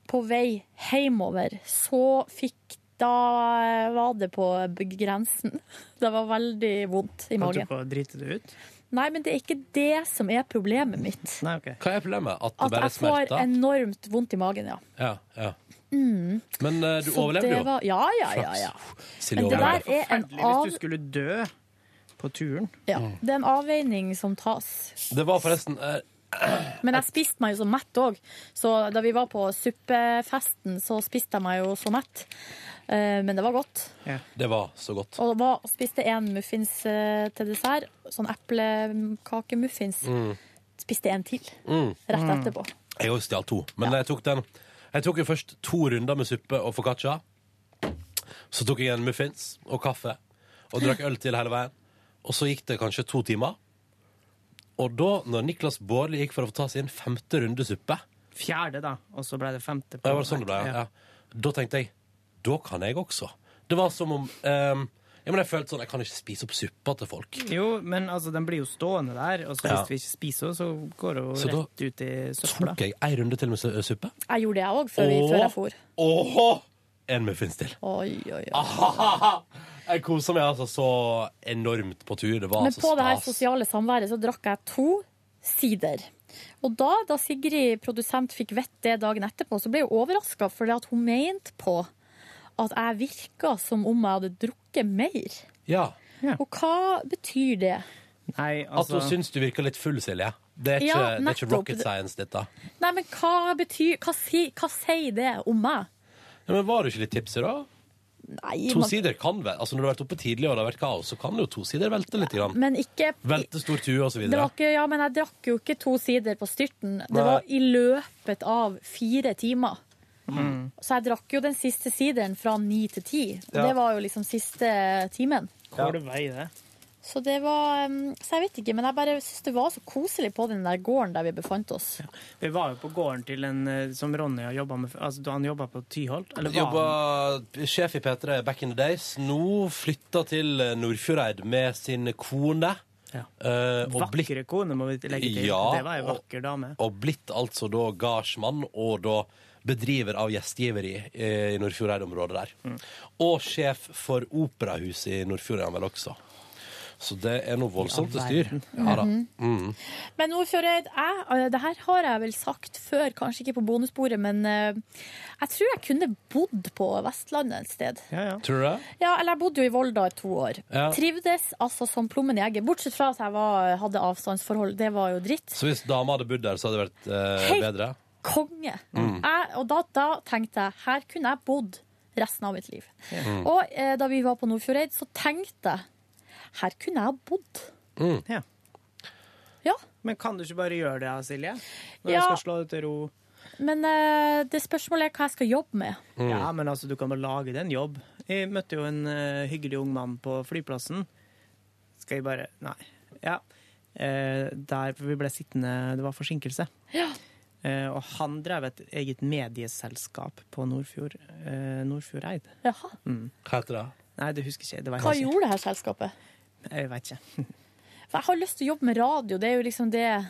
Speaker 4: på vei hjemover, så fikk Da var det på grensen. [LAUGHS] Det var veldig vondt i
Speaker 3: Holdt du
Speaker 4: magen.
Speaker 3: på å drite det ut?
Speaker 4: Nei, men det er ikke det som er problemet mitt.
Speaker 3: Nei, ok.
Speaker 2: Hva er problemet? At det
Speaker 4: At
Speaker 2: bare
Speaker 4: jeg
Speaker 2: er
Speaker 4: får
Speaker 2: smerter?
Speaker 4: enormt vondt i magen, ja.
Speaker 2: Ja, ja.
Speaker 4: Mm.
Speaker 2: Men eh, du
Speaker 4: Så
Speaker 2: overlevde
Speaker 4: det
Speaker 2: jo.
Speaker 4: var- ja, ja, ja, ja.
Speaker 2: Flaks. Silje
Speaker 4: Men det der
Speaker 2: overlevde.
Speaker 4: er en,
Speaker 3: Forferdelig
Speaker 4: av,
Speaker 3: Hvis du skulle dø på turen.
Speaker 4: ja, det er en avveining som tas.
Speaker 2: Det var forresten eh,
Speaker 4: Men jeg spiste meg jo så mett òg. Så da vi var på suppefesten, så spiste jeg meg jo så mett. Eh, Men det var godt.
Speaker 2: Det var så godt.
Speaker 4: Og var, spiste én muffins eh, til dessert. Sånn eplekakemuffins.
Speaker 2: Mm.
Speaker 4: Spiste en til
Speaker 2: Mm.
Speaker 4: rett etterpå.
Speaker 2: Jeg også stjal to, men jeg tok den Jeg tok jo først to runder med suppe og focaccia. Så tok jeg en muffins og kaffe og drakk øl til hele veien. Og så gikk det kanskje to timer. Og da, når Niklas Baarli gikk for å få ta sin femte runde suppe
Speaker 3: Fjerde, da, og så ble det femte.
Speaker 2: ja, det var sånn det ble, ja. ja. Da tenkte jeg da kan jeg også. Det var som om ehm, ja, men Jeg følte sånn jeg kan ikke spise opp suppa til folk.
Speaker 3: Jo, men altså, den blir jo stående der, og så hvis
Speaker 2: Ja.
Speaker 3: vi ikke spiser, så går det jo
Speaker 2: Så da
Speaker 3: rett ut i søpla.
Speaker 2: Tok jeg ei runde til med su- eh, suppe?
Speaker 4: Jeg gjorde det, jeg òg, før, vi-
Speaker 2: Åh.
Speaker 4: før jeg for.
Speaker 2: Åhå! En muffins til.
Speaker 4: Oi, oi, oi.
Speaker 2: Jeg kosa meg altså så enormt på tur. Det var
Speaker 4: Men
Speaker 2: så
Speaker 4: på det her
Speaker 2: Altså, stas.
Speaker 4: sosiale samværet så drakk jeg to sider. Og da, da Sigrid, produsent, fikk vett det dagen etterpå, så ble jeg overraska, for at hun mente på at jeg virka som om jeg hadde drukket mer.
Speaker 2: Ja.
Speaker 4: Og hva betyr det?
Speaker 3: Nei,
Speaker 2: At hun syns du virker litt full, Silje. Det er ikke,
Speaker 4: Ja,
Speaker 2: det er ikke
Speaker 4: nettopp.
Speaker 2: rocket science, dette.
Speaker 4: Nei, men hva betyr Hva, si, hva sier det om meg?
Speaker 2: Ja, men var du ikke litt tipsy, da?
Speaker 4: Nei,
Speaker 2: To
Speaker 4: man,
Speaker 2: sider kan vel Altså Når du har vært oppe tidlig og det har vært kaos, så kan jo to sider velte litt. Grann.
Speaker 4: men ikke
Speaker 2: Velte stor tue og så
Speaker 4: det
Speaker 2: videre.
Speaker 4: var ikke, Ja, men jeg drakk jo ikke to sider på styrten. Det
Speaker 2: Nei.
Speaker 4: var i løpet av fire timer. Så jeg drakk jo den siste sideren fra ni til ti. Og
Speaker 3: Ja.
Speaker 4: Det var jo liksom siste timen.
Speaker 3: Hvor det vei det?
Speaker 4: Så det var um, Så jeg vet ikke, men jeg bare syns det var så koselig på den der gården der vi befant oss.
Speaker 3: Vi var jo på gården til en eh, som Ronny har jobba med f- Altså, da han jobba på Tyholt? Eller var
Speaker 2: Jobba sjef i P3 back in the days. Nå flytta til eh, Nordfjordeid med sin kone. Eh,
Speaker 3: han
Speaker 2: og blikk
Speaker 3: Vakre kone, må vi legge til.
Speaker 2: Ja,
Speaker 3: det var ei vakker dame.
Speaker 2: Og blitt altså da gardsmann og da bedriver av gjestgiveri eh, i Nordfjordeid-området der. Og sjef for operahuset i Nordfjord er han vel også. Så det er noe voldsomt til styr. Ja da.
Speaker 4: Mhm.
Speaker 2: Mm.
Speaker 4: Men Nordfjordeid, jeg, eh, det her har jeg vel sagt før, kanskje ikke på bonusbordet, men eh, jeg tror jeg kunne bodd på Vestlandet et sted.
Speaker 2: Tror du det?
Speaker 4: Ja, eller jeg bodde jo i Volda i to år.
Speaker 2: Ja.
Speaker 4: Trivdes altså som plommen i egget, bortsett fra at jeg var, hadde avstandsforhold. Det var jo dritt.
Speaker 2: Så hvis dama hadde bodd der, så hadde det vært eh,
Speaker 4: Helt-
Speaker 2: bedre?
Speaker 4: Konge.
Speaker 2: Mm.
Speaker 4: Jeg, og da, da tenkte jeg, her kunne jeg bodd resten av mitt liv.
Speaker 2: Mm.
Speaker 4: Og eh, da vi var på Nordfjordeid, så tenkte jeg, her kunne jeg bodd.
Speaker 3: Ja. Men kan du ikke bare gjøre det, Silje? Når
Speaker 4: Ja.
Speaker 3: du skal slå deg til ro?
Speaker 4: Men eh, det spørsmålet er hva jeg skal jobbe med.
Speaker 3: Ja, men altså, du kan bare lage deg en jobb. Jeg møtte jo en eh, hyggelig ung mann på flyplassen. Skal jeg bare Nei. Ja. eh, der vi ble sittende Det var forsinkelse.
Speaker 4: Ja.
Speaker 3: Eh, og han drev et eget medieselskap på Nordfjord, eh, Nordfjordeid.
Speaker 4: Jaha.
Speaker 3: Mm.
Speaker 2: Hva heter det?
Speaker 3: Nei, det husker jeg ikke. Det var
Speaker 4: Hva
Speaker 2: altså-
Speaker 3: ikke-
Speaker 4: gjorde det her selskapet?
Speaker 3: Jeg vet ikke.
Speaker 4: For jeg har lyst til å jobbe med radio, det er jo liksom det jeg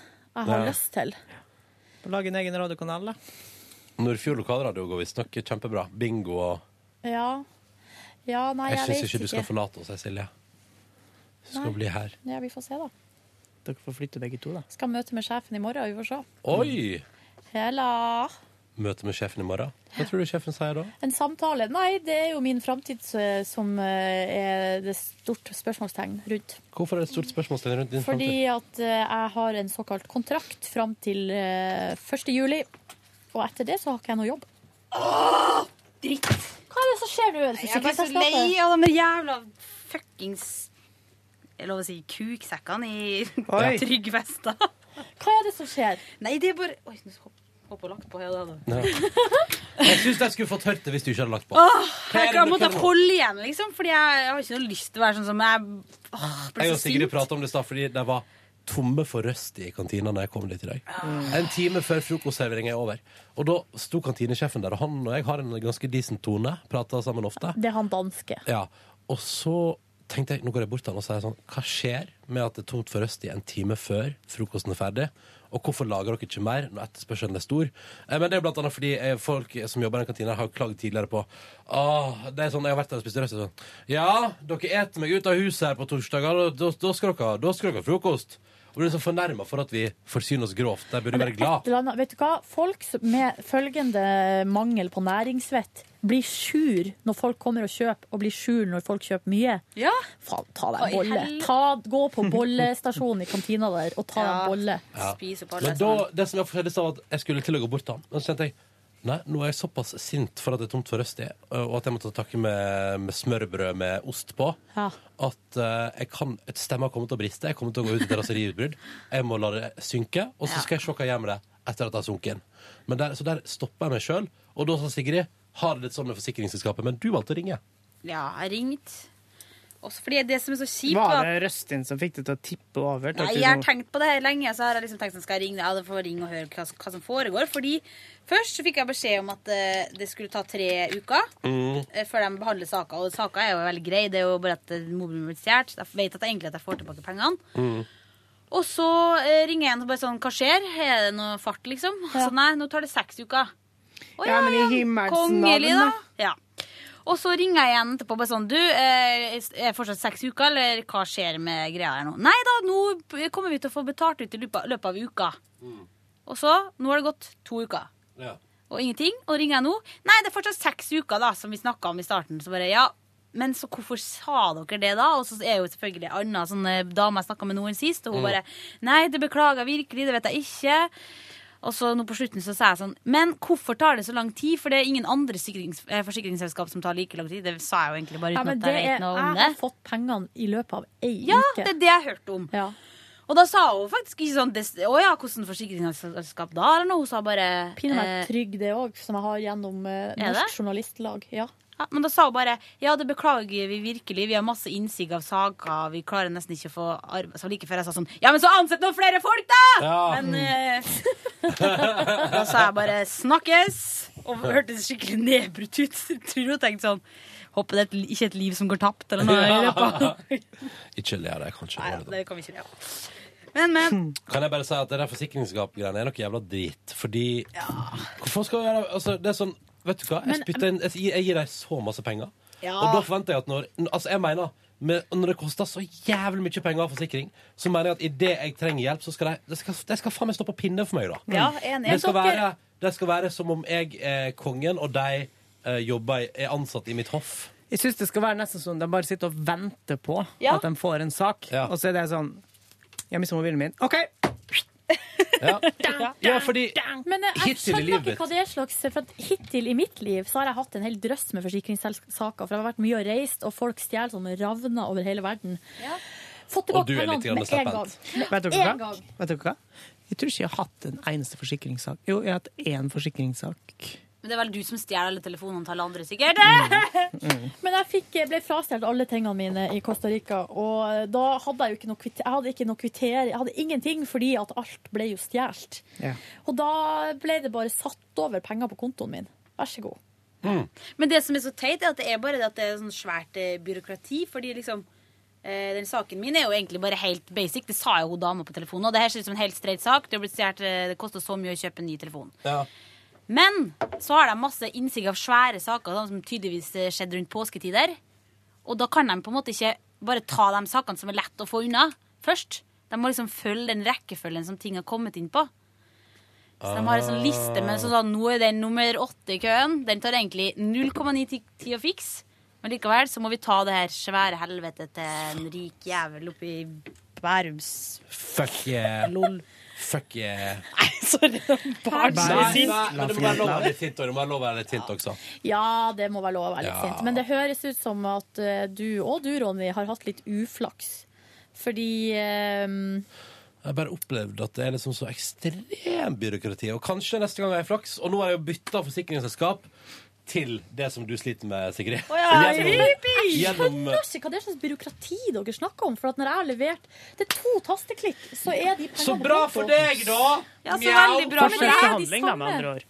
Speaker 4: har
Speaker 2: Ja.
Speaker 4: lyst til.
Speaker 3: Lage en egen radiokanal, da.
Speaker 2: Nordfjord lokalradio går visstnok kjempebra. Bingo og
Speaker 4: Ja. Ja, nei,
Speaker 2: Jeg
Speaker 4: jeg,
Speaker 2: syns
Speaker 4: vet
Speaker 2: ikke du skal forlate oss, Silje. Du skal
Speaker 4: Nei.
Speaker 2: bli her.
Speaker 4: Ja, vi får se, da.
Speaker 3: Dere får flytte begge to, da.
Speaker 4: Skal møte med sjefen i morgen, vi får se.
Speaker 2: Oi!
Speaker 4: Hella.
Speaker 2: Møte med sjefen i morgen. Hva tror du sjefen sier da?
Speaker 4: En samtale? Nei, det er jo min framtid eh, som eh, er det stort spørsmålstegn rundt.
Speaker 2: Hvorfor er det et stort spørsmålstegn rundt din
Speaker 4: Fordi
Speaker 2: framtid?
Speaker 4: at eh, jeg har en såkalt kontrakt fram til eh, 1. juli, og etter det så har ikke jeg noe jobb. dritt! Hva er det som skjer nå? Er det
Speaker 13: Jeg ble så
Speaker 4: forsikringsselskapet?
Speaker 13: lei av de jævla fuckings Jeg lov å si kuksekkene i
Speaker 4: Oi.
Speaker 13: Trygg Vesta.
Speaker 4: Hva er det som skjer?
Speaker 13: Nei, det er bare Oi, nå hopp- hoppa lagt på hele den.
Speaker 2: Jeg syns jeg skulle fått hørt det hvis du ikke hadde lagt på.
Speaker 13: Åh,
Speaker 2: Hva er
Speaker 13: jeg
Speaker 2: det
Speaker 13: kan
Speaker 2: du
Speaker 13: måtte
Speaker 2: prøver på?
Speaker 13: holde igjen, liksom, fordi jeg, jeg har ikke noe lyst til å være sånn som jeg åh, ble
Speaker 2: Jeg og
Speaker 13: så sint.
Speaker 2: Sigrid prata om det i stad fordi de var tomme for røst i kantina når jeg kom dit i dag. En time før frokostserveringa er over. Og da sto kantinesjefen der, og han og jeg har en ganske decent tone, prater sammen ofte.
Speaker 4: Det er han danske.
Speaker 2: Ja, og så tenkte jeg, nå går jeg bort til han og sier sånn, hva skjer med at det er tomt for røst i en time før frokosten er ferdig? Og hvorfor lager dere ikke mer når etterspørselen er stor? Eh, men det er blant annet fordi eh, folk som jobber i den kantina har klaget tidligere på Åh, det er sånn, jeg har vært der og spist røst og sånn. Ja, dere eter meg ut av huset her på torsdager, og da, da, skal, dere, da skal dere ha frokost. Og blir så fornærmet for at vi forsyner oss grovt. Der burde vi være glad.
Speaker 4: Et eller annet- Vet du hva? Folk som- med følgende mangel på næringsvett blir sur når folk kommer og kjøper, og blir sur når folk kjøper mye.
Speaker 13: Ja.
Speaker 4: Faen, ta deg
Speaker 13: Oi,
Speaker 4: en bolle.
Speaker 13: hell-
Speaker 4: Ta, gå på bollestasjonen i kantina der og ta deg en bolle.
Speaker 2: Ja. Men da, det som jeg forskjellig sa, var at jeg skulle til å gå bort til han. Men så kjente jeg Nei, nå er jeg såpass sint for at det er tomt for røst i, og at jeg må ta takke med, med smørbrød med ost på,
Speaker 4: Ja.
Speaker 2: at eh, jeg kan, et stemme kommer til å briste. Jeg kommer til å gå ut i terrasseriutbrudd. Jeg må la det synke, og så skal jeg se hva jeg gjør med det etter at det har sunket inn. Men der, så der stoppa jeg meg sjøl, og da sa Sigrid har det litt sånn med forsikringsselskapet, men du valgte å ringe.
Speaker 13: Ja, jeg ringte. Også fordi det som er så kjipt da-
Speaker 3: Var det Røstin som fikk det til å tippe over? til at
Speaker 13: Nei,
Speaker 3: du
Speaker 13: jeg har
Speaker 3: nå-
Speaker 13: tenkt på det her lenge, så har jeg liksom tenkt sånn, skal jeg ringe deg, for å ringe og høre hva, hva som foregår. Fordi først så fikk jeg beskjed om at eh, det skulle ta tre uker eh, før de behandler saker. Og saker er jo veldig greie, det er jo bare at eh, mobilen blir stjålet. Jeg vet at jeg egentlig at jeg får tilbake pengene. Og så eh, ringer jeg igjen og bare sånn, hva skjer? Er det noe fart, liksom? Så nei, nå tar det seks uker. Å,
Speaker 3: Ja, men i himmelens
Speaker 13: Kongelig,
Speaker 3: navn,
Speaker 13: da. Ja. Og så ringer jeg igjen etterpå bare sånn Du, eh, er det fortsatt seks uker, eller hva skjer med greia her nå? Nei da, nå kommer vi til å få betalt ut i løpet av- løpet av uka. Og så, nå har det gått to uker. Og ingenting. Og ringer jeg nå? Nei, det er fortsatt seks uker, da, som vi snakka om i starten. Så bare, ja, men så hvorfor sa dere det, da? Og så er jo selvfølgelig Anna, sånn eh, dame jeg snakka med nå sist, og hun
Speaker 4: Mm.
Speaker 13: bare Nei, det beklager jeg virkelig, det vet jeg ikke. Og så nå på slutten så sa jeg sånn Men hvorfor tar det så lang tid? For det er ingen andre sikrings- eh, forsikringsselskap som tar like lang tid. Det sa jeg jo egentlig bare
Speaker 4: Ja,
Speaker 13: uten
Speaker 4: men
Speaker 13: at jeg
Speaker 4: det er-
Speaker 13: vet noe
Speaker 4: jeg
Speaker 13: om
Speaker 4: har
Speaker 13: det.
Speaker 4: fått pengene i løpet av ei
Speaker 13: Ja,
Speaker 4: uke.
Speaker 13: det er det jeg hørte om. Og da sa hun faktisk ikke sånn des- Å ja, hvordan forsikringsselskap da? Eller noe? Hun sa bare
Speaker 4: Pinner meg
Speaker 13: eh,
Speaker 4: trygg, det òg, som jeg har gjennom eh,
Speaker 13: Er
Speaker 4: Norsk
Speaker 13: det?
Speaker 4: Journalistlag. Ja.
Speaker 13: Ja, men da sa hun bare Ja, det beklager vi virkelig. Vi har masse innsig av saker. Vi klarer nesten ikke å få arbeid. Så like før jeg sa sånn Ja, men så ansett noen flere folk, da!
Speaker 2: Ja. [LAUGHS]
Speaker 13: Men eh, Da sa jeg bare Snakkes! Og hørtes skikkelig nedbrutt ut. Jeg Tror hun tenkte sånn Håper det er et- ikke et liv som går tapt, eller noe. i løpet av-"
Speaker 2: [LAUGHS] Ikke le av det, kanskje.
Speaker 13: Nei, det kan vi ikke gjøre. Men, men.
Speaker 2: Kan jeg bare si at det der forsikringsgapgreiene er noe jævla drit, fordi Hvorfor skal jeg gjøre altså, det? er sånn, Vet du hva, jeg, spytter inn, jeg, gir- jeg gir deg så masse penger,
Speaker 13: Ja.
Speaker 2: og da forventer jeg at når Altså, jeg mener med, når det koster så jævlig mye penger av forsikring, så mener jeg at idet jeg trenger hjelp, så skal de Det skal, det skal faen meg stå på pinne for meg, da.
Speaker 13: Ja, enig.
Speaker 2: Det skal,
Speaker 13: Men dere-
Speaker 2: være, det skal være som om jeg er kongen, og de eh, jobber, i- er ansatt i mitt hoff.
Speaker 3: Jeg syns det skal være nesten sånn de bare sitter og venter på
Speaker 2: Ja.
Speaker 3: at de får en sak, og så er det sånn Jeg mister mobilen min. OK!
Speaker 2: Ja, fordi
Speaker 4: Men eh, jeg, jeg
Speaker 2: Hittil i
Speaker 4: skjønner
Speaker 2: livet
Speaker 4: ikke hva det er slags For at hittil i mitt liv så har jeg hatt en hel drøss med forsikringssaker. For jeg har vært mye og reist, og folk stjeler som ravner over hele verden. Fått tilbake
Speaker 3: Og du er litt
Speaker 4: pengene
Speaker 3: grann
Speaker 4: med en gang.
Speaker 3: Vet
Speaker 4: Med
Speaker 3: dere
Speaker 4: en
Speaker 3: hva?
Speaker 4: gang.
Speaker 3: Vet dere hva? Jeg tror ikke jeg har hatt en eneste forsikringssak. Jo, jeg har hatt én forsikringssak.
Speaker 13: Men det er vel du som stjeler alle telefonene til alle andre, sikkert?
Speaker 4: Men jeg fikk, eh, ble frastjålet alle tingene mine i Costa Rica, og eh, da hadde jeg jo ikke noe kvitter, jeg hadde ikke noe kvitter, jeg hadde ingenting fordi at alt ble jo stjålet. Og da ble det bare satt over penger på kontoen min. Vær så god.
Speaker 13: Men det som er så teit, er at det er bare det at det er sånn svært eh, byråkrati. Fordi liksom eh, den saken min er jo egentlig bare helt basic. Det sa jo hun dama på telefonen. Og det her ser ut som en helt streit sak. Det, har blitt stjert, eh, det koster så mye å kjøpe en ny telefon. Men så har de masse innsikt av svære saker sånn som tydeligvis eh, skjedde rundt påsketider. Og da kan de på en måte ikke bare ta de sakene som er lett å få unna, først. De må liksom følge den rekkefølgen som ting har kommet inn på. Så de har en sånn liste med sånn at nå er den nummer åtte i køen. Den tar egentlig 0,9 ti- tid å fikse. Men likevel så må vi ta det her svære helvetet til en rik jævel oppi Bærums [LAUGHS]
Speaker 2: Fuck yeah.
Speaker 13: Lol.
Speaker 2: Fuck yeah.
Speaker 13: Sorry.
Speaker 2: Nei, nei, men det må være lov å være litt sint, og det må være lov å være litt sint også.
Speaker 4: Ja, det må være lov å være litt
Speaker 2: Ja.
Speaker 4: sint. Men det høres ut som at eh, du og du, Ronny, har hatt litt uflaks. Fordi eh,
Speaker 2: Jeg har bare opplevd at det er liksom så ekstremt byråkrati. Og kanskje neste gang har jeg flaks. Og nå har jeg jo bytta forsikringsselskap til det som du sliter med, Sigrid.
Speaker 4: Å ja,
Speaker 2: gjennom,
Speaker 4: jeg
Speaker 2: gjennom
Speaker 4: skjønner ikke hva det er slags byråkrati dere snakker om. For at når jeg har levert Det er to tasteklikk, så er de pengene
Speaker 2: Så bra
Speaker 4: på konto.
Speaker 2: for deg, da!
Speaker 4: Ja, så
Speaker 2: Mjau.
Speaker 4: veldig bra
Speaker 2: Perfekt
Speaker 4: for deg. Det er de
Speaker 2: handling, da, med
Speaker 4: samme.
Speaker 2: andre ord.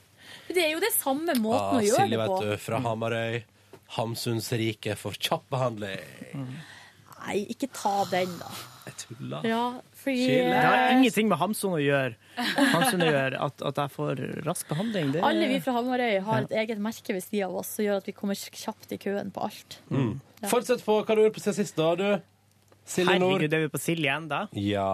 Speaker 4: Det er jo det samme måten
Speaker 2: Ah,
Speaker 4: å gjøre
Speaker 2: Silje,
Speaker 4: det på.
Speaker 2: vet du, fra Hamarøy. Hamsuns rike for kjapp behandling.
Speaker 4: Nei, ikke ta den, da.
Speaker 2: Jeg tuller.
Speaker 4: Ja, fordi
Speaker 3: Det har
Speaker 4: eh,
Speaker 3: ingenting med Hamsun å gjøre. Hamsun å gjøre at, at jeg får rask behandling. Det...
Speaker 4: alle vi fra Hamarøy har et eget merke ved sida av oss som gjør at vi kommer kjapt i køen på alt.
Speaker 2: Mm.
Speaker 4: Ja.
Speaker 2: Fortsett på hva du gjorde på siden sist, da, du. Silje Nord.
Speaker 3: Herregud, er vi på Silje ennå?
Speaker 2: Ja.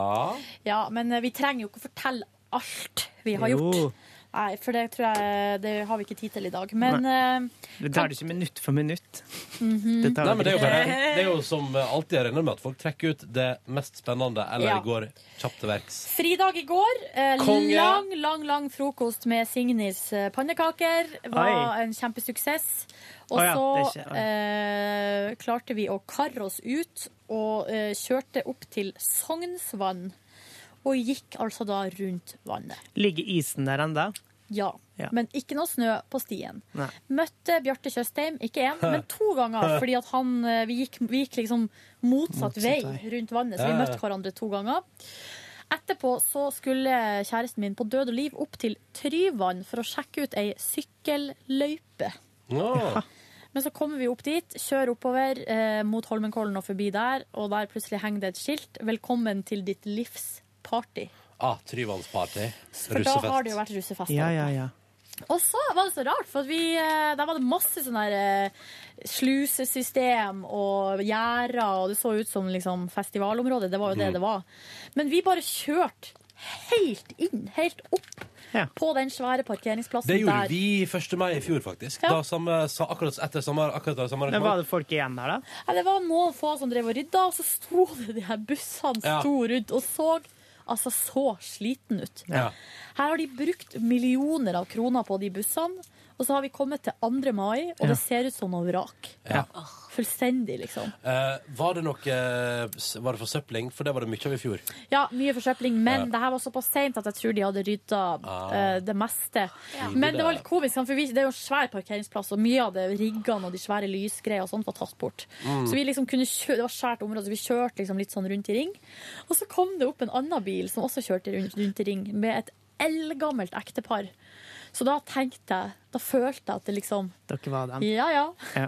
Speaker 4: Ja, men eh, vi trenger jo ikke å fortelle alt vi har
Speaker 3: Jo.
Speaker 4: gjort. Nei, for det tror jeg Det har vi ikke tid til i dag. Men eh,
Speaker 3: Det tar det ikke minutt for minutt.
Speaker 4: mhm.
Speaker 3: Det tar
Speaker 2: Nei, men det er, jo bare,
Speaker 3: ikke.
Speaker 2: det er jo som alltid jeg regner med at folk trekker ut det mest spennende, eller
Speaker 4: Ja.
Speaker 2: går kjapt til verks.
Speaker 4: Fridag i går. Eh,
Speaker 2: Konge.
Speaker 4: lang, lang lang frokost med Signis eh, pannekaker. Var
Speaker 2: Oi.
Speaker 4: en kjempesuksess. Og
Speaker 5: Å ja,
Speaker 4: så
Speaker 5: det er ikke-
Speaker 4: eh, klarte vi å karre oss ut og eh, kjørte opp til Sognsvann. Og gikk altså da rundt vannet.
Speaker 3: Ligger isen der ennå?
Speaker 4: Ja.
Speaker 3: Ja.
Speaker 4: Men ikke noe snø på stien.
Speaker 3: Nei.
Speaker 4: Møtte Bjarte Tjøstheim, ikke én, men to ganger. Fordi at han, eh, vi, gikk, vi gikk liksom motsatt,
Speaker 5: Motsatt
Speaker 4: vei
Speaker 5: vei.
Speaker 4: rundt vannet, så
Speaker 5: Ja,
Speaker 4: vi
Speaker 5: ja.
Speaker 4: møtte hverandre to ganger. Etterpå så skulle kjæresten min på død og liv opp til Tryvann for å sjekke ut ei sykkelløype.
Speaker 2: Ja.
Speaker 4: Men så kommer vi opp dit, kjører oppover eh, mot Holmenkollen og forbi der, og der plutselig henger det et skilt 'Velkommen til ditt livs party'.
Speaker 2: Ah, Tryvannsparty.
Speaker 4: For da har det jo vært russefest. der oppe. Og så var det så rart, for at vi, eh, der var det masse sånn der eh, slusesystem og gjerder, og det så ut som liksom festivalområde. Det var jo det
Speaker 2: Mhm.
Speaker 5: Mm.
Speaker 4: det var. Men vi bare kjørte helt inn, helt opp på den svære parkeringsplassen
Speaker 2: Det gjorde
Speaker 4: der.
Speaker 2: vi 1. mai i fjor, faktisk.
Speaker 4: Ja.
Speaker 2: Da samme, sa akkurat etter samme, akkurat det samme
Speaker 3: Men var
Speaker 2: arrangement.
Speaker 3: det folk igjen der, da?
Speaker 4: Ja, det var noen få som drev og rydda, og så sto det de her bussene
Speaker 3: Ja.
Speaker 4: sto rundt og så altså så sliten ut.
Speaker 2: Ja.
Speaker 4: Her har de brukt millioner av kroner på de bussene, og så har vi kommet til 2. mai, og det ser ut som noe vrak.
Speaker 2: Ja.
Speaker 4: Fullstendig, liksom.
Speaker 2: Eh, var det noe Var det forsøpling? For det var det mye av i fjor.
Speaker 4: Ja, mye forsøpling, men
Speaker 2: Ja.
Speaker 4: det her var såpass seint at jeg tror de hadde rydda
Speaker 2: Ah.
Speaker 4: eh, det meste.
Speaker 2: Tidlig
Speaker 4: Men det var
Speaker 2: der.
Speaker 4: litt komisk, for vi, det er jo en svær parkeringsplass, og mye av det riggene og de svære lysgreiene og sånt var tatt bort.
Speaker 5: Mm.
Speaker 4: Så vi liksom kunne kjø det var svært område, så vi kjørte liksom litt sånn rundt i ring. Og så kom det opp en annen bil som også kjørte rundt, rundt i ring, med et eldgammelt ektepar. Så da tenkte jeg, da følte jeg at det liksom
Speaker 3: Dere var dem?
Speaker 4: Ja ja,
Speaker 3: Ja.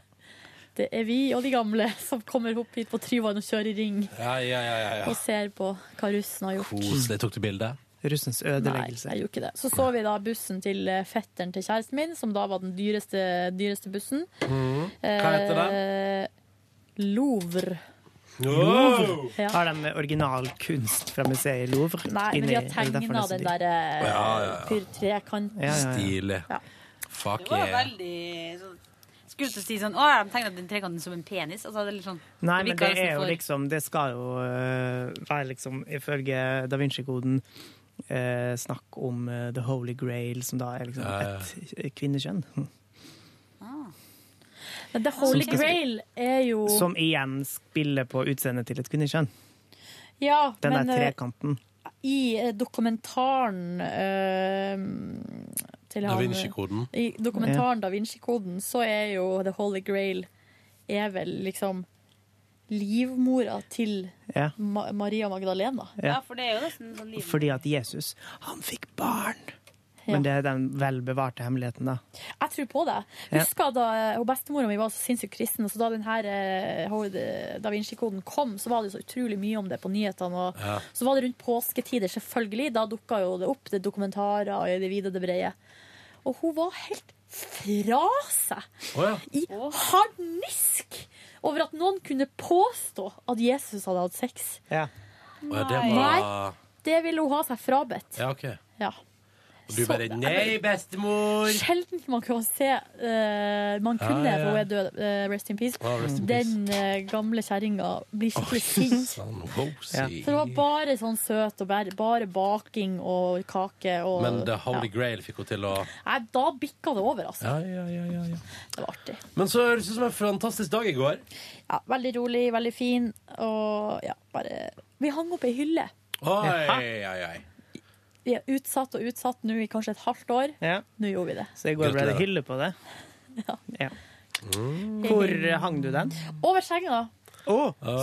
Speaker 4: det er vi og de gamle som kommer opp hit på Tryvann og kjører i ring
Speaker 2: Ja, ja, ja, ja, ja.
Speaker 4: og ser på hva russen har gjort.
Speaker 2: Koselig. Tok du bilde?
Speaker 3: Russens
Speaker 4: Nei, jeg gjorde ikke det. Så så vi da bussen til eh, fetteren til kjæresten min, som da var den dyreste, dyreste bussen.
Speaker 3: Mm.
Speaker 4: Eh, Louvre.
Speaker 3: Louvre.
Speaker 4: Ja.
Speaker 3: Har de original kunst fra museet i Louvre?
Speaker 4: Nei, men de har tegna den der eh,
Speaker 2: Ja, ja, ja.
Speaker 4: fyr- trekanten.
Speaker 3: Ja, ja, ja.
Speaker 2: Stilig.
Speaker 4: Ja.
Speaker 2: Fuck
Speaker 13: Det var
Speaker 2: yeah.
Speaker 13: veldig sånn Skulle til å si sånn Å, de tegna den trekanten som en penis. Altså, det er litt sånn
Speaker 3: Nei, men det
Speaker 13: virker
Speaker 3: er
Speaker 13: nesten
Speaker 3: jo
Speaker 13: for-
Speaker 3: liksom Det skal jo øh, være liksom ifølge Da Vinci-koden øh, snakk om øh, The Holy Grail, som da er liksom
Speaker 2: Ja, ja.
Speaker 3: et kvinnekjønn.
Speaker 4: Men The Holy
Speaker 3: Som skal-
Speaker 4: Grail er jo
Speaker 3: Som igjen spiller på utseendet til et kvinnekjønn.
Speaker 4: Ja,
Speaker 3: Den der
Speaker 4: men eh,
Speaker 3: trekanten.
Speaker 4: i eh, dokumentaren eh, til
Speaker 2: Da
Speaker 4: han
Speaker 2: Vinci-koden.
Speaker 4: I dokumentaren Da Vinci-koden så er jo The Holy Grail er vel liksom livmora til
Speaker 3: Ja.
Speaker 4: Ma Maria Magdalena.
Speaker 3: Ja. Ja,
Speaker 17: for det er jo nesten sånn
Speaker 3: Fordi at Jesus, han fikk barn. Men det er den velbevarte hemmeligheten, da.
Speaker 4: Jeg tror på det.
Speaker 3: Ja.
Speaker 4: Husker da eh, hun bestemora mi var så sinnssykt kristen, og så da den her eh, ho- Da Vinci-koden kom, så var det så utrolig mye om det på nyhetene. Og
Speaker 17: Ja.
Speaker 4: så var det rundt påsketider, selvfølgelig. Da dukka jo det opp det er dokumentarer og i det vide og det brede. Og hun var helt fra seg i harnisk over at noen kunne påstå at Jesus hadde hatt sex.
Speaker 3: Ja.
Speaker 2: Å, ja, det var...
Speaker 4: Nei. Det ville hun ha seg frabedt.
Speaker 2: Ah. Ja, ok.
Speaker 4: Ja.
Speaker 2: Og du bare, nei, bestemor!
Speaker 4: Sjelden man kunne se eh, Man
Speaker 2: Ja,
Speaker 4: kunne,
Speaker 2: ja, ja.
Speaker 4: for hun er død, eh, rest in peace,
Speaker 2: Ja, rest in
Speaker 4: den eh, gamle kjerringa blir skikkelig sint. For det var bare sånn søt, og bare, bare baking og kake. Og,
Speaker 2: Men The Holy
Speaker 4: ja.
Speaker 2: Grail fikk hun til å
Speaker 4: Nei, da bikka det over, altså.
Speaker 2: ja, ja, ja, ja, ja.
Speaker 4: Det var artig.
Speaker 2: Men så høres det ut som en fantastisk dag i går.
Speaker 4: Ja, veldig rolig, veldig fin, og ja, bare Vi hang opp ei hylle.
Speaker 2: Oi,
Speaker 4: Ja.
Speaker 2: oi, oi.
Speaker 4: Vi er utsatt og utsatt nå i kanskje et halvt år.
Speaker 3: Ja.
Speaker 4: Nå gjorde vi det.
Speaker 3: Så i går ble det
Speaker 2: Gratulerer.
Speaker 3: hylle på det. Ja. Hvor hang du den?
Speaker 4: Over senga,
Speaker 3: Å,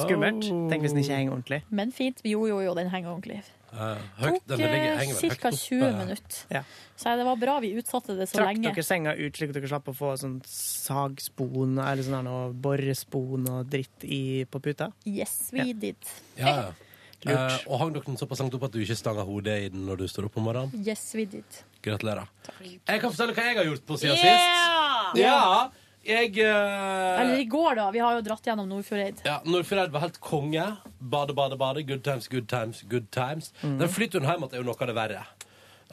Speaker 3: skummelt. Tenk hvis den ikke henger ordentlig.
Speaker 4: men fint. Jo, jo, jo, den henger ordentlig.
Speaker 3: Høyt,
Speaker 4: tok ca. 20 minutter.
Speaker 3: Ja.
Speaker 4: Så det var bra vi utsatte det så
Speaker 3: Trakk
Speaker 4: lenge.
Speaker 3: dere senga ut slik at dere slapp å få sånn sagspon eller sånn her noe borespon og dritt i, på puta?
Speaker 4: Yes, we
Speaker 3: Ja.
Speaker 4: did.
Speaker 2: Ja, ja.
Speaker 3: Lurt.
Speaker 2: Eh, og hang dere den såpass langt opp at du ikke stanga hodet i den når du står opp om morgenen?
Speaker 4: Yes, we did.
Speaker 2: Gratulerer. Jeg kan fortelle hva jeg har gjort på siden
Speaker 4: Yeah!
Speaker 2: sist. Ja! Jeg eh,
Speaker 4: Eller i går, da. Vi har jo dratt gjennom Nordfjordeid.
Speaker 2: ja, Nordfjordeid var helt konge. Bade, bade, bade. Good times, good times, good times. Den flyturen hjem igjen er jo noe av det verre.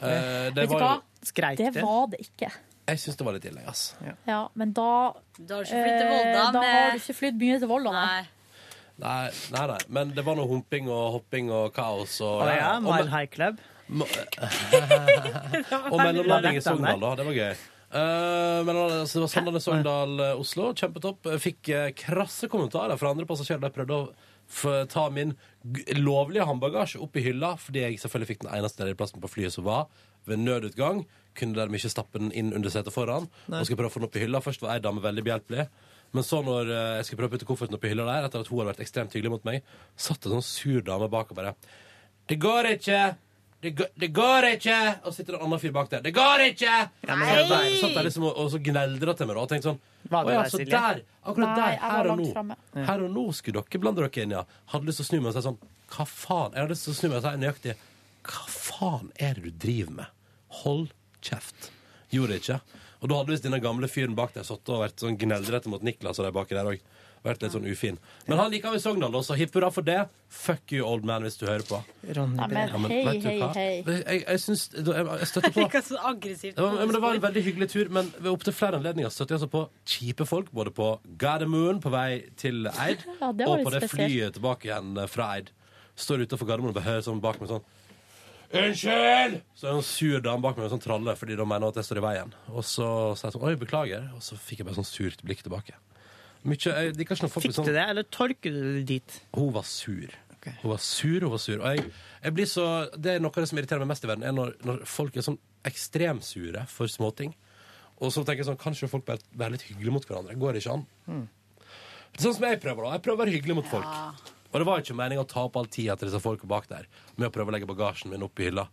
Speaker 2: Eh, det
Speaker 4: Mhm. Vet du
Speaker 2: var
Speaker 4: hva?
Speaker 2: jo
Speaker 4: Det var det ikke.
Speaker 2: Jeg syns det var litt ille, ass.
Speaker 4: Ja, men da Da
Speaker 17: har du ikke flyttet til Volda
Speaker 4: Da
Speaker 17: med-
Speaker 4: har du ikke flydd mye til Volda, nei.
Speaker 2: Nei, nei, nei. Men det var noe humping og hopping og kaos og
Speaker 3: Å ja,
Speaker 2: og
Speaker 3: Mile
Speaker 2: me-
Speaker 3: High Club.
Speaker 2: Og mellomlanding i Sogndal, da. Det var gøy. Eh, men altså, det var Sandane, Sogndal, eh, Oslo. Kjempetopp. Jeg Fikk eh, krasse kommentarer fra andre passasjerer. De prøvde å f ta min g lovlige håndbagasje opp i hylla, fordi jeg selvfølgelig fikk den eneste ledige plassen på flyet som var ved nødutgang. Kunne dermed ikke stappe den inn under setet foran.
Speaker 7: Nei.
Speaker 2: Og skulle prøve å få den opp i hylla. Først var ei dame veldig behjelpelig. Men så når eh, jeg skulle prøve å putte kofferten opp i hylla der, etter at hun hadde vært ekstremt hyggelig mot meg, satt en sånn sur dame bak og bare Det går ikke! Det, går- det går ikke! Og så sitter det en annen fyr bak der. Det går ikke!
Speaker 7: men-
Speaker 2: Så der, satt der liksom og, og så gneldra til meg da, og tenkte sånn
Speaker 7: Var
Speaker 2: Å
Speaker 7: det
Speaker 2: ja,
Speaker 7: deg,
Speaker 2: så
Speaker 7: Silje?
Speaker 2: der, akkurat
Speaker 7: Nei,
Speaker 2: der,
Speaker 7: jeg var
Speaker 2: her og
Speaker 7: langt
Speaker 2: nå.
Speaker 7: fremme.
Speaker 2: Her og nå skulle dere blande dere inn, ja. Hadde lyst til å snu meg og si sånn Hva faen? Jeg hadde lyst til å snu meg og si nøyaktig Hva faen er det du driver med? Hold kjeft. Gjorde det ikke. Og da hadde visst denne gamle fyren bak der sittet og vært sånn gneldrete mot Niklas og de baki der òg. Vært litt sånn ufin. Men han liker vi Sogndal, da, så hipp hurra for det. Fuck you, old man, hvis du hører på.
Speaker 3: Ronny
Speaker 17: Nei, men hei,
Speaker 2: vet du
Speaker 17: hei,
Speaker 2: hva?
Speaker 17: hei.
Speaker 2: Jeg, jeg, jeg syns Jeg jeg støtter på.
Speaker 17: Ikke så aggressivt.
Speaker 2: Det var, men det var en veldig hyggelig tur, men ved opptil flere anledninger støtte jeg altså på kjipe folk, både på Gardermoen på vei til Eid,
Speaker 4: Ja, det var
Speaker 2: og på
Speaker 4: litt
Speaker 2: det
Speaker 4: spesielt.
Speaker 2: flyet tilbake igjen fra Eid. Står utenfor Gardermoen og behører sånn bak meg sånn Unnskyld! Så er det en sur dame bak meg med sånn tralle, fordi de mener at jeg står i veien. Og så sa jeg sånn Oi, beklager. Og så fikk jeg bare sånn surt blikk tilbake. Mye, jeg liker ikke når folk
Speaker 3: Fikk
Speaker 2: blir sånn
Speaker 3: du det, eller tolker du det dit?
Speaker 2: Hun var sur. Hun var sur, hun var sur. Og jeg, jeg blir så, det er noe av det som irriterer meg mest i verden, er når, når folk er sånn ekstremsure for småting. Og så tenker jeg sånn, kanskje folk bare være litt hyggelige mot hverandre. Går det ikke an?
Speaker 3: Hmm.
Speaker 2: Sånn som jeg prøver, da. Jeg prøver å være hyggelig mot folk. Og det var ikke meningen å ta opp all tida til disse folka bak der med å prøve å legge bagasjen min opp i hylla.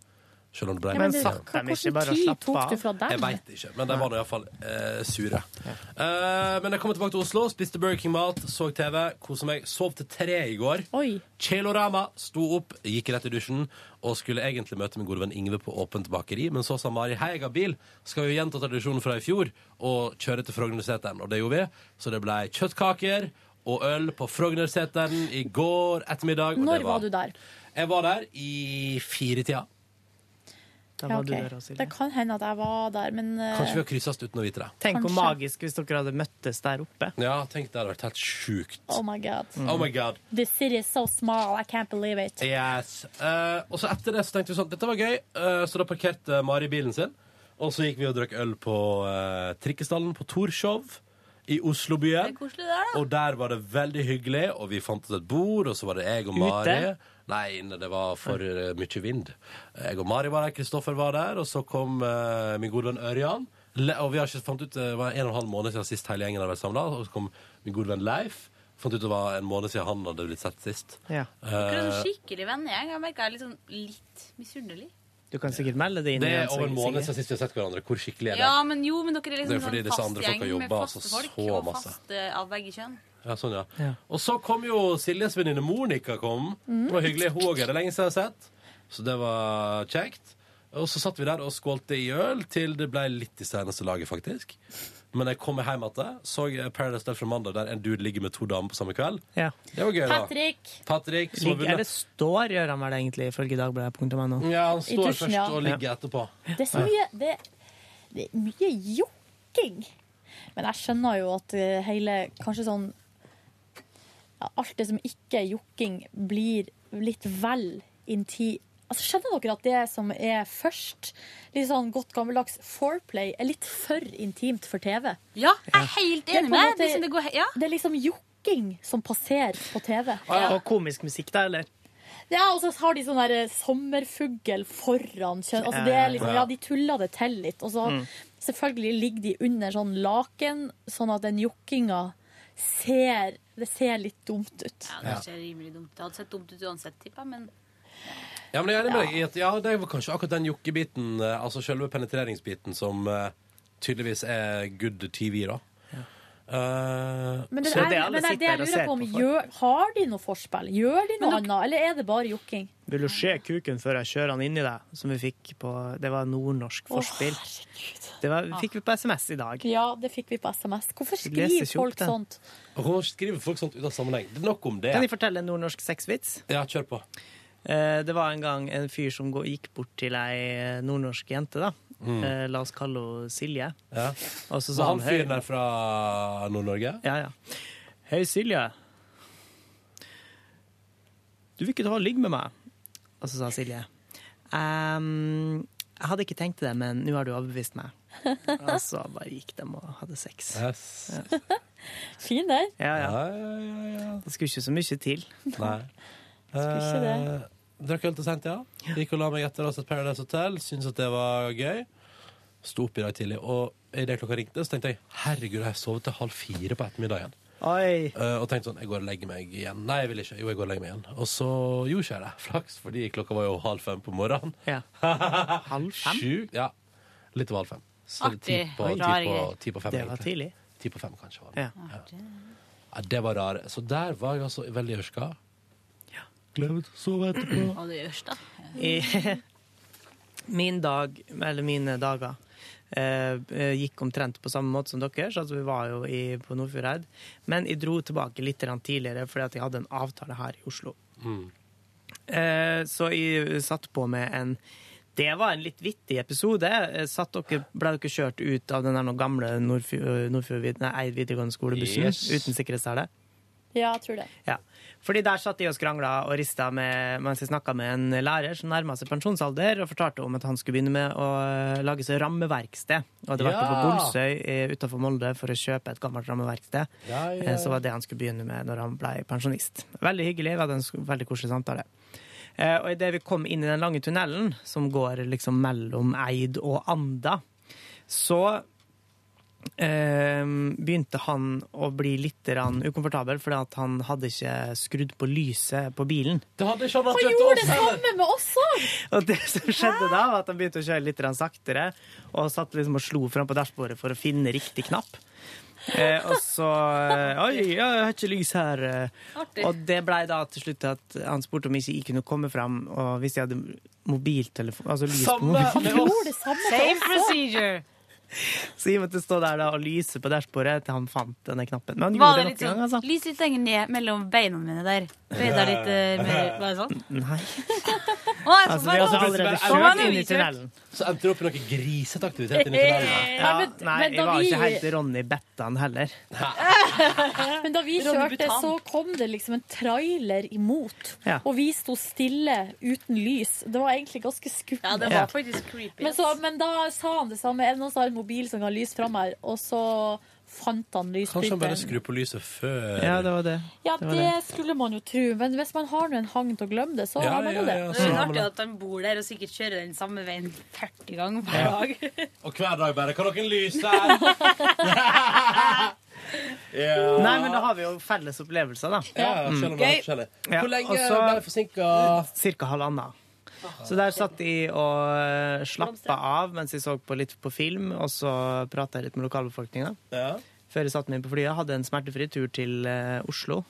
Speaker 2: Selv om det ble
Speaker 3: Ja, men du- Men satt dem ikke bare og slapp Hvordan tid tok du fra av? dem?
Speaker 2: Jeg veit ikke, men de var nå iallfall eh, sure. Eh, men jeg kom tilbake til Oslo, spiste Burger King-mat, så TV, kosa meg. Sov til tre i går.
Speaker 4: Oi.
Speaker 2: Kjelorama sto opp, gikk rett i dusjen og skulle egentlig møte min gode venn Ingve på åpent bakeri, men så sa Mari hei, jeg har bil, skal vi gjenta tradisjonen fra i fjor og kjøre til Frognerseteren? Og det gjorde vi, så det ble kjøttkaker og øl på Frognerseteren i går ettermiddag. og det
Speaker 4: Når var du der?
Speaker 2: Jeg var der i firetida. Da
Speaker 4: Ja, ok. Det kan hende at jeg var der, men eh,
Speaker 2: Kanskje vi har krysset uten å vite det.
Speaker 3: Tenk hvor
Speaker 4: Kanskje.
Speaker 3: magisk hvis dere hadde møttes der oppe.
Speaker 2: Ja, tenk det hadde vært helt sjukt.
Speaker 4: Oh my god.
Speaker 2: Oh my god.
Speaker 4: This city is so small, I can't believe it.
Speaker 2: Yes. Eh, og så etter det så tenkte vi sånn, dette var gøy, eh, så da parkerte Mari bilen sin. Og så gikk vi og drakk øl på eh, Trikkestallen på Torshov i Oslobyen.
Speaker 6: Det er koselig der, da.
Speaker 2: Og der var det veldig hyggelig, og vi fant oss et bord, og så var det jeg og Mari.
Speaker 6: Ute?
Speaker 2: Nei, inne, det var for eh, mye vind. Jeg og Mari var der, Kristoffer var der, og så kom eh, min gode venn Ørjan. Le og vi har ikke fant ut, eh, Det var en og en halv måned siden sist hele gjengen hadde vært samla. Og så kom min gode venn Leif. Fant ut det var en måned siden han hadde blitt sett sist.
Speaker 3: Ja.
Speaker 6: Dere er
Speaker 2: Eh,
Speaker 6: sånn skikkelig vennegjeng. Jeg merker jeg er litt, sånn, litt misunnelig.
Speaker 3: Du kan sikkert melde det inn.
Speaker 2: det
Speaker 3: igjen,
Speaker 2: er over en
Speaker 3: sikkert.
Speaker 2: måned siden sist vi har sett hverandre. Hvor skikkelig er det?
Speaker 6: Ja, men jo, men dere er
Speaker 2: Det er
Speaker 6: liksom
Speaker 2: fordi
Speaker 6: sånn
Speaker 2: disse
Speaker 6: fast
Speaker 2: andre folk
Speaker 6: gjeng
Speaker 2: har
Speaker 6: med
Speaker 2: jobba
Speaker 6: faste
Speaker 2: så-
Speaker 6: folk
Speaker 2: så
Speaker 6: og
Speaker 2: masse.
Speaker 6: fast eh, av begge kjønn.
Speaker 2: Ja, sånn, ja. Og så kom jo Siljes venninne Monica kom.
Speaker 6: Mm.
Speaker 2: Det var hyggelig. Hun òg er det lenge siden jeg har sett. Så det var kjekt. Og så satt vi der og skålte i øl til det ble litt i seneste laget, faktisk. Men jeg kom hjem igjen, så Paradise Del fra mandag, der en dude ligger med to damer på samme kveld.
Speaker 3: Ja.
Speaker 2: Det var gøy, da. Patrick som har
Speaker 3: Ligger-
Speaker 2: vunnet.
Speaker 3: Eller står, gjør han vel egentlig, ifølge dagbladet.no.
Speaker 2: Ja, han
Speaker 4: I
Speaker 2: står
Speaker 4: dusjen,
Speaker 2: først
Speaker 4: ja.
Speaker 2: og ligger etterpå.
Speaker 4: Det er så mye Det, det er mye jokking. Men jeg skjønner jo at eh, hele Kanskje sånn ja, Alt det som ikke er jokking, blir litt vel inti... Altså, skjønner dere at det som er først, litt sånn godt gammeldags foreplay, er litt for intimt for TV?
Speaker 6: Ja, jeg er helt
Speaker 4: Det er på en
Speaker 6: enig med
Speaker 4: måte-
Speaker 6: deg. Liksom det går he- ja.
Speaker 4: Det er liksom jokking som passerer på TV.
Speaker 3: Og komisk musikk, da, eller?
Speaker 4: Ja, og så har de sånn der eh, sommerfugl foran kjønn. Altså, det er liksom, ja, de tuller det til litt. Og så
Speaker 6: Mm.
Speaker 4: selvfølgelig ligger de under sånn laken, sånn at den jokkinga ser Det ser litt dumt ut.
Speaker 6: Ja, det ser rimelig dumt Det hadde sett dumt ut uansett, tipper jeg, men
Speaker 2: Ja, men jeg er enig med deg i at ja, det var kanskje akkurat den jokkebiten, eh, altså selve penetreringsbiten, som eh, tydeligvis er good TV, da. Eh,
Speaker 4: Men det,
Speaker 2: så-
Speaker 4: er, men det, er det jeg lurer på om gjør, Har de noe forspill? Gjør de noe annet, eller er det bare jokking?
Speaker 3: Vil du se kuken før jeg kjører den inn i deg? Som vi fikk på Det var nordnorsk
Speaker 4: Å,
Speaker 3: forspill. det var, fikk vi på SMS i dag.
Speaker 4: Ja, det fikk vi på SMS. Hvorfor
Speaker 3: Vi
Speaker 4: skriver
Speaker 3: leser ikke opp
Speaker 4: folk
Speaker 3: den.
Speaker 4: sånt?
Speaker 2: Hvorfor skriver folk sånt ut av sammenheng? Det er nok om det.
Speaker 3: Kan jeg fortelle en nordnorsk sexvits?
Speaker 2: Ja, kjør på.
Speaker 3: Eh, Det var en gang en fyr som gå- gikk bort til ei eh, nordnorsk jente, da.
Speaker 2: Mm.
Speaker 3: Eh, La oss kalle henne Silje.
Speaker 2: Ja.
Speaker 3: Og så
Speaker 2: Var
Speaker 3: sa
Speaker 2: han
Speaker 3: han, «Hei».
Speaker 2: fyren der fra Nord-Norge?
Speaker 3: Ja, ja. Hei, Silje. Du vil ikke ta og ligge med meg? Og så sa Silje. «Ehm, jeg hadde ikke tenkt det, men nå har du overbevist meg. Og så bare gikk de og hadde sex. Ja.
Speaker 4: Fin der.
Speaker 3: Ja, ja. Det skulle ikke så mye til.
Speaker 2: Nei.
Speaker 3: ikke det.
Speaker 2: Eh, Drakk øl til sent, ja. Gikk og la meg etter å ha sett Paradise Hotel. Syntes at det var gøy. Sto opp i dag tidlig, og idet klokka ringte, så tenkte jeg herregud, jeg har sovet til halv fire på ettermiddagen.
Speaker 3: Oi.
Speaker 2: Eh, og tenkte sånn, jeg går og legger meg igjen. Nei, jeg vil ikke. Jo, jeg går og legger meg igjen. Og så gjorde ikke jeg det. [LAUGHS] Flaks, fordi klokka var jo halv fem på morgenen.
Speaker 3: Ja.
Speaker 2: halv fem? Sju, ja. Litt over halv fem. Så det er ti
Speaker 3: Artig.
Speaker 2: på,
Speaker 3: Oi.
Speaker 2: ti
Speaker 3: Rare
Speaker 2: på,
Speaker 3: greier.
Speaker 2: ti på fem,
Speaker 3: Det var tidlig.
Speaker 2: Ti på fem, kanskje. Var det.
Speaker 3: Ja.
Speaker 2: Ja, det var rar. Så der var jeg altså veldig ørska. Glemt å sove etterpå.
Speaker 6: Å, det gjørs, da.
Speaker 3: I [LAUGHS] min dag, eller mine dager, eh, eh, gikk omtrent på samme måte som deres. Altså, vi var jo i, på Nordfjordeid. Men jeg dro tilbake litt grann tidligere fordi at jeg hadde en avtale her i Oslo. Eh, så jeg satt på med en Det var en litt vittig episode. Eh, Satt dere, ble dere kjørt ut av den der noen gamle Nordfjord, Nordfjord, nei, Eid videregående skole-bussen
Speaker 4: Yes.
Speaker 3: uten sikkerhetssele?
Speaker 4: Ja, jeg tror det.
Speaker 3: Ja. Fordi der satt de og skrangla og rista med, mens jeg snakka med en lærer som nærma seg pensjonsalder, og fortalte om at han skulle begynne med å eh, lage seg rammeverksted. Og hadde vært
Speaker 2: Ja!
Speaker 3: på Bolsøy utafor Molde for å kjøpe et gammelt rammeverksted.
Speaker 2: Ja, ja, ja.
Speaker 3: Eh, Så var det han skulle begynne med når han ble pensjonist. Veldig hyggelig. Vi hadde en sk- veldig koselig samtale. Eh, Og idet vi kom inn i den lange tunnelen, som går liksom mellom Eid og Anda, så eh, begynte han å bli litt grann ukomfortabel, fordi at han hadde ikke skrudd på lyset på bilen.
Speaker 2: Det hadde ikke
Speaker 4: Han gjorde det samme med oss òg!
Speaker 3: Og det som skjedde da, var at han begynte å kjøre litt grann saktere, og satt liksom og slo fram på dashbordet for å finne riktig knapp. Eh, og så eh, Oi, jeg har ikke lys her. eh.
Speaker 6: Artig.
Speaker 3: Og det blei da til slutt at han spurte om ikke jeg kunne komme fram, og hvis jeg hadde mobiltelefon Altså lys på
Speaker 6: Han
Speaker 3: mobilen.
Speaker 6: gjorde det samme
Speaker 3: Same
Speaker 6: med oss òg!
Speaker 3: Så jeg måtte stå der da og lyse på dashbordet til han fant denne knappen. Men han
Speaker 6: Var
Speaker 3: gjorde
Speaker 6: det
Speaker 3: det
Speaker 6: litt
Speaker 3: nok en
Speaker 6: sånn
Speaker 3: gang, altså.
Speaker 6: Lys litt lenger ned mellom beina mine der. Bøyda litt eh, mer Var det sånn?
Speaker 3: Nei.
Speaker 6: Å, jeg får
Speaker 3: Altså, vi
Speaker 6: bare-
Speaker 3: har altså allerede
Speaker 6: Å,
Speaker 3: kjørt
Speaker 6: nå er
Speaker 3: inn
Speaker 6: vi
Speaker 3: i tunnelen.
Speaker 2: Så endte det opp i noe grisete aktivitet inni tunnelen.
Speaker 3: Ja,
Speaker 6: Nei, men-
Speaker 3: nei,
Speaker 6: men da
Speaker 3: jeg var ikke
Speaker 6: vi-
Speaker 3: helt Ronny Bettan heller.
Speaker 4: Men da vi
Speaker 6: Ronny
Speaker 4: kjørte,
Speaker 6: Butan.
Speaker 4: så kom det liksom en trailer imot.
Speaker 3: Ja.
Speaker 4: Og vi sto stille uten lys. Det var egentlig ganske skummelt.
Speaker 6: Ja, det var faktisk creepy.
Speaker 4: men, så, men da sa han det samme. Er det noen som har en mobil som kan lyse fram her? Og så fant han
Speaker 2: Kanskje han bare
Speaker 4: lysbryteren.
Speaker 2: skrur på lyset før
Speaker 3: Ja, det var det.
Speaker 4: Ja,
Speaker 3: Det
Speaker 4: det,
Speaker 3: var det.
Speaker 4: skulle man jo tro, men hvis man har nå en hang til å glemme det, så
Speaker 2: Ja,
Speaker 4: har man jo
Speaker 2: ja,
Speaker 4: det.
Speaker 2: ja,
Speaker 13: Det er artig at han bor der og sikkert kjører den samme veien 40 ganger hver
Speaker 2: Ja.
Speaker 13: dag.
Speaker 2: Og hver dag bare Kan dere lyse her? ja.
Speaker 3: Nei, men da har vi jo felles opplevelser, da.
Speaker 2: Ja, ja, selv om det er forskjellig. Hvor lenge ble det forsinka?
Speaker 3: Cirka halvannen. Så der satt de og eh, slappa av mens de så på litt på film, og så prata litt med lokalbefolkninga. Før jeg satte meg inn på flyet, hadde jeg en smertefri tur til eh, Oslo.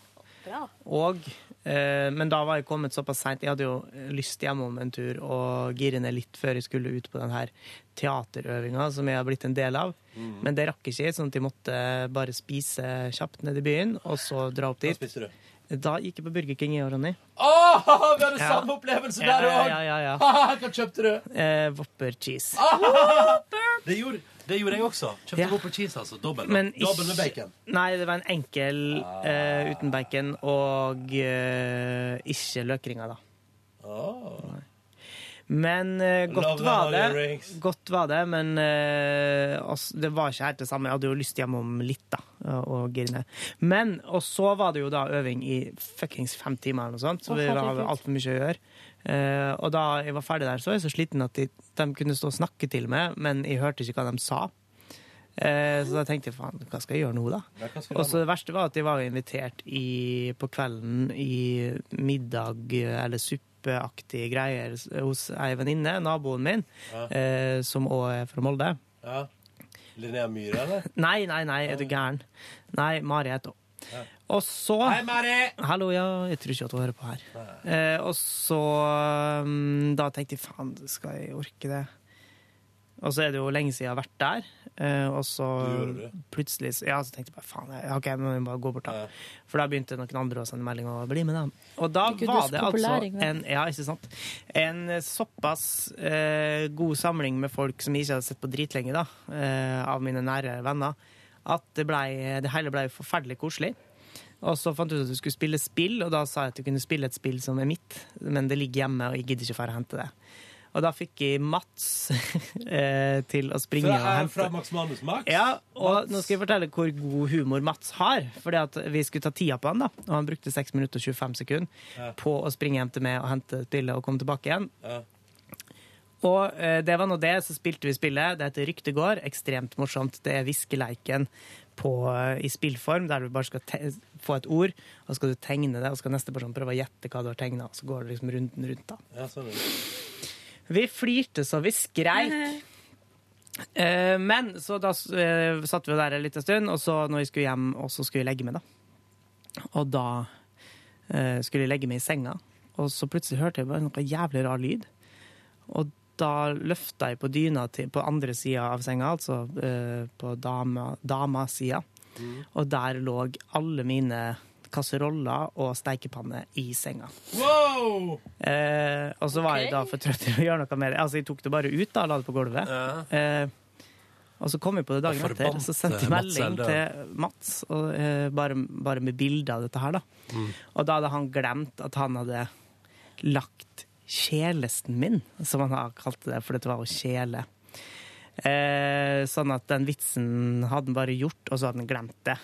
Speaker 13: Bra.
Speaker 3: Og, eh, men da var jeg kommet såpass seint. Jeg hadde jo lyst hjemom en tur og gire ned litt før jeg skulle ut på den her teaterøvinga som jeg har blitt en del av.
Speaker 2: Mhm.
Speaker 3: Men det rakk ikke, sånn at jeg måtte bare spise kjapt nede i byen, og så dra opp dit.
Speaker 2: spiste du?
Speaker 3: Da gikk jeg på Burger King, jeg og Ronny.
Speaker 2: Åh, vi hadde
Speaker 3: Ja.
Speaker 2: samme opplevelse
Speaker 3: Ja,
Speaker 2: der
Speaker 3: ja,
Speaker 2: òg!
Speaker 3: ja, ja, ja.
Speaker 2: Hva kjøpte du?
Speaker 3: Eh, Whopper cheese.
Speaker 2: Ah! Det gjorde, det gjorde jeg også. Kjøpte Whopper cheese, altså. Dobbel.
Speaker 3: Men
Speaker 2: Dobbel med
Speaker 3: ikke-
Speaker 2: bacon.
Speaker 3: Nei, det var en enkel eh, uten bacon og eh, ikke løkringer, da. Nei. Men eh, godt
Speaker 2: Ah. Love
Speaker 3: var
Speaker 2: the
Speaker 3: det.
Speaker 2: Holy Rings.
Speaker 3: Godt var det, men eh, oss- det var ikke helt det samme. Jeg hadde jo lyst hjemom litt, da. Og grine. Men, og så var det jo da øving i fuckings fem timer eller noe sånt, så
Speaker 5: Å,
Speaker 3: vi var
Speaker 5: herregud.
Speaker 3: altfor mye å gjøre. Eh, og da jeg var ferdig der, så var jeg så sliten at de, de kunne stå og snakke til meg, men jeg hørte ikke hva de sa. Eh, så da tenkte jeg faen, hva skal jeg gjøre nå, da?
Speaker 2: Ja, hva skal du
Speaker 3: Og så
Speaker 2: gjøre
Speaker 3: det verste var at de var jo invitert i, på kvelden i middag eh, eller suppeaktige greier s- hos ei venninne, naboen min,
Speaker 2: Ja.
Speaker 3: eh, som òg er fra Molde.
Speaker 2: Ja. Linnea Myhre, eller?
Speaker 3: Nei, nei, nei, er du gæren? Nei, Mari heter hun.
Speaker 2: Ja.
Speaker 3: Og så
Speaker 2: Hei, Mari!
Speaker 3: Hallo, ja. Jeg tror ikke at hun hører på her. Eh, og så mm, Da tenkte jeg faen, skal jeg orke det? Og så er det jo lenge siden jeg har vært der. eh, og så
Speaker 2: Du gjorde det.
Speaker 3: plutselig så- Ja, så tenkte jeg bare faen, jeg, OK, nå må jeg bare gå bort, da. For da begynte noen andre å sende melding og bli med, dem. Og da
Speaker 4: Herregud, du er
Speaker 3: var
Speaker 4: så
Speaker 3: det
Speaker 4: populær,
Speaker 3: altså
Speaker 4: Ingvild.
Speaker 3: en, ja, ikke sant? en såpass eh, god samling med folk som jeg ikke hadde sett på dritlenge, da, eh, av mine nære venner, at det, ble, det hele ble forferdelig koselig. Og så fant jeg ut at vi skulle spille spill, og da sa jeg at jeg kunne spille et spill som er mitt, men det ligger hjemme, og jeg gidder ikke for å hente det. Og da fikk jeg Mats [LAUGHS] eh, til å springe og
Speaker 2: Fra,
Speaker 3: hente
Speaker 2: fra Max Manus Max?
Speaker 3: ja, og nå skal jeg fortelle hvor god humor Mats har. Fordi at vi skulle ta tida på han, da og han brukte 6 minutter og 25 sekunder
Speaker 2: Ja.
Speaker 3: på å springe hjem til meg og hente spillet og komme tilbake igjen.
Speaker 2: Ja.
Speaker 3: Og eh, det var nå det, så spilte vi spillet. Det heter Ryktegård. Ekstremt morsomt. Det er hviskeleiken på, eh, i spillform, der du bare skal te få et ord, og så skal du tegne det, og så skal neste person prøve å gjette hva du har tegna, og så går det liksom runden rundt, da.
Speaker 2: Ja, sånn er det.
Speaker 3: Vi flirte så vi skreik. Eh, Men så da eh, satt vi jo der en liten stund, og så når jeg skulle hjem, og så skulle jeg legge meg, da. Og da eh, skulle jeg legge meg i senga, og så plutselig hørte jeg bare noe jævlig rar lyd. Og da løfta jeg på dyna til, på andre sida av senga, altså eh, på dama, damas sida. Og der lå alle mine kasseroller og steikepanner i senga.
Speaker 2: Wow!
Speaker 3: Eh, og så var jeg da for trøtt til å gjøre noe med det. Altså, jeg tok det bare ut da, la det på gulvet. Eh, og så kom jeg på det dagen
Speaker 2: Og
Speaker 3: etter, og så sendte jeg
Speaker 2: forbannede Mats
Speaker 3: melding
Speaker 2: Eldal.
Speaker 3: til Mats, og, eh, bare, bare med bilde av dette her, da.
Speaker 2: Mm.
Speaker 3: Og da hadde han glemt at han hadde lagt kjelesten min, som han har kalt det, for dette var å kjele. Eh, sånn at den vitsen hadde han bare gjort, og så hadde han glemt det.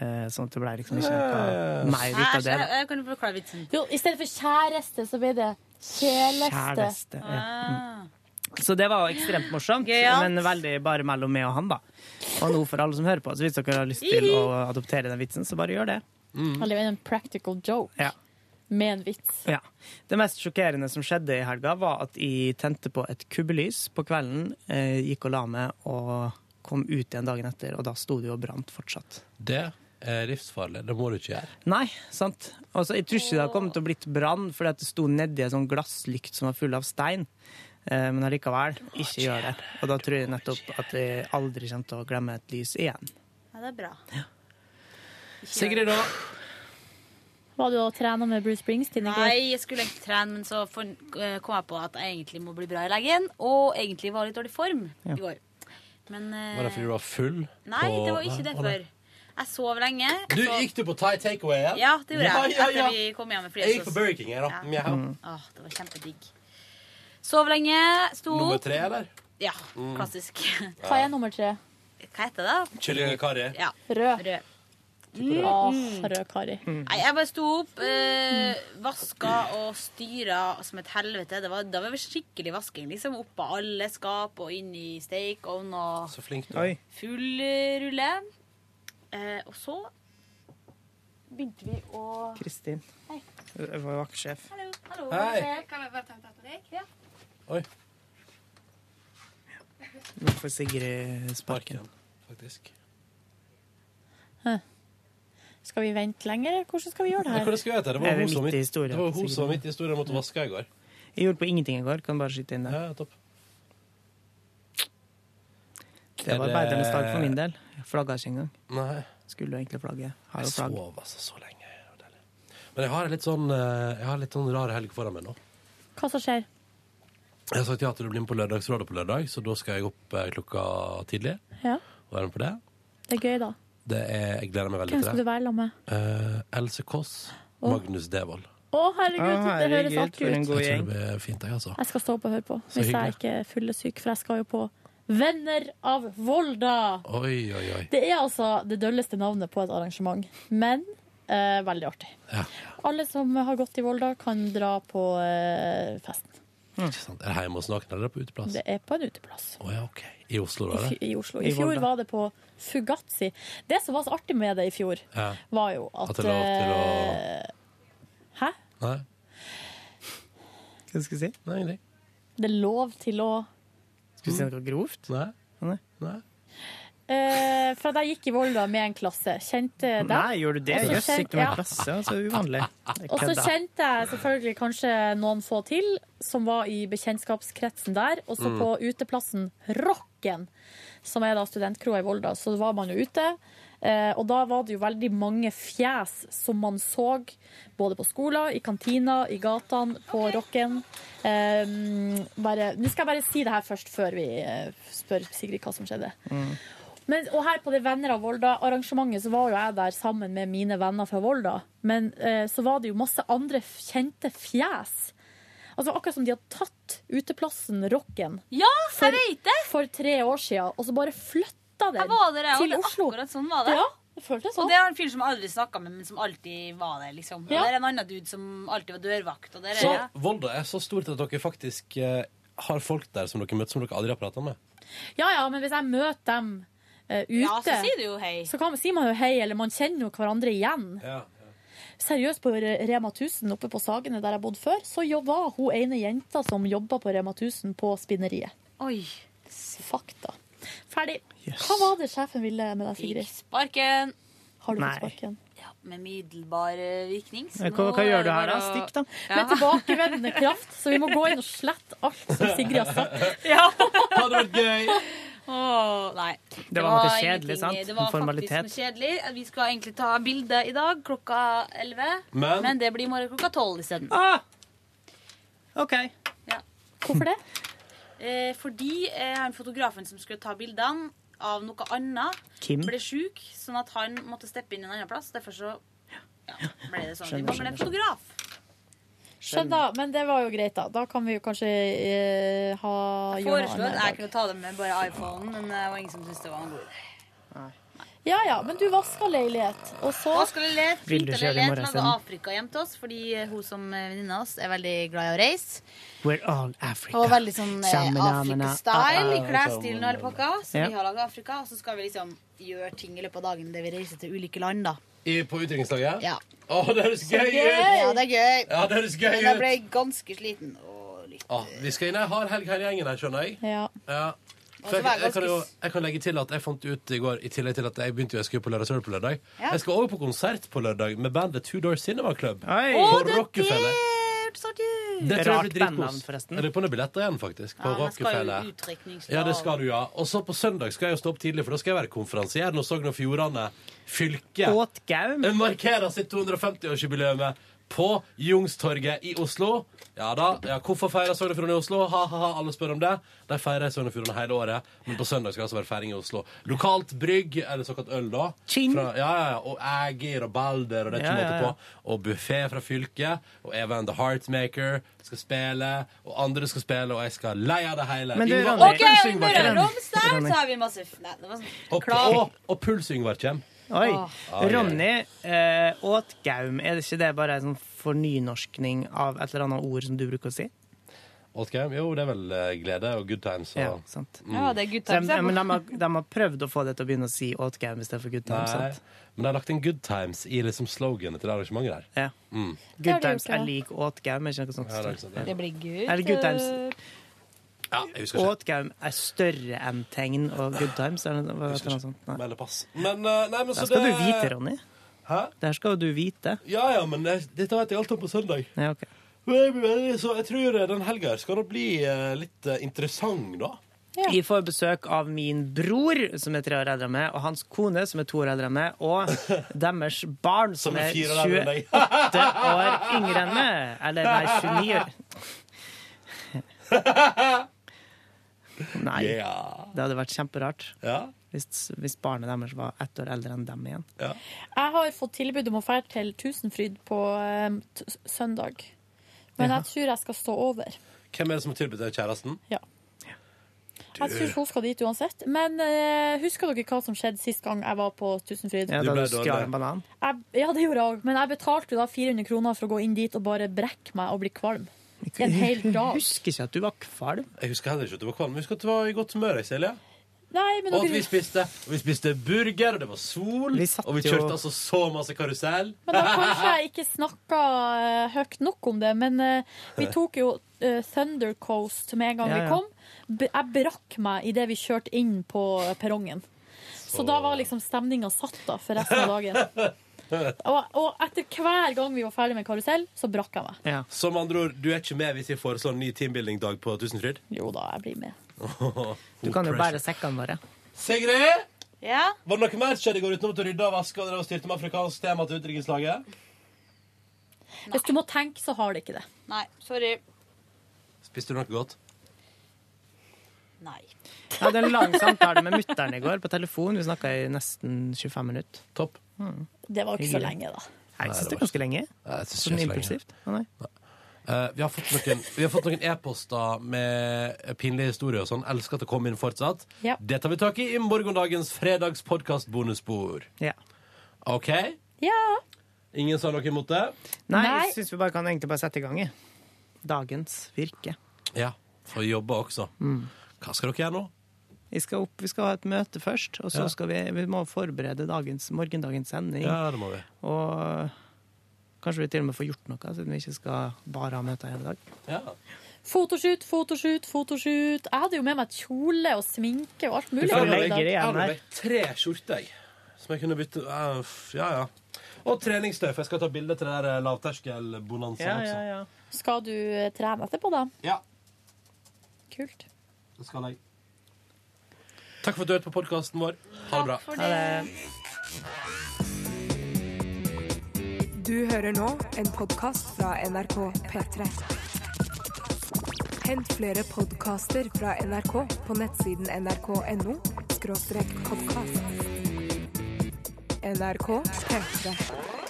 Speaker 3: Eh, sånn at det ble liksom ikke noe mer ut av det. da.
Speaker 13: kan du forklare vitsen.
Speaker 4: Jo, I stedet for kjæreste, så blir det kjæleste.
Speaker 3: Kjæleste, ja. Mm. Så det var jo ekstremt morsomt,
Speaker 4: Gøyalt.
Speaker 3: men veldig bare mellom meg og han, da. Og nå for alle som hører på, så hvis dere har lyst til å adoptere den vitsen, så bare gjør det.
Speaker 4: Han lever en practical joke
Speaker 3: Ja.
Speaker 4: med en vits.
Speaker 3: Ja. Det mest sjokkerende som skjedde i helga, var at jeg tente på et kubbelys på kvelden, eh, gikk og la meg og kom ut igjen dagen etter, og da sto det jo og brant fortsatt.
Speaker 2: Det er livsfarlig. Det må du ikke gjøre.
Speaker 3: Nei, sant. Altså, jeg tror ikke det har kommet til å blitt brann, fordi at det sto nedi en sånn glasslykt som var full av stein. Eh, Men allikevel, ikke gjør det. Og da tror jeg nettopp at jeg aldri kommer til å glemme et lys igjen.
Speaker 13: Ja, det er bra.
Speaker 3: Sigrid, da?
Speaker 4: Var du og trena med Bruce Springsteen i går?
Speaker 13: Nei, jeg skulle egentlig trene, men så for, eh, kom jeg på at jeg egentlig må bli bra i leggen. Og egentlig var jeg i litt dårlig form
Speaker 2: Ja.
Speaker 13: i går. Men eh,
Speaker 2: Var det fordi du var full?
Speaker 13: Nei,
Speaker 2: på-
Speaker 13: det var ikke
Speaker 2: Nei, å, nei.
Speaker 13: derfor. Jeg sov lenge.
Speaker 2: Du, gikk du på Thai takeaway? Ja?
Speaker 13: Ja, det gjorde jeg.
Speaker 2: Ja, ja, ja.
Speaker 13: Etter vi kom hjem med
Speaker 2: Jeg gikk på Burger King, jeg, da.
Speaker 13: Ja.
Speaker 2: Mjau.
Speaker 13: Åh, det var kjempedigg. Sov lenge, sto
Speaker 2: Nummer
Speaker 13: opp.
Speaker 2: tre, eller?
Speaker 13: Ja,
Speaker 2: Mm.
Speaker 13: klassisk. [LAUGHS]
Speaker 4: Hva er nummer tre?
Speaker 13: Hva heter det?
Speaker 2: Kylling og karri.
Speaker 13: Ja.
Speaker 4: Rød.
Speaker 13: Mm.
Speaker 4: Ah, rød karri.
Speaker 13: Nei, jeg bare sto opp, eh, vaska og styra som et helvete. Det var, det var skikkelig vasking. liksom Opp av alle skap og inn i stekeovn og
Speaker 2: Så flink du er.
Speaker 13: Oi. full eh, rulle. Eh, og så begynte vi å
Speaker 3: Kristin.
Speaker 13: Hei.
Speaker 3: Jeg var vaktsjef.
Speaker 13: Hallo. hallo.
Speaker 7: Hei. Eh, Kan jeg bare ta en tatt med deg?
Speaker 3: Hvorfor Sigrid sparken?
Speaker 2: Faktisk.
Speaker 4: Skal vi vente lenger, eller hvordan skal vi gjøre det
Speaker 2: Hva
Speaker 4: her?
Speaker 2: det skal jeg gjøre? Det
Speaker 3: Er
Speaker 2: var
Speaker 3: vi
Speaker 2: hun som
Speaker 3: midt i
Speaker 2: midt,
Speaker 3: historien,
Speaker 2: det var hun
Speaker 3: sikkert?
Speaker 2: som midt i historien måtte vaske i går.
Speaker 3: Jeg gjorde på ingenting i går. Kan bare skyte inn det.
Speaker 2: Ja, topp.
Speaker 3: Det var arbeidernes dag for min del. Jeg Flagga ikke engang.
Speaker 2: Nei.
Speaker 3: Skulle jo egentlig flagge. Har
Speaker 2: Jeg
Speaker 3: jo flagg.
Speaker 2: sov altså så lenge. Det var deilig. Men jeg har en litt sånn, eh, jeg har en litt sånn rar helg foran meg nå.
Speaker 4: Hva som skjer?
Speaker 2: Jeg har sagt ja til å bli med på Lørdagsrådet på lørdag, så da skal jeg opp eh, klokka tidlig.
Speaker 4: Ja,
Speaker 2: og Være med på det.
Speaker 4: det er gøy, da.
Speaker 2: det er, jeg gleder meg veldig
Speaker 4: Hvem skal
Speaker 2: til
Speaker 4: du
Speaker 2: det.
Speaker 4: være sammen med?
Speaker 2: Eh, Else Kåss,
Speaker 4: Å.
Speaker 2: Magnus Devold.
Speaker 4: Å, herregud,
Speaker 3: Å,
Speaker 4: det
Speaker 3: herregud,
Speaker 4: høres artig
Speaker 3: for en
Speaker 4: ut.
Speaker 3: god
Speaker 2: Jeg tror
Speaker 3: gjeng.
Speaker 2: det blir fint, jeg, altså.
Speaker 4: Jeg skal stå opp og høre på,
Speaker 2: Så
Speaker 4: hvis jeg
Speaker 2: hyggelig.
Speaker 4: ikke er fyllesyk, for jeg skal jo på Venner av Volda.
Speaker 2: Oi, oi, oi.
Speaker 4: Det er altså det dølleste navnet på et arrangement, men eh, veldig artig. Alle som har gått i Volda, kan dra på eh, festen.
Speaker 2: Ikke sant? Er det hjemme hos noen eller er det på uteplass?
Speaker 4: Det er på en uteplass.
Speaker 2: Å ja, OK. I Oslo, da?
Speaker 4: I,
Speaker 2: eller?
Speaker 4: fj- I Oslo. I fjor var det på Fugazi. Det som var så artig med det i fjor,
Speaker 2: Ja.
Speaker 4: var jo at,
Speaker 2: At det er lov til å-
Speaker 4: eh, Hæ?
Speaker 2: Nei?
Speaker 3: Hva skal jeg si?
Speaker 2: Nei, nei.
Speaker 4: Det er lov til å
Speaker 3: Skal vi si noe grovt?
Speaker 2: Nei.
Speaker 3: Nei.
Speaker 4: Eh, For at jeg gikk i Volda med en klasse. Kjente dem.
Speaker 3: Nei, gjør du det?
Speaker 4: Og så
Speaker 3: Jøss,
Speaker 4: kjente-
Speaker 3: ikke noe
Speaker 4: ja.
Speaker 3: klasse. Altså, uvanlig. Jeg
Speaker 4: Og så
Speaker 3: kødda.
Speaker 4: kjente jeg selvfølgelig kanskje noen få til som var i bekjentskapskretsen der. Og så
Speaker 3: Mm.
Speaker 4: på uteplassen Rocken, som er da studentkroa i Volda, så var man jo ute. Eh, og da var det jo veldig mange fjes som man så både på skoler, i kantina, i gatene, på Rocken. Eh, bare, nå skal jeg bare si det her først, før vi eh, spør Sigrid hva som skjedde. Men, og her på det Venner av Volda-arrangementet så var jo jeg der sammen med mine venner fra Volda. Men eh, så var det jo masse andre f- kjente fjes. Altså Akkurat som de hadde tatt uteplassen Rocken
Speaker 13: Ja,
Speaker 4: for, for tre år siden, og så bare flytta den
Speaker 13: Jeg var der, jeg. og
Speaker 4: til
Speaker 13: det-
Speaker 4: Oslo.
Speaker 13: Akkurat sånn var det.
Speaker 4: Ja, det føltes sånn.
Speaker 13: Og det er en fyr som jeg aldri snakka med, men som alltid var der. liksom Og
Speaker 4: Ja.
Speaker 13: det er en annen dude som alltid var dørvakt. Og der er
Speaker 2: Så Volda er så stort at dere faktisk eh, har folk der som dere møtte som dere aldri har prata med.
Speaker 4: Ja ja, men hvis jeg møter dem eh, ute,
Speaker 13: Ja, så sier du jo hei.
Speaker 4: så kan, sier man jo hei, eller man kjenner jo hverandre igjen. Seriøst, på Rema 1000 oppe på Sagene, der jeg bodde før, så jobba hun ene jenta som jobba på Rema 1000 på spinneriet.
Speaker 13: Oi.
Speaker 4: Fakta. Ferdig. Hva var det sjefen ville med deg,
Speaker 13: Fikk
Speaker 4: Sigrid?
Speaker 13: sparken.
Speaker 4: Har du
Speaker 13: Nei.
Speaker 4: fått sparken?
Speaker 13: Ja, med middelbar eh, virkning. så
Speaker 3: Hva-
Speaker 13: nå
Speaker 3: hva gjør
Speaker 13: er
Speaker 3: du
Speaker 13: det
Speaker 3: her,
Speaker 13: bare
Speaker 3: da?
Speaker 13: å-
Speaker 3: Stikk, da.
Speaker 13: Ja.
Speaker 4: Med tilbakevendende kraft, så vi må gå inn og slette alt som Sigrid har sagt.
Speaker 13: Ja.
Speaker 2: Det hadde vært gøy.
Speaker 13: Åh, nei. Det,
Speaker 3: var noe kjedelig,
Speaker 13: ingenting.
Speaker 3: sant?
Speaker 13: Det var
Speaker 3: En formalitet.
Speaker 13: faktisk noe kjedelig. Vi skulle egentlig ta bilde i dag klokka 11,
Speaker 3: Men?
Speaker 13: det blir i morgen klokka 12 isteden.
Speaker 3: OK.
Speaker 13: Ja.
Speaker 4: Hvorfor det?
Speaker 13: Eh, fordi eh, han fotografen som skulle ta bildene av noe annet,
Speaker 3: Kim?
Speaker 13: ble sjuk, sånn at han måtte steppe inn en annen plass. Derfor så ja, ble det sånn.
Speaker 4: Skjønner,
Speaker 13: Vi mangler
Speaker 4: skjønner,
Speaker 13: en fotograf.
Speaker 4: Skjønner, men det var jo greit, da. Da kan vi jo kanskje eh, ha gjøre noe annet
Speaker 13: Foreslo at
Speaker 4: i
Speaker 13: jeg
Speaker 4: dag.
Speaker 13: kunne ta dem med bare iPhonen, men eh, det var ingen som syntes det var noe god idé.
Speaker 4: Ja ja, men du vaska leilighet, og så
Speaker 13: Og skulle let,
Speaker 4: Vil du
Speaker 13: fint
Speaker 4: kjøre i
Speaker 13: eller let,
Speaker 4: morgen
Speaker 13: laga
Speaker 4: isteden?
Speaker 13: Afrika hjem til oss, fordi eh, hun som eh, venninne av oss er veldig glad i å reise.
Speaker 3: We're all Africa.
Speaker 13: Og veldig sånn eh,
Speaker 3: Sammen, amena,
Speaker 13: Afrika-style
Speaker 3: ah,
Speaker 13: i
Speaker 3: ah.
Speaker 13: klesstilen og hele pakka. Så
Speaker 3: Ja.
Speaker 13: vi har laga Afrika, og så skal vi liksom gjøre ting i løpet av dagen der vi reiser til ulike land, da.
Speaker 2: I, på utdrikningslaget?
Speaker 13: Ja.
Speaker 2: Å, det høres gøy ut!
Speaker 13: Ja, det er gøy.
Speaker 2: Ja, det høres gøy
Speaker 13: Men jeg
Speaker 2: ut.
Speaker 13: ble ganske sliten. Og litt.
Speaker 2: Å, vi skal inn ei hard helg her i gjengen her, skjønner jeg.
Speaker 4: Ja.
Speaker 2: Ja.
Speaker 13: Og
Speaker 2: For
Speaker 13: så
Speaker 2: jeg,
Speaker 13: var jeg
Speaker 2: jeg, kan jo,
Speaker 13: ganske
Speaker 2: jeg kan legge til at jeg fant ut i går, i tillegg til at jeg begynte jo jeg skulle på lørdag, så var det på lørdag.
Speaker 13: Ja.
Speaker 2: Jeg skal også på konsert på lørdag med bandet Two Door Cinema Club.
Speaker 13: Å,
Speaker 2: På
Speaker 13: det er
Speaker 2: Rockefeller.
Speaker 13: Helt sånn, du.
Speaker 2: Det tror jeg
Speaker 3: Rart
Speaker 2: blir dritkos.
Speaker 3: bandnavn, forresten.
Speaker 2: Jeg lurer på noen billetter igjen, faktisk. På
Speaker 13: Ja, men jeg skal jo
Speaker 2: Rockefeller.
Speaker 13: utdrikningsdag.
Speaker 2: Ja, det skal du, ja. Og så på søndag skal jeg jo stå opp tidlig, for da skal jeg være konferansier når Sogn og Fjordane fylke
Speaker 3: Åt gaum.
Speaker 2: markerer sitt 250-årsjubileum på Jungstorget i Oslo. Ja da, ja, Hvorfor feirer Sogn og Fjordane i Oslo? Ha-ha-ha, alle spør om det. De feirer i Sogn og Fjordane hele året, men på søndag skal det altså være feiring i Oslo. Lokalt brygg, eller såkalt øl, da. Fra, ja, ja, ja, Og Ægir og Balder og det er ikke
Speaker 3: Ja, ja, ja.
Speaker 2: måte på. Og buffé fra fylket. Og Even The Heartmaker skal spille. Og andre skal spille, og jeg skal leie av det hele.
Speaker 3: Men du,
Speaker 2: Yngvar-
Speaker 3: Ronny,
Speaker 18: OK, og i Møre og Romsdal så har vi masse f- Nei, det var sånn
Speaker 2: Og,
Speaker 18: Klar.
Speaker 2: og, og Puls-Yngvar kommer.
Speaker 3: Oi.
Speaker 18: Åh.
Speaker 2: Ai, ai.
Speaker 3: Ronny eh, åt gaum. Er det ikke det bare en sånn fornynorskning av et eller annet ord som du bruker å si?
Speaker 2: Åtgaum? Jo, det er vel eh, glede og good times. Og...
Speaker 3: Ja, sant.
Speaker 2: Mm. Ja, det er good
Speaker 3: Så de-
Speaker 2: times, ja.
Speaker 3: Men de har, de har prøvd å få det til å begynne å si åt gaum istedenfor good times.
Speaker 2: Nei,
Speaker 3: Sant?
Speaker 2: men de har lagt inn good times i liksom sloganet til det arrangementet der.
Speaker 3: Ja.
Speaker 2: Mm.
Speaker 18: Det har
Speaker 3: Good
Speaker 18: de
Speaker 3: times
Speaker 18: gjort, ja.
Speaker 3: er lik åt gaum, er ikke noe sånt?
Speaker 2: Ja, det er ikke sant, ja.
Speaker 18: Det blir good.
Speaker 3: Eller good times.
Speaker 2: Ja, jeg husker ikke.
Speaker 3: Åt gaum er større enn tegn og good times. Er det, hva, vet du noe sånt? Nei.
Speaker 2: Eller pass. Men, eh, nei, men
Speaker 3: Det
Speaker 2: så
Speaker 3: skal
Speaker 2: det...
Speaker 3: du vite, Ronny.
Speaker 2: Hæ?
Speaker 3: Det her skal jo du vite.
Speaker 2: Ja, ja, men jeg, dette vet jeg alt om på søndag.
Speaker 3: Ja, ok.
Speaker 2: Men, men, Så jeg tror eh, den helga her skal da bli eh, litt eh, interessant, da.
Speaker 3: Vi får besøk av min bror, som er tre år eldre enn meg, og hans kone, som er to år eldre enn meg,
Speaker 2: [LAUGHS]
Speaker 3: og deres barn, som,
Speaker 2: Som er
Speaker 3: er
Speaker 2: fire år eldre
Speaker 3: 28
Speaker 2: enn deg.
Speaker 3: år yngre enn meg. Eller nei, 29 år. Nei. Det hadde vært kjemperart hvis, hvis barnet deres var ett år eldre enn dem igjen.
Speaker 4: Jeg har fått tilbud om å dra til Tusenfryd på eh, t søndag. Men
Speaker 2: Ja.
Speaker 4: jeg tror jeg skal stå over.
Speaker 2: Hvem er det som har tilbudt deg kjæresten?
Speaker 4: Ja. Jeg tror hun skal dit uansett. Men eh, husker dere hva som skjedde sist gang jeg var på Tusenfryd?
Speaker 3: Ja,
Speaker 2: Du
Speaker 3: da
Speaker 2: ble
Speaker 3: du
Speaker 2: dårlig.
Speaker 3: skral en banan.
Speaker 4: Jeg, ja, det gjorde jeg òg. Men jeg betalte jo da 400 kroner for å gå inn dit og bare brekke meg og bli kvalm. I en hel dag.
Speaker 3: Jeg husker ikke at du var kvalm.
Speaker 2: Jeg husker heller ikke at du var kvalm. men Jeg husker at du var i godt humør, jeg, Silje.
Speaker 4: Nei, men
Speaker 2: Og at vi
Speaker 4: dere...
Speaker 2: spiste, og vi spiste burger, og det var sol,
Speaker 3: Vi satt
Speaker 2: og vi
Speaker 3: jo-
Speaker 2: kjørte altså så masse karusell.
Speaker 4: Men da kanskje jeg ikke snakka eh, høyt nok om det, men eh, vi tok jo eh, Thunder Coast med en gang
Speaker 2: Ja, ja.
Speaker 4: vi kom. B jeg brakk meg idet vi kjørte inn på eh, perrongen. Så, da var liksom stemninga satt da for resten av dagen. Og, og etter hver gang vi var ferdig med karusell, så brakk jeg meg.
Speaker 2: Som andre ord, du er ikke med hvis vi foreslår en ny teambuilding-dag på Tusenfryd?
Speaker 4: Jo da, jeg blir med.
Speaker 3: Du kan jo bære sekkene våre.
Speaker 2: Sigrid!
Speaker 18: Ja?
Speaker 2: Var det noe mer som skjedde i går utenom at du rydda og vaska og drev og styrte med afrikansk tema til utenrikslaget?
Speaker 4: Hvis du må tenke, så har det ikke det.
Speaker 18: Nei, sorry.
Speaker 2: Spiste du noe godt?
Speaker 18: Nei.
Speaker 3: Jeg hadde en lang samtale med mutter'n i går på telefon. Vi snakka i nesten 25 minutter.
Speaker 2: Topp.
Speaker 4: Det var ikke så
Speaker 3: Hyggelig.
Speaker 4: lenge, da.
Speaker 3: Nei, jeg
Speaker 2: Nei, det
Speaker 3: syns det
Speaker 2: var
Speaker 3: er ganske lenge.
Speaker 2: Nei, jeg synes
Speaker 3: Sånn
Speaker 2: ikke så lenge.
Speaker 3: impulsivt. Å, nei.
Speaker 2: Eh, vi har fått noen vi har fått noen e-poster med pinlige historier og sånn. Elsker at det kommer inn fortsatt.
Speaker 3: Ja.
Speaker 2: Det tar vi tak i i morgendagens fredagspodkast-bonusbord.
Speaker 3: Ja.
Speaker 2: OK? Ingen sa noe imot det?
Speaker 3: Nei, jeg syns vi bare kan egentlig bare sette i gang. jeg. Dagens virke.
Speaker 2: Ja. For å jobbe også.
Speaker 4: Mm.
Speaker 2: Hva skal dere gjøre nå?
Speaker 3: Vi skal, opp, vi skal ha et møte først, og så
Speaker 2: Ja.
Speaker 3: skal vi, vi må forberede dagens, morgendagens sending.
Speaker 2: Ja, det må vi.
Speaker 3: Og kanskje vi til og med får gjort noe, siden vi ikke skal bare ha møter hele dag.
Speaker 4: Fotoshoot, fotoshoot, fotoshoot. Jeg hadde jo med meg kjole og sminke og alt mulig.
Speaker 2: Jeg
Speaker 4: for
Speaker 2: har
Speaker 4: i
Speaker 2: med
Speaker 4: dag.
Speaker 2: meg- jeg har med meg tre skjorter, jeg. Som jeg kunne bytte eh, f- Ja, ja. Og treningstøy, for jeg skal ta bilde til den der eh, lavterskelbonanzaen
Speaker 4: Ja, ja, ja. Skal du eh, trene etterpå, da?
Speaker 2: Ja. også.
Speaker 4: Kult.
Speaker 2: Det skal jeg. Takk for at du hørte på podkasten vår. Ha det bra.
Speaker 1: Du hører nå en podkast fra NRK P3. Hent flere podkaster fra NRK på nettsiden nrk.no podkast. NRK P3.